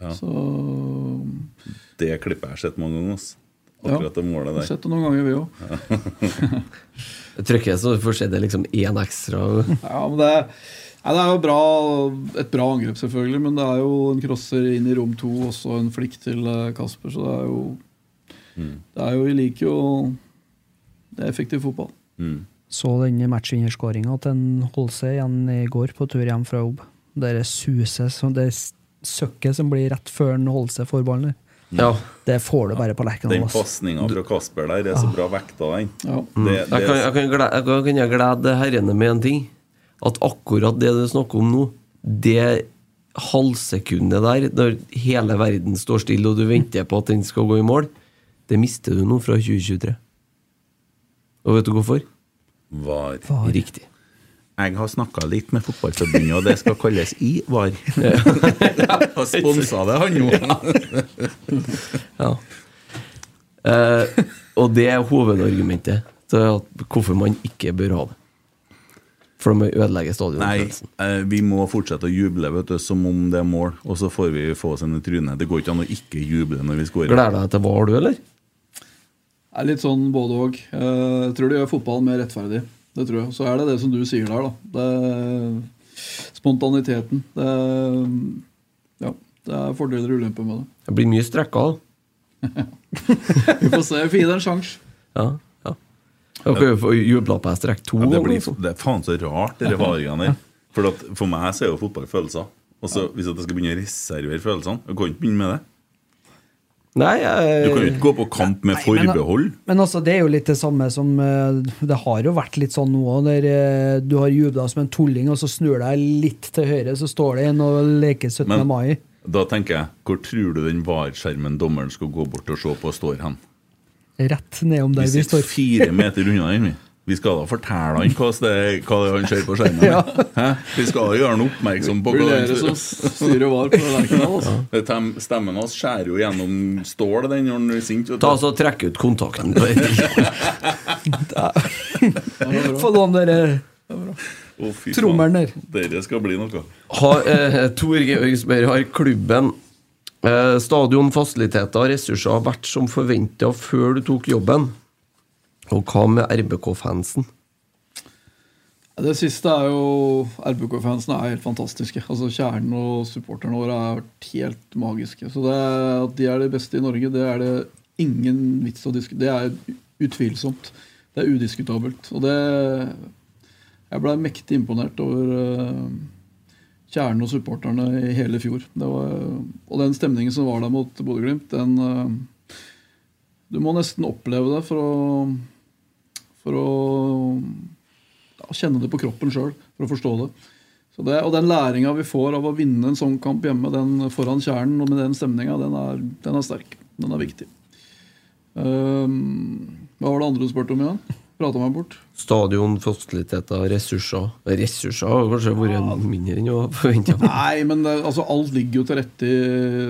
A: Ja.
C: Så
A: Det klippet jeg har sett mange ganger. ass. Akkurat det målet
C: Vi
A: der.
C: har sett det noen ganger, vi òg.
I: Trykker jeg, så får se det liksom én ekstra.
C: Ja, men det,
B: Nei, det er jo bra, et bra angrep, selvfølgelig, men det er jo en crosser inn i rom to, også en flikk til eh, Kasper, så det er jo,
A: Mm.
B: det er jo Vi liker jo det er effektiv fotball.
E: Så den matchvinnerskåringa til en Holse igjen i går på tur hjem fra jobb. Det der suset, som- det søkket som blir rett før en Holse får ballen der.
A: Mm.
C: Ja.
E: Det får du bare på Lerkendal.
A: Den
E: ass.
A: pasninga fra Kasper der er så bra vekta, den.
C: Mm.
A: Det,
C: Jeg
A: det,
C: kan, jeg kan, glede, jeg kan, kan jeg glede herrene med en ting. At akkurat det du snakker om nå, det halvsekundet der, når hele verden står stille og du venter på at den skal gå i mål, det mister du nå fra 2023. Og vet du hvorfor?
A: Var.
C: Riktig.
A: Jeg har snakka litt med Fotballforbundet, og det skal kalles I-VAR. Og sponsa det, han nå.
C: Ja. Eh, og det er hovedargumentet til at hvorfor man ikke bør ha det. For de
A: Nei,
C: ødelegger stadionet.
A: eh, vi må fortsette å juble vet du, som om det er mål, og så får vi få oss en i trynet. Det går ikke an å ikke juble når vi scorer.
C: Gleder deg til VAR, du, eller?
B: Det er litt sånn både og. Eh, Jeg tror det gjør fotballen mer rettferdig. Det tror jeg. Så er det det som du sier der, da. Det spontaniteten. Det, ja, det er fordeler og ulemper med det.
C: Det blir mye strekka, da.
B: Vi får se. Vi får gi det en sjanse.
C: Ja, ja. Dere har jo fått jubla på en strekk to
A: Ja, det,
C: ganger.
A: blir,
C: liksom.
A: det er faen så rart, de varingene der. For, at, for meg så er jo fotball følelser. Og så Hvis at jeg skal begynne å reservere følelsene Jeg kan ikke begynne med det. Du kan jo ikke gå på kamp
E: men
A: med
E: da-
A: forbehold.
E: Men altså, det er jo litt det samme som eh, Det har jo vært litt sånn nå òg, der eh, du har jubla som en tulling, og så snur deg litt til høyre, så står det en og leker 17.
A: Men-
E: mai.
A: Da tenker jeg, hvor tror du den VAR-skjermen dommeren skal gå bort og se på, står hen?
E: Rett nedom
A: Vi
E: der vi
A: sitter
E: står.
A: fire meter unna den. vi. Vi skal da fortelle han hva det er hva det er han ser på skjermen.
E: Ja.
A: Hæ? Vi skal da gjøre han oppmerksom på
B: Blir
A: hva
B: dere som styrer VAR på Lerkendal, altså.
A: Det tem- Stemmen hans skjærer jo gjennom stål den når han er sint. vet du.
C: Ta altså og Trekk ut kontakten. på det.
E: Få eh. låne dere
A: Å, fy faen.
E: trommelen der.
A: Dere skal bli noe.
C: Har, eh, Tor Georgsberg har klubben eh, stadion, fasiliteter og ressurser har vært som forventa før du tok jobben. Og hva med RBK-fansen?
B: Det siste er jo RBK-fansen er helt fantastiske. Altså Kjernen og supporterne våre har vært helt magiske. Så det er, at de er de beste i Norge, det er det ingen vits å diskutere. Det er utvilsomt. Det er udiskutabelt. Og det Jeg blei mektig imponert over eh, kjernen og supporterne i hele fjor. Det var, og den stemningen som var der mot Bodø-Glimt, den eh, Du må nesten oppleve det for å, for å ja, kjenne det på kroppen sjøl for å forstå det. Så det og den læringa vi får av å vinne en sånn kamp hjemme den foran kjernen og med den stemninga, den, er- den er sterk. Den er viktig. Ehm, hva var det andre du spurte om igjen? Prata meg bort.
C: Stadion, fasiliteter, ressurser. Ressurser har jo kanskje vært mindre enn jeg forventa.
B: Nei, men det, altså, alt ligger jo til rette i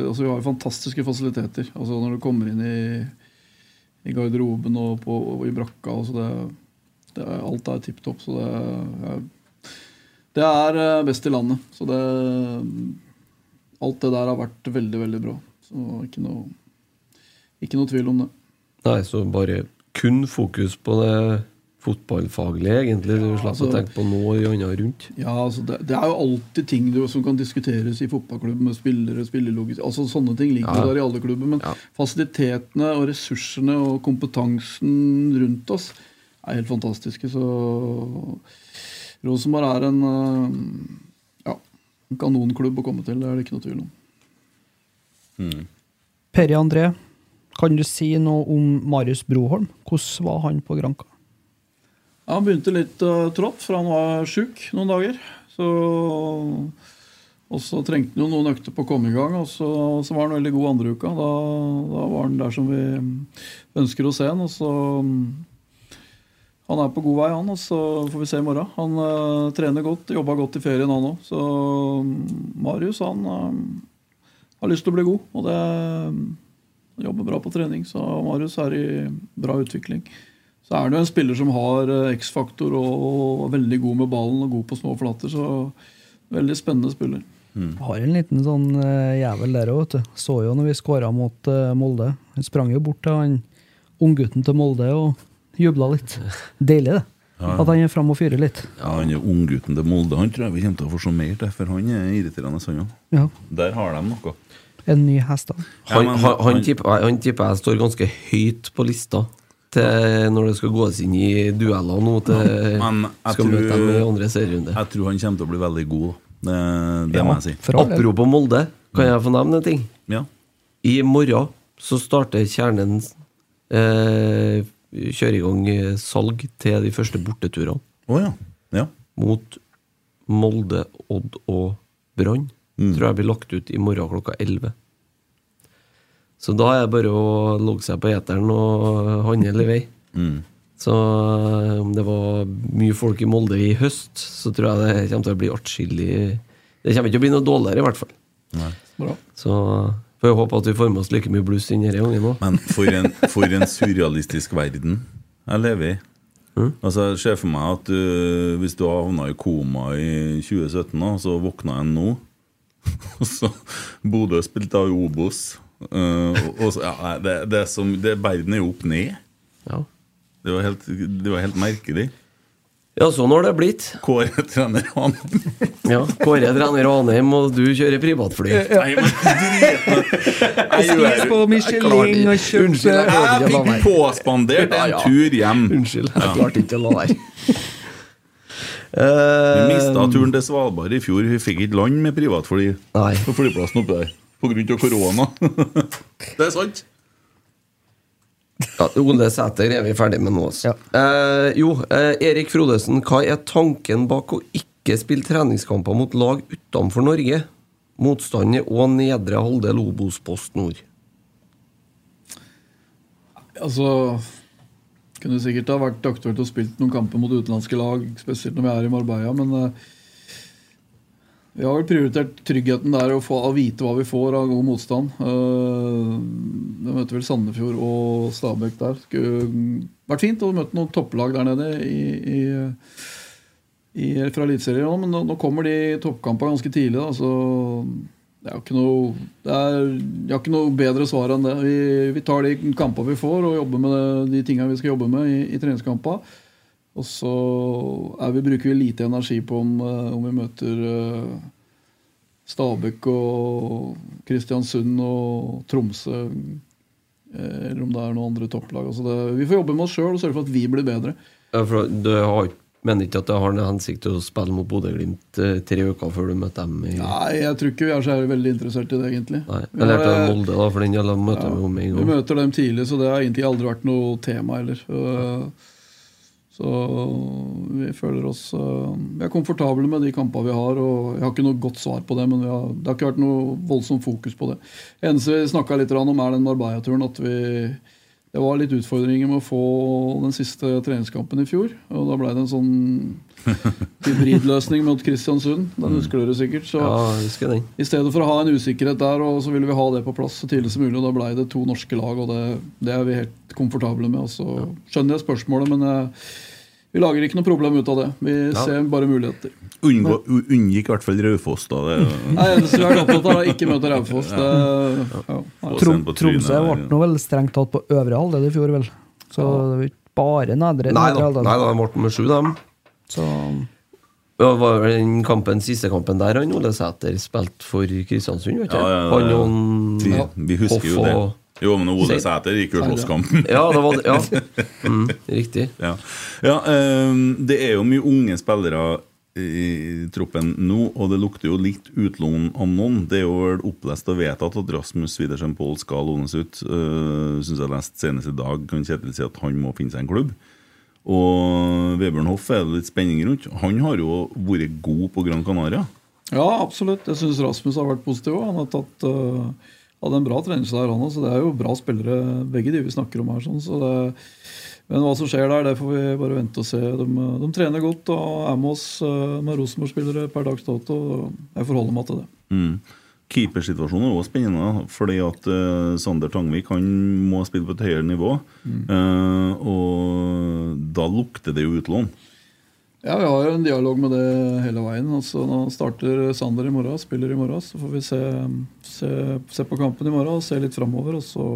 B: altså, Vi har jo fantastiske fasiliteter. Altså, når du kommer inn i, i garderoben og, på, og i brakka altså, det, det er, Alt er tipp topp. Så det er, det er eh, best i landet. Så det Alt det der har vært veldig, veldig bra. Så ikke noe, ikke noe tvil om det.
C: Nei, så bare kun fokus på det fotballfaglige, egentlig. Du slipper
B: altså-
C: å tenke på noe i annet rundt.
B: Ja, altså det, det er jo alltid ting du, som kan diskuteres i fotballklubben med spillere, spillerlogis altså Sånne ting ligger
C: Ja.
B: jo der i alle klubber. Men fasilitetene og ressursene og kompetansen rundt oss er helt fantastiske. Så Rosenborg er en eh, ja, en kanonklubb å komme til, det er det ikke noe tvil om.
C: Hmm.
E: Perry André, kan du si noe om Marius Broholm? Hvordan var han på Granka?
B: Ja, han begynte litt eh, trått, for han var sjuk noen dager. Så, og så trengte han jo noen økter på å komme i gang, og så, så var han veldig god andre uka. Da, da var han der som vi ønsker å se han, og så mm, Han er på god vei, han, og så får vi se i morgen. Han eh, trener godt, jobba godt i ferien, han òg. Så mm, Marius, han eh, har lyst til å bli god, og det han jobber bra på trening, så Marius er i bra utvikling. Så er det jo en spiller som har eh, X-faktor og, og er veldig god med ballen og god på små flater. Så veldig spennende spiller.
E: Har en liten sånn eh, jævel der òg, vet du. Så jo når vi skåra mot eh, Molde. Han sprang jo bort til han unggutten til Molde og jubla litt. Deilig, det.
A: Ja.
E: At han er fram og fyrer litt.
A: Ja, han er unggutten til Molde. Han tror jeg vi kommer til å få se mer til, for han er irriterende, han òg.
E: Ja.
A: Der har de noe.
E: En ny hest, da.
C: Han, han, han, tipper, jeg- han tipper jeg står ganske høyt på lista til når det skal gås inn i dueller nå. Til,
A: Men jeg
C: skal møte dem i
A: tror,
C: andre serierunde.
A: jeg tror han kommer til å bli veldig god. da. Det, det må jeg si.
E: for all del.
C: Apropos Molde,
A: Mm.
C: kan jeg få nevne en ting?
A: Ja.
C: I morgen så starter Kjernen eh, Kjører i gang eh, salg til de første borteturene
A: Å ja. ja.
C: mot Molde, Odd og Brann.
A: Mm.
C: Tror jeg blir lagt ut i morgen klokka 11. Så da er det bare å logge seg på eteren og handle i vei.
A: Mm.
C: Så eh, om det var mye folk i Molde i høst, så tror jeg det kommer til å bli atskillig Det kommer ikke til å bli noe dårligere, i hvert fall.
B: Bra.
C: Så får jeg håpe at vi får med oss like mye bluss inn denne gangen òg.
A: Men for en, for en surrealistisk verden jeg lever i. Altså, Jeg ser for meg at du, hvis du havna i koma i 2017, da, så våkna jeg nå Og så Bodø spilte av i Obos. Eh, og- og så, ja, nei, det, det er som, det, verden er jo opp ned.
C: Ja.
A: Det var helt, det var helt merkelig.
C: ja, sånn har det blitt.
A: Kåre trener han
C: Ja, Kåre trener Ranheim, og du kjører privatfly.
A: Nei, men drit nå. Jeg
E: Spis
A: gjør-
E: på Michelin og
C: Unnskyld,
E: kjøpe
C: jeg
A: Jeg
C: klarte ikke å la
A: fikk
C: være.
A: påspandert
C: Ja,
A: en
C: ja.
A: tur hjem.
C: Unnskyld, jeg klarte ikke å la være.
A: Vi
C: Eh,
A: mista turen til Svalbard i fjor. Vi fikk ikke land med privatfly
C: Nei.
A: på flyplassen oppe der pga. korona. det er sant.
C: ja, Ole Sæter er vi ferdig med nå, altså. Eh, jo, eh, Erik Frodesen, hva er tanken bak å ikke spille treningskamper mot lag utenfor Norge? Motstander og nedre halvdel Obos-post nord.
B: Altså Kunne sikkert ha vært aktuelt å spille noen kamper mot utenlandske lag, spesielt når vi er i Marbella, men eh, vi har vel prioritert tryggheten der å, få, å vite hva vi får av god motstand. Eh, Vi møter vel Sandefjord og Stabæk der. Skulle vært fint å møte noen topplag der nede i, i, i, fra Eliteserien òg, men nå, nå kommer de toppkampene ganske tidlig. Da, så det er jo ikke noe det er, Jeg har ikke noe bedre svar enn det. Vi, vi tar de kampene vi får, og jobber med det, de tingene vi skal jobbe med i, i treningskampene. Og så er vi, bruker vi lite energi på om, eh, om vi møter eh, Stabæk og Kristiansund og Tromsø. eh, Eller om det er noen andre topplag. Altså det, vi får jobbe med oss sjøl og sørge for at vi blir bedre.
C: Ja, for Du har, mener ikke at det har noen hensikt til å spille mot Bodø-Glimt eh, tre uker før du møter dem? I,
B: Nei, jeg tror ikke vi er så veldig interessert i det, egentlig.
C: nei.
B: Vi
C: Jeg lærte
B: har- eh,
C: av Molde, da, for den gjelder møter vi om en
B: Vi
C: gang.
B: møter dem tidlig, så det har egentlig aldri vært noe tema heller. Øh, Så vi føler oss øh, Vi er komfortable med de kampene vi har. og Jeg har ikke noe godt svar på det, men vi har, det har ikke vært noe voldsomt fokus på det. eneste vi snakka litt grann om, er den Marbella-turen. at vi Det var litt utfordringer med å få den siste treningskampen i fjor. og Da ble det en sånn hybridløsning mot Kristiansund.
A: Mm.
B: Den husker dere sikkert. så...
C: Ja, jeg husker den.
B: I stedet for å ha en usikkerhet der, og så ville vi ha det på plass så tidlig som mulig. og Da blei det to norske lag, og det, det er vi helt komfortable med. Og så skjønner jeg spørsmålet, men eh, vi lager ikke noe problem ut av det. Vi ser bare muligheter. Mm.
A: Unngå, u- unngikk i hvert fall Raufoss, da. Det,
B: Nei, eneste vi har vært opptatt av, er ikke møte Raufoss. Det, ja.
A: Få
B: nei.
A: se
E: Trom,
A: den på trynet
E: Tromsø
A: der,
E: ble
A: ja.
E: nå vel strengt tatt på øvre halvdel i fjor, vel. Så det var ikke bare nedre,
C: Nei
E: nedre
C: da,
E: halvdel.
C: nei da, Morten med sju, dem.
E: Så
C: Det var vel den kampen, siste kampen der han Ole Sæter spilte for Kristiansund, vet du.
A: Ja, ja, ja.
C: Han og han-
A: Vi, vi husker jo
C: Hoff
A: det.
C: og-
A: Jo, men Ole
C: Sei-
A: Sæter gikk jo slåsskampen.
C: Ja, det var det. Ja. Mm, riktig.
A: Ja. Ja, ehm, det er jo mye unge spillere i troppen nå, og det lukter jo litt utlån av noen. Det er jo vel opplest og vedtatt at Rasmus Widersen Pohl skal lånes ut. Uh, Syns jeg leste senest i dag kan Kjetil si at han må finne seg en klubb. Og Vebjørn Hoff er det litt spenning rundt. Han har jo vært god på Gran Canaria.
B: ja, absolutt. Jeg syns Rasmus har vært positiv òg. Han har tatt eh, hadde en bra trening der, han òg. Så det er jo bra spillere, begge de vi snakker om her. Sånn, så det, men hva som skjer der, det får vi bare vente og se. De, eh, de trener godt og er med oss eh, med Rosenborg-spillere per dags dato. og Jeg forholder meg til det.
A: Mm. Keepersituasjonen er også spennende, fordi at eh, Sander Tangvik han må spille på et høyere nivå. Eh, og da lukter det jo utlån.
B: Ja, Vi har jo en dialog med det hele veien. Altså, nå starter Sander i morgen, spiller i morgen. Så får vi se, se, se på kampen i morgen og se litt framover. Og så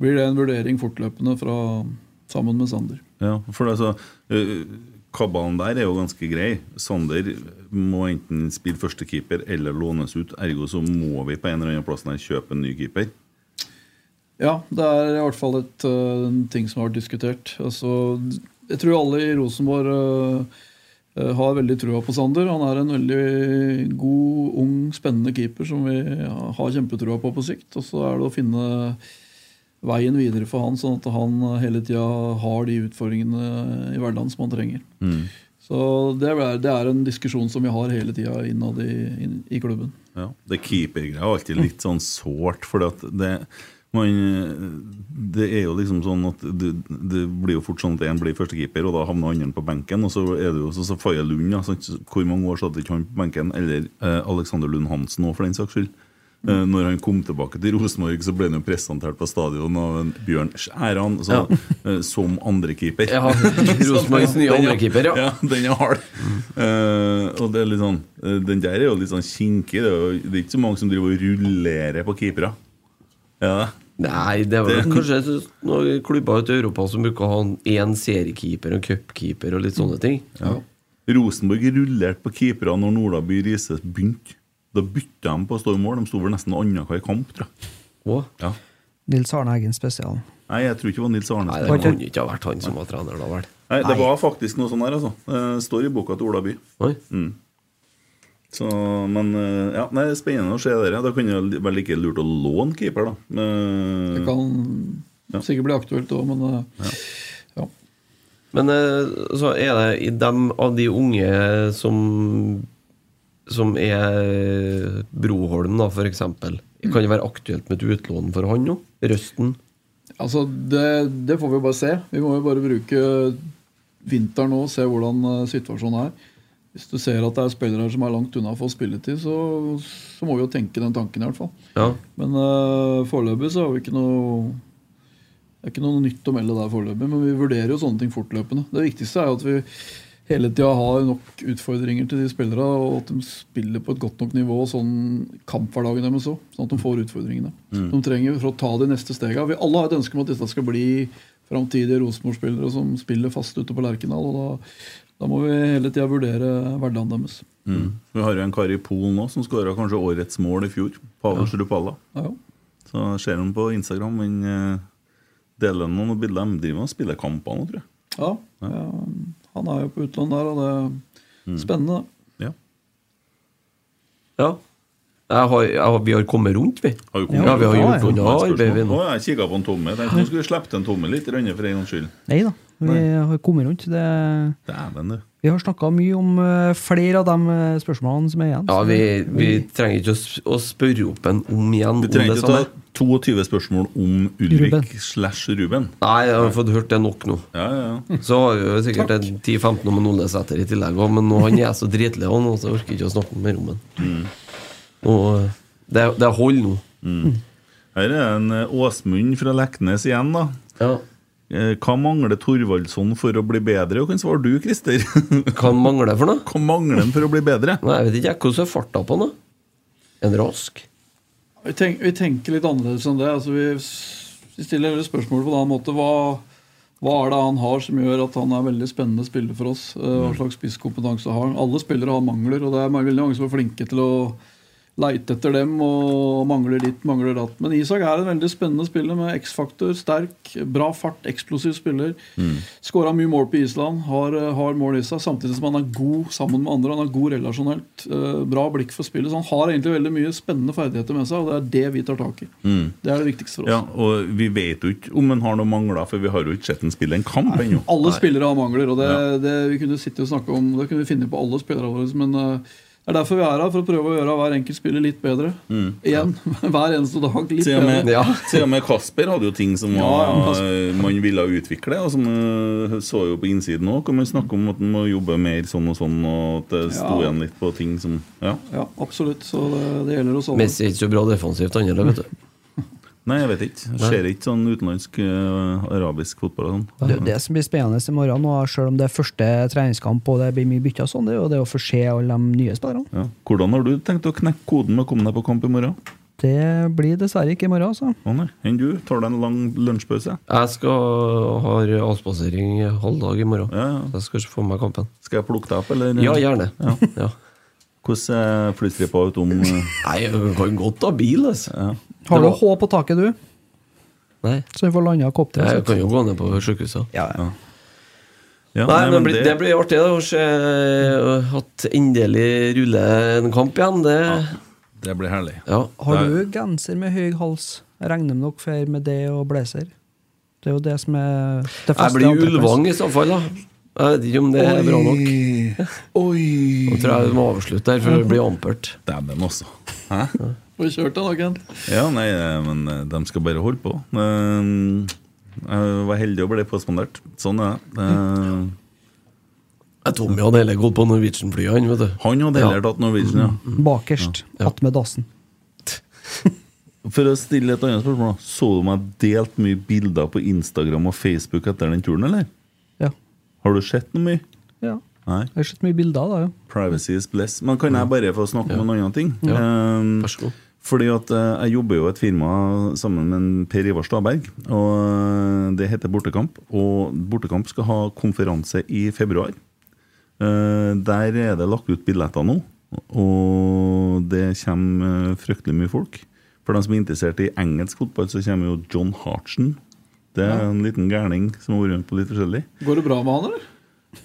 B: blir det en vurdering fortløpende fra, sammen med Sander.
A: Ja, for altså, eh, kabalen der er jo ganske grei. Sander må enten spille førstekeeper eller lånes ut. Ergo så må vi på en eller annen plass der kjøpe en ny keeper.
B: Ja, det er i hvert fall et, øh, en ting som har vært diskutert. Altså, jeg tror alle i Rosenborg øh, øh, har veldig trua på Sander. Han er en veldig god, ung, spennende keeper som vi har kjempetrua på på sikt. Og så er det å finne veien videre for han, sånn at han hele tida har de utfordringene i hverdagen som han trenger.
A: Mm.
B: Så det er, det er en diskusjon som vi har hele tida innad i, inn, i klubben.
A: Ja, Det keepergreia er alltid litt sånn sårt, for det, man- det er jo liksom sånn at du, det blir jo fort sånn at én blir førstekeeper, og da havner andre på benken. Og så er det jo sånn som Faye Lund. da, sant? hvor mange år satt ikke han på benken? Eller eh, Alexander Lund Hansen òg, for den saks skyld. Eh, når han kom tilbake til Rosenborg, så ble han jo presentert på stadion av en Bjørn Skjæran så, eh, som andrekeeper.
C: Ja, Rosenborgs nye andrekeeper, ja.
A: ja. Den er hard. Eh, og det er litt sånn, eh, den der er jo litt sånn kinkig. Det er, jo, det er ikke så mange som driver og rullerer på keepere. Ja.
C: Nei, det er vel kanskje noen klubber ute i Europa som bruker å ha en- en seriekeeper og cupkeeper og litt sånne ting.
A: Ja. Rosenborg rullerte på keepere når Nordaby Riise begynte. Da bytta de på å stå i mål. De sto vel nesten annenhver kamp, tror jeg. Ja.
E: Nils Arne Eggen spesial.
A: Nei, jeg tror ikke det var Nils Arne.
E: Nei,
A: som
E: det
A: var-
E: kunne
C: ikke ha vært han som var trener da, vel?
A: Nei, det var faktisk noe sånn her, altså. Det står i boka til Ola By. Mm. Så, men eh, ja, nei, det er spennende å se dere. Da kunne det vel like lurt å låne keeper, da. Eh,
B: Det
A: Men,
B: kan sikkert bli aktuelt òg, men øh, ja.
C: Men eh, så er det i dem av de unge som Som er Broholm, da, for eksempel. Kan det være aktuelt med et utlån for han nå? Røsten?
B: Altså, det, det får vi jo bare se. Vi må jo bare bruke vinteren nå og se hvordan eh, situasjonen er. Hvis du ser at det er spillere her som er langt unna å få spilletid, så, så må vi jo tenke den tanken i hvert fall.
C: Ja.
B: Men uh, foreløpig så har vi ikke noe Det er ikke noe nytt å melde der foreløpig, men vi vurderer jo sånne ting fortløpende. Det viktigste er jo at vi hele tida har nok utfordringer til de spillerne, og at de spiller på et godt nok nivå sånn kamphverdagen deres òg, sånn at de får utfordringene.
J: Mm.
B: De trenger for å ta de neste stegene. Vi alle har et ønske om at dette skal bli framtidige Rosenborg-spillere som spiller fast ute på Lerkendal, og da, da må vi hele tida vurdere hverdagen deres.
A: mm. Vi har jo en kar i Polen nå som skåra kanskje årets mål i fjor. Pavel Shrupalla.
B: Ja, ja.
A: Så ser han på Instagram. Han eh, deler noen bilder. De driver og spiller kamper nå, tror jeg.
B: Ja, ja, han er jo på utlån der, og det er spennende.
C: Ja. Jeg har, jeg har, vi har kommet rundt, vi.
A: Har jo
C: ja, vi har
A: noen
C: gjort unna arbeidet.
A: spørsmål.
C: nå.
A: Å, jeg kikka på en tomme. Jeg tenkte nå skulle vi slippe til en tomme litt Rønne, for en gangs skyld.
E: Nei da, vi har kommet rundt. Det,
A: Dæven, du.
E: vi har snakka mye om eh, flere av de eh, spørsmålene som er igjen.
C: Ja,
E: så
C: vi, vi trenger ikke å, s- å spørre opp en om igjen.
A: Vi trenger ikke å ta 22 spørsmål om
C: Ruben.
A: Ulrik slash Ruben.
C: Nei, jeg har fått hørt det nok nå. Så har vi jo sikkert
A: Takk.
C: en 10-15 om en Olesæter i tillegg også, men nå han er så dritlei han, så jeg orker ikke å snakke mer om han. Og det, det holder nå.
A: Her er en eh, Åsmund fra Leknes igjen, da. Eh, Hva mangler Thorvaldsson for å bli bedre? Og kan svare du, Christer.
C: Hva mangler for noe?
A: Hva mangler han for å bli bedre?
C: Nei, Jeg vet ikke jeg, hvordan er farta på han, da? En rask?
B: Vi, tenk, vi tenker litt annerledes enn det. Altså, vi, s- vi stiller heller spørsmål på en annen måte. Hva, hva er det han har som gjør at han er veldig spennende spiller for oss? Eh, Hva slags spisskompetanse har han? Alle spillere har mangler, og det er mange- veldig mange som er flinke til å leite etter dem og mangler ditt, mangler datt. Men Isak er en veldig spennende spiller med X-faktor, sterk, bra fart, eksplosiv spiller.
A: Mm.
B: Skåra mye mål på Island, har, eh, har mål i seg, samtidig som han er god sammen med andre. Han er god relasjonelt, eh, bra blikk for spillet. Så han har egentlig veldig mye spennende ferdigheter med seg, og det er det vi tar tak i.
A: Mm.
B: Det er det viktigste for oss.
A: Ja, og vi vet jo ikke om han har noen mangler, for vi har jo ikke sett han spille en kamp ennå.
B: Alle spillere har mangler, og det, det vi kunne sitte og snakke om Det kunne vi finne på alle spillerne våre, men eh, det er derfor vi er her, for å prøve å gjøre hver enkelt spiller litt bedre.
A: Mm.
B: Igjen, hver eneste dag litt
A: Til og, med,
B: bedre.
A: til og med Kasper hadde jo ting som
B: Ja,
A: var,
B: ja,
A: man ville utvikle, og som eh, så jo på innsiden òg. Kan man snakke om at man må jobbe mer sånn og sånn, og at det sto
B: Ja.
A: igjen litt på ting som Ja.
B: Ja, absolutt. Så det, det gjelder oss alle.
C: Messi er ikke så bra defensivt, han heller, vet du.
A: Nei, jeg vet ikke. Jeg
C: Nei.
A: ser ikke sånn utenlandsk eh, arabisk fotball og
E: Det er
C: Mhm.
A: sånn.
E: jo det som blir spennende i morgen, og selv om det er første treningskamp og det blir mye bytter, og sånn, det er jo det å få se alle de nye spillerne.
A: Ja. Hvordan har du tenkt å knekke koden med å komme deg på kamp i morgen?
E: Det blir dessverre ikke i morgen, altså.
A: Å nei. Enn du? Tar du en lang lunsjpause?
C: Jeg skal ha avspasering halv dag i morgen. Så jeg skal ikke få med meg kampen.
A: Skal jeg plukke deg opp, eller?
C: Ja, gjerne.
A: Ja.
C: Ja.
A: Hvordan eh, er flystripa ut om
C: Nei, jeg kan godt ha bil, altså.
E: Har
C: Det
E: du
C: var-
E: H på taket, du?
C: Nei.
E: Så vi får landa kopteret
C: Jeg
E: sitt.
C: kan jo gå ned på sjukehuset.
A: Ja.
C: nei,
A: nei,
C: men
A: men
C: blir-
A: det-
C: det blir artig da, å se eh, at endelig ruller en kamp igjen. Det,
A: Det blir herlig.
C: ja.
E: Har du genser med høy hals? Jeg regner med dere fer med det og blazer. Det er jo det som er det
C: Jeg
E: faste
C: blir
E: antrekket.
C: Ulvang i så fall, da. Jeg vet ikke om det er bra nok.
B: Oi!
C: Nå tror jeg vi må avslutte her, for det blir ampert.
A: Dæven også. Hæ?
B: Får kjørt deg, da, Kent.
A: Ja, nei, eh, men eh, de skal bare holde på. Eh, Jeg var heldig og ble påspandert. Sånn er det. Eh,
C: Jeg Tommy hadde heller gått på Norwegian-flyet, han, vet du.
A: Han hadde heller tatt Norwegian, ja.
E: Bakerst, attmed dassen.
A: For å stille et annet spørsmål, da. så du meg delt mye bilder på Instagram og Facebook etter den turen, eller?
E: Ja.
A: Har du sett noe mye?
E: ja.
A: Nei.
E: Jeg har sett mye bilder av det. jo.
A: Privacy is bliss. Men kan jeg bare få snakke om en annen ting?
C: Mm. Ja.
A: Eh,
C: Vær så god.
A: Fordi at eh, jeg jobber jo i et firma sammen med en Per Ivar Staberg. Og eh, det heter Bortekamp. Og Bortekamp skal ha konferanse i februar. Eh, der er det lagt ut billetter nå, og det kommer eh, fryktelig mye folk. For de som er interessert i engelsk fotball, så kommer jo John Hartsen. Det er en liten gærning som har vært med på litt forskjellig.
B: Går det bra med han, eller?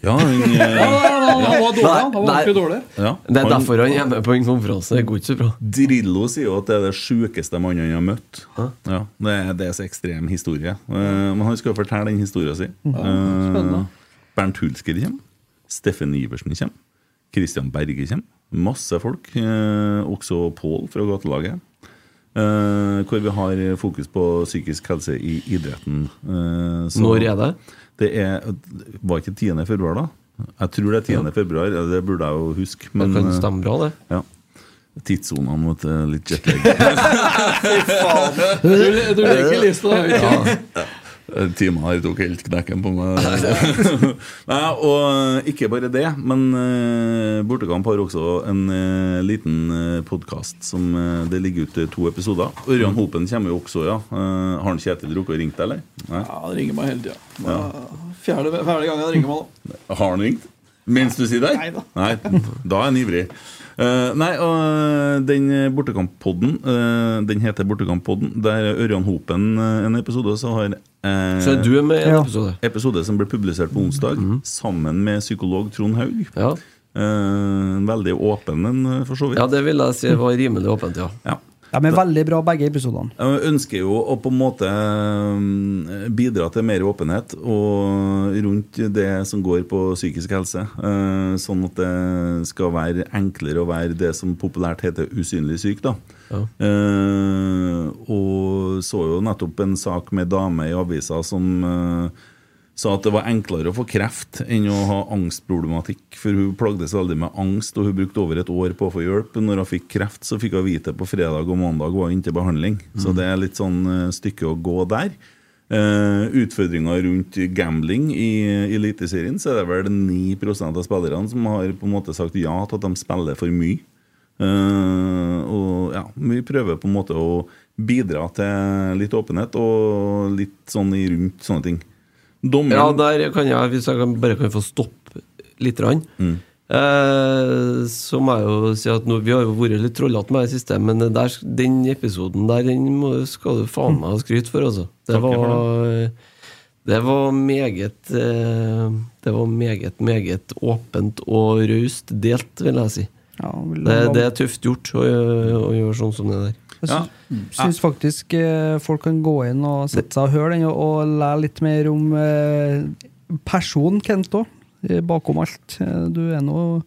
A: Ja, han,
B: Ja,
A: eh,
B: han, han, han var dårlig, han.
C: Nei,
B: Han var
C: nei.
B: ordentlig dårlig.
A: ja,
C: Det er
A: han-
C: derfor han er med på en konferanse. Det går ikke så bra.
A: Drillo sier jo at det er det sjukeste mannen han har møtt. Ja, det, er, det er så ekstrem historie. Eh, men han skal fortelle den historien sin.
C: Mm.
B: spennende.
A: Eh, Bernt Hulsker kommer. Steffen Iversen kommer. Christian Berge kommer. Masse folk. eh, også Pål fra gatelaget. Eh, hvor vi har fokus på psykisk helse i idretten. Eh, så-
C: Når er det?
A: det er, var ikke 10. februar, da? Jeg tror det er 10. februar, ja, det burde jeg jo huske.
C: Det
A: Men,
C: kan
A: eh,
C: stemme bra, det.
A: ja. Tidssonene mot eh, litt jetlag.
B: Du, du legger lista høyt. Ja.
A: Eh, Timen her tok helt knekken på meg. Nei, og eh, ikke bare det, men eh, Bortekamp har også en eh, liten uh, podkast som eh, det ligger ute to episoder. Ørjan Hopen kommer jo også, ja. Eh, har han Kjetil drukket og ringt, eller? Nei.
B: han ringer meg hele tida. Fjerde, fjerde gangen han ringer meg nå.
A: Har han ringt? Mens du sitter der?
B: Nei da.
A: Nei, da er han ivrig. Eh, nei, og den Bortekamp-podden, eh, den heter Bortekamp-podden. Der er Ørjan Hopen eh, en episode, og så har eh,
C: Så er du med i en
E: Ja.
C: episode.
A: episode som ble publisert på onsdag,
C: Mhm.
A: sammen med psykolog Trond Haug.
C: Ja.
A: Eh, en veldig åpen en, eh, for så vidt.
C: ja, det vil jeg si var rimelig åpent, ja.
A: Ja.
E: De er veldig bra, begge episodene.
A: Jeg ønsker jo å på en måte eh, bidra til mer åpenhet og rundt det som går på psykisk helse. eh, Sånn at det skal være enklere å være det som populært heter usynlig syk. da.
C: Ja.
A: Eh, Og så jo nettopp en sak med dame i avisa som eh, sa at det var enklere å få kreft enn å ha angstproblematikk. For hun plagdes veldig med angst, og hun brukte over et år på å få hjelp. Når hun fikk kreft, så fikk hun vite på fredag og mandag var hun inntil behandling. Så det er litt sånn eh, stykke å gå der. Eh, utfordringer rundt gambling i Eliteserien, så er det vel 9 av spillerne som har på en måte sagt ja til at de spiller for mye. Eh, og ja, vi prøver på en måte å bidra til litt åpenhet og litt sånn i rundt sånne ting. Dommeren
C: Ja, der kan jeg, hvis jeg kan, bare kan få stoppe litt, rann, eh, så må jeg jo si at nå, vi har jo vært litt trollete med det siste, men det der, den episoden der den må, skal du faen meg ha skryt for, altså. Det
A: Takk
C: var, det var meget eh, Det var meget, meget åpent og raust delt, vil jeg si.
E: Ja, vil-
C: Det, det er tøft gjort å, gjø- å gjøre sånn som det der.
E: Jeg
A: Ja.
E: syns, syns faktisk eh, folk kan gå inn og sette seg og høre den, og, og lære litt mer om eh, personen Kent òg, bakom alt. Eh, Du er nå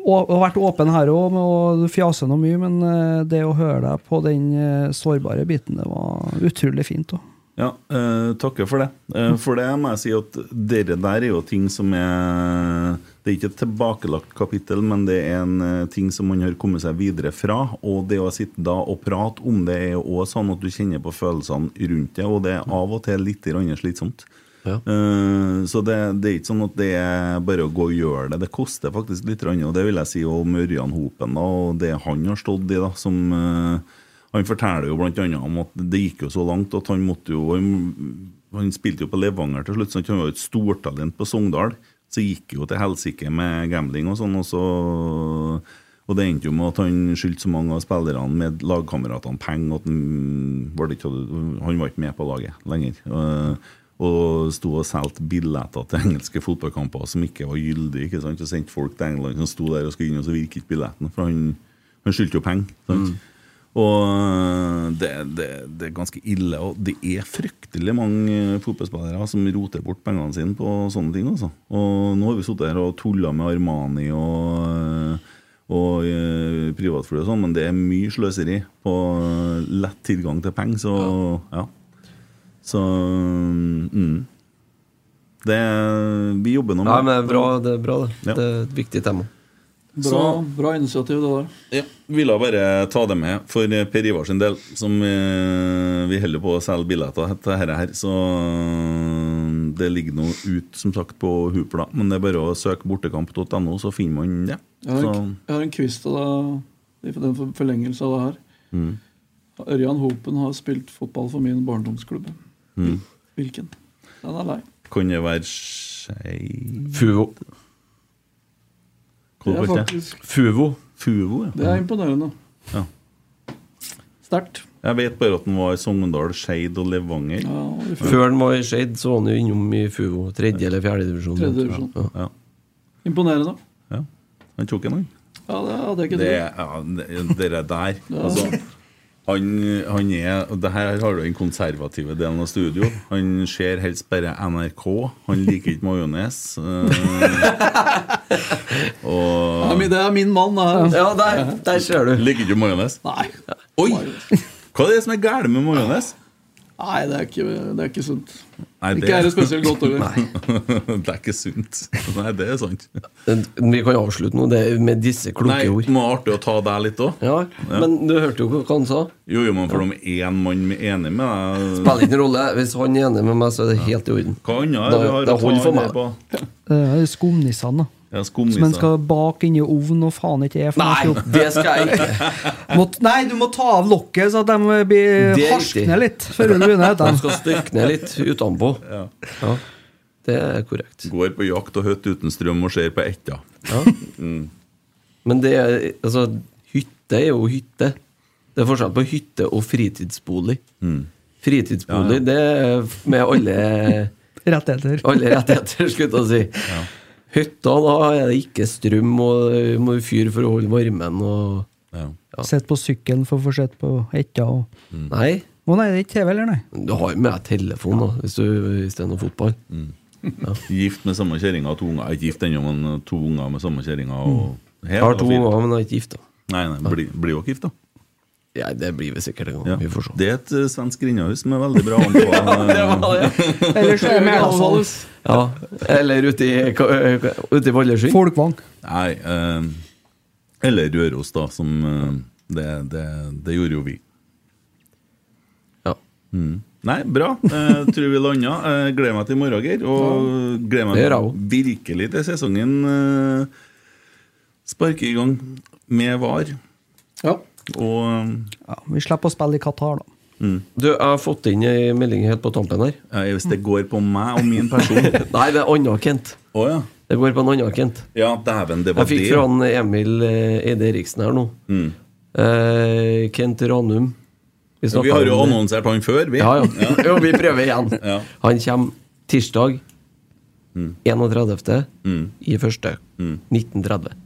E: og har vært åpen her òg, og du fjaser nå mye, men eh, det å høre deg på den eh, sårbare biten, det var utrolig fint òg.
A: Ja, eh, takker for det. Eh, for det må jeg si at dere der er jo ting som er Det er ikke et tilbakelagt kapittel, men det er en eh, ting som man har kommet seg videre fra. Og det å sitte da og prate om det er jo også sånn at du kjenner på følelsene rundt det, og det er av og til litt grann slitsomt.
C: Ja.
A: Eh, Så det, det er ikke sånn at det er bare å gå og gjøre det. Det koster faktisk litt, grann, og det vil jeg si om Ørjan Hopen da, og det han har stått i, da, som eh, Han forteller jo bl.a. om at det gikk jo så langt at han måtte jo Han, han spilte jo på Levanger til slutt, så han var jo et stortalent på Sogndal. Så gikk jo til helsike med gambling og sånn, og så og det endte jo med at han skyldte så mange av spillerne med lagkameratene penger at han var, ikke, han var ikke med på laget lenger. Eh, Og sto og solgte billetter til engelske fotballkamper som ikke var gyldige. ikke sant? Og sendte folk til England som sto der og skulle inn, og så virket ikke billetten. For han, han skyldte jo penger. sant? Og eh, det, det, det er ganske ille. Og det er fryktelig mange eh, fotballspillere som roter bort pengene sine på sånne ting. altså. Og nå har vi sittet her og tulla med Armani og, og eh, privatfly og sånn, men det er mye sløseri på eh, lett tilgang til penger, så ja. Så mm. Det Vi jobber nå med
C: Nei, men det er bra, det. er bra det.
A: Ja.
C: det er et viktig tema.
B: Bra, bra initiativ, det der.
A: Ja, ville bare ta det med for eh, Per Ivar sin del, som eh, vi holder på å selge billetter til dette her. Så eh, det ligger nå ut, som sagt, på Hupla. Men det er bare å søke bortekamp.no, så finner man det.
B: Jeg har
A: Så,
B: en, jeg har en quiz til deg i den for- forlengelse av det her.
A: mm,
B: Ørjan Hopen har spilt fotball for min barndomsklubb.
A: mm.
B: Hvilken? Den er lei.
A: Kan det være Skei
C: Fuvo.
A: Hva
B: Det er
A: kalte det?
B: faktisk-
C: Fuvo.
A: Fuvo, ja.
B: Det er imponerende.
A: Ja.
B: Sterkt.
A: Jeg vet bare at den var i Sogndal, Skeid og Levanger.
B: Ja, vi får-
C: Mm. Før han var i Skeid, så var han jo innom i Fuvo. Tredje eller fjerde divisjon.
B: Tredje divisjon.
C: Ja.
A: Ja,
B: Imponerende.
A: ja. Han tok en, han.
B: Ja, det hadde jeg ikke
A: Det,
B: trodd.
A: ja, det- dere der altså, han, han er og det her har du den konservative delen av studio. Han ser helst bare NRK. Han liker ikke majones. eh,
B: Ja,
A: og
B: men det er min mann, det her.
C: Ja, der, der ser du.
A: Liker ikke majones?
B: Nei.
A: Oi! Hva er det som er galt med majones?
B: Nei, det er ikke, det er ikke sunt.
A: Nei,
B: Ikke er det spesielt godt heller.
A: det er ikke sunt. Nei, det er sant.
C: Vi kan avslutte nå det er med disse kloke
A: Nei,
C: ord.
A: det må være artig å ta deg litt òg.
C: Ja, Men du hørte jo hva han sa.
A: Jo, jo, men for om én mann er enig med deg
C: Spiller ingen rolle. Hvis han er enig med meg, så er det helt i orden.
A: Hva annet er
C: Da-
A: det vi har
C: da
A: å ta
C: holder
A: ned
C: for meg.
A: på?
E: Eh, Skumnissene, da.
A: Ja,
E: Som en
A: skumnisser.
E: skal bake inn i ovnen og faen ikke er. for noe
C: Nei,
E: opp.
C: det skal jeg ikke.
E: Må, nei, du må ta av lokket, så at de blir
C: Det er
E: harskne
C: riktig.
E: litt. Før du begynner etter
C: Han
E: dem.
C: skal stykke ned litt utenpå.
A: Ja.
C: Ja, det er korrekt.
A: Går på jakt og høtt uten strøm og ser på etta.
C: Ja. Men det er Altså, hytte er jo hytte. Det er forskjell på hytte og fritidsbolig.
A: Mm.
C: Fritidsbolig, det er med alle,
E: Rettigheter.
C: alle rettigheter, skulle jeg til å si. Hytta, da er det ikke strøm, og du må fyre for å holde varmen og
A: Ja.
C: Ja.
E: Sitt på sykkelen for å få sett på etta og
A: Mm.
C: Nei,
E: Å nei, det er ikke TV, eller? Nei.
C: du har jo med deg telefon da, hvis du istedenfor fotball.
A: Gift med samme kjerringa og to unger. Ikke gift ennå, men to unger med samme kjerringa. og- Helt
C: Jeg Mm. har to
A: fint.
C: unger, men jeg er ikke gift, da.
A: Nei, nei, blir blir jo ikke gift, da.
C: Ja, det blir vi sikkert en gang.
A: Ja.
C: Vi får se.
A: Det er et eh, svensk grindahus som er veldig bra. anbefalt.
E: Ellers er det Mælasalv.
C: Ja, eller ute i, ute i Vallersund.
E: Folkvang.
A: Nei, eh, eller Røros, da, som eh, det, det, det gjorde jo vi.
C: Ja.
A: Nei, bra. Eh, tror vi landa. Eh, gleder meg til i morgen, Geir. Og gleder
C: Det
A: meg
C: gjør jeg også.
A: virkelig til sesongen eh, sparker i gang med VAR.
B: Ja.
A: Og eh,
E: Ja, vi slipper å spille i Qatar, da.
C: Du, jeg har fått inn ei melding helt på tampen her.
A: hvis det går på meg og min person Å
C: Nei, det er anna Kent.
A: ja.
C: Det går på en annen Kent.
A: Ja, Mm. dæven, det var
C: Jeg fikk
A: det.
C: fra han Emil eh, Eide Eriksen her nå. Eh, Kent Ranum. snakket
A: Vi har jo
C: om det.
A: annonsert han før, vi.
C: Ja, ja. jo, vi prøver igjen.
A: Ja. Mm.
C: Han kommer tirsdag 31. i første. 1930.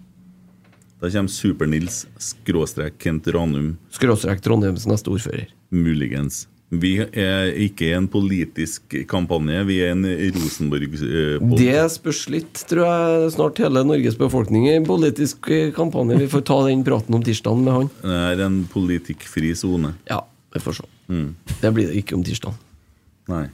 A: Da kommer Super-Nils skråstrek Kent Ranum,
C: Skråstrek Trondheims neste ordfører.
A: muligens. Vi er ikke en politisk kampanje, vi er en Rosenborg-pod.
C: Det spørs litt, tror jeg, snart hele Norges befolkning i en politisk eh, kampanje. Vi får ta den praten om tirsdagen med han.
A: Det er en politikkfri sone.
C: Ja, vi får se.
A: Mm.
C: Det blir det ikke om tirsdagen.
A: Nei.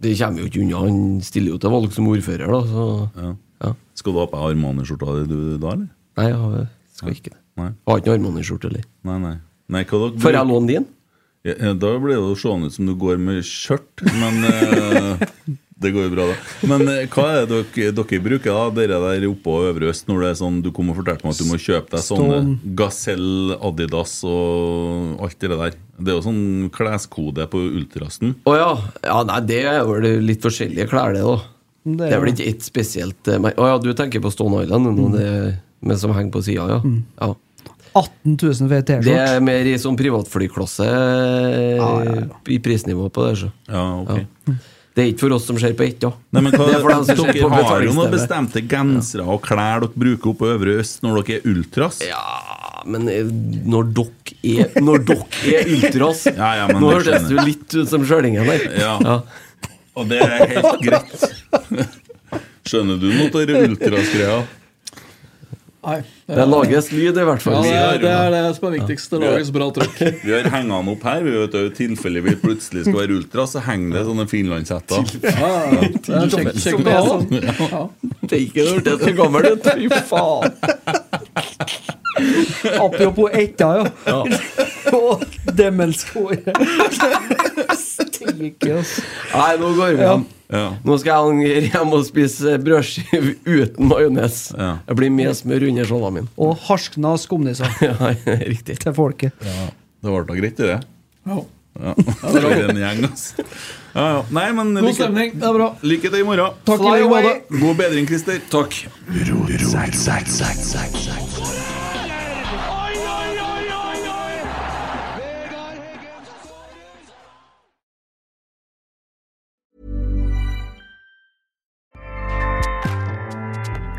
C: Det kommer jo ikke unna. Han stiller jo til valg som ordfører, da, så
A: Ja.
C: ja.
A: Skal du ha på deg Armani-skjorta di du da, eller?
C: Nei, jeg har- skal ikke det.
A: Nei.
C: Jeg har ikke noe Armani-skjorte heller.
A: Nei, nei. nei hva dere
C: Får jeg
A: bruker-
C: låne din?
A: Ja, ja, da blir det jo sånn ut som du går med skjørt, men eh, Det går jo bra, da. Men eh, hva er det dere, dere bruker, da, dere der oppe på Øvre Øst, når det er sånn, du kom og fortalte meg at du må kjøpe deg sånne
E: Stone.
A: Gazelle, Adidas og alt det der? Det er jo sånn kleskode på ultrasen.
C: Å ja. ja. Nei, det er vel litt forskjellige klær, det, da.
E: Det
C: Det
E: er
C: er vel
E: jo-
C: ikke ett spesielt eh, mer- Å ja, du tenker på Stone Island, nå, det, men som henger på sida, ja.
E: Mm.
C: ja.
E: 18 000 for et
C: Det
E: T-skjorte.
C: er mer i sånn privatflyklasse eh, i prisnivå på det. Så. Ja. Det er ikke for oss som ser på ett, da.
A: Nei, men hva,
C: det er for dem som ser
A: dere
C: på
A: har jo noen
C: betalingsstedet.
A: bestemte gensere og klær dere bruker oppe på Øvre Øst når dere er ultras?
C: Ja, men eh, når dere er Når dere er ultras
A: Ja, ja, men
C: Nå
A: det
C: hørtes
A: skjønner
C: du
A: jeg.
C: litt ut som sjølingen der.
A: Ja. Og det er helt greit. Skjønner du noe av det ultras-greia?
B: Nei.
C: Det lages lyd, i hvert fall.
B: Ja, det er det som er viktigst. Det lages bra trykk.
A: Vi har henga den opp her. Vi vet jo I tilfelle vi plutselig skal være ultra, så henger det sånne finlandshetter.
B: Ja, det er kjekt- kjekt å ha sånn. Ja.
C: Det er ikke det så gammel ut. Fy faen.
E: Apropos etter, ja.
C: Ja.
E: Og demenshåret. Steike, altså.
C: Nei, nå går vi hjem. Nå skal jeg angre hjem og spise brødskive uten majones. Jeg blir med smør under skjolda min.
E: Og harskna skumnisser
C: Ja, riktig.
E: til folket.
A: Det ble da greit, det.
B: Ja.
A: Ja. For en gjeng, altså. Ja, ja. Nei, men
B: God stemning. Det er bra.
A: lykke til i morgen.
E: Takk i like måte.
A: God bedring, Christer. Takk.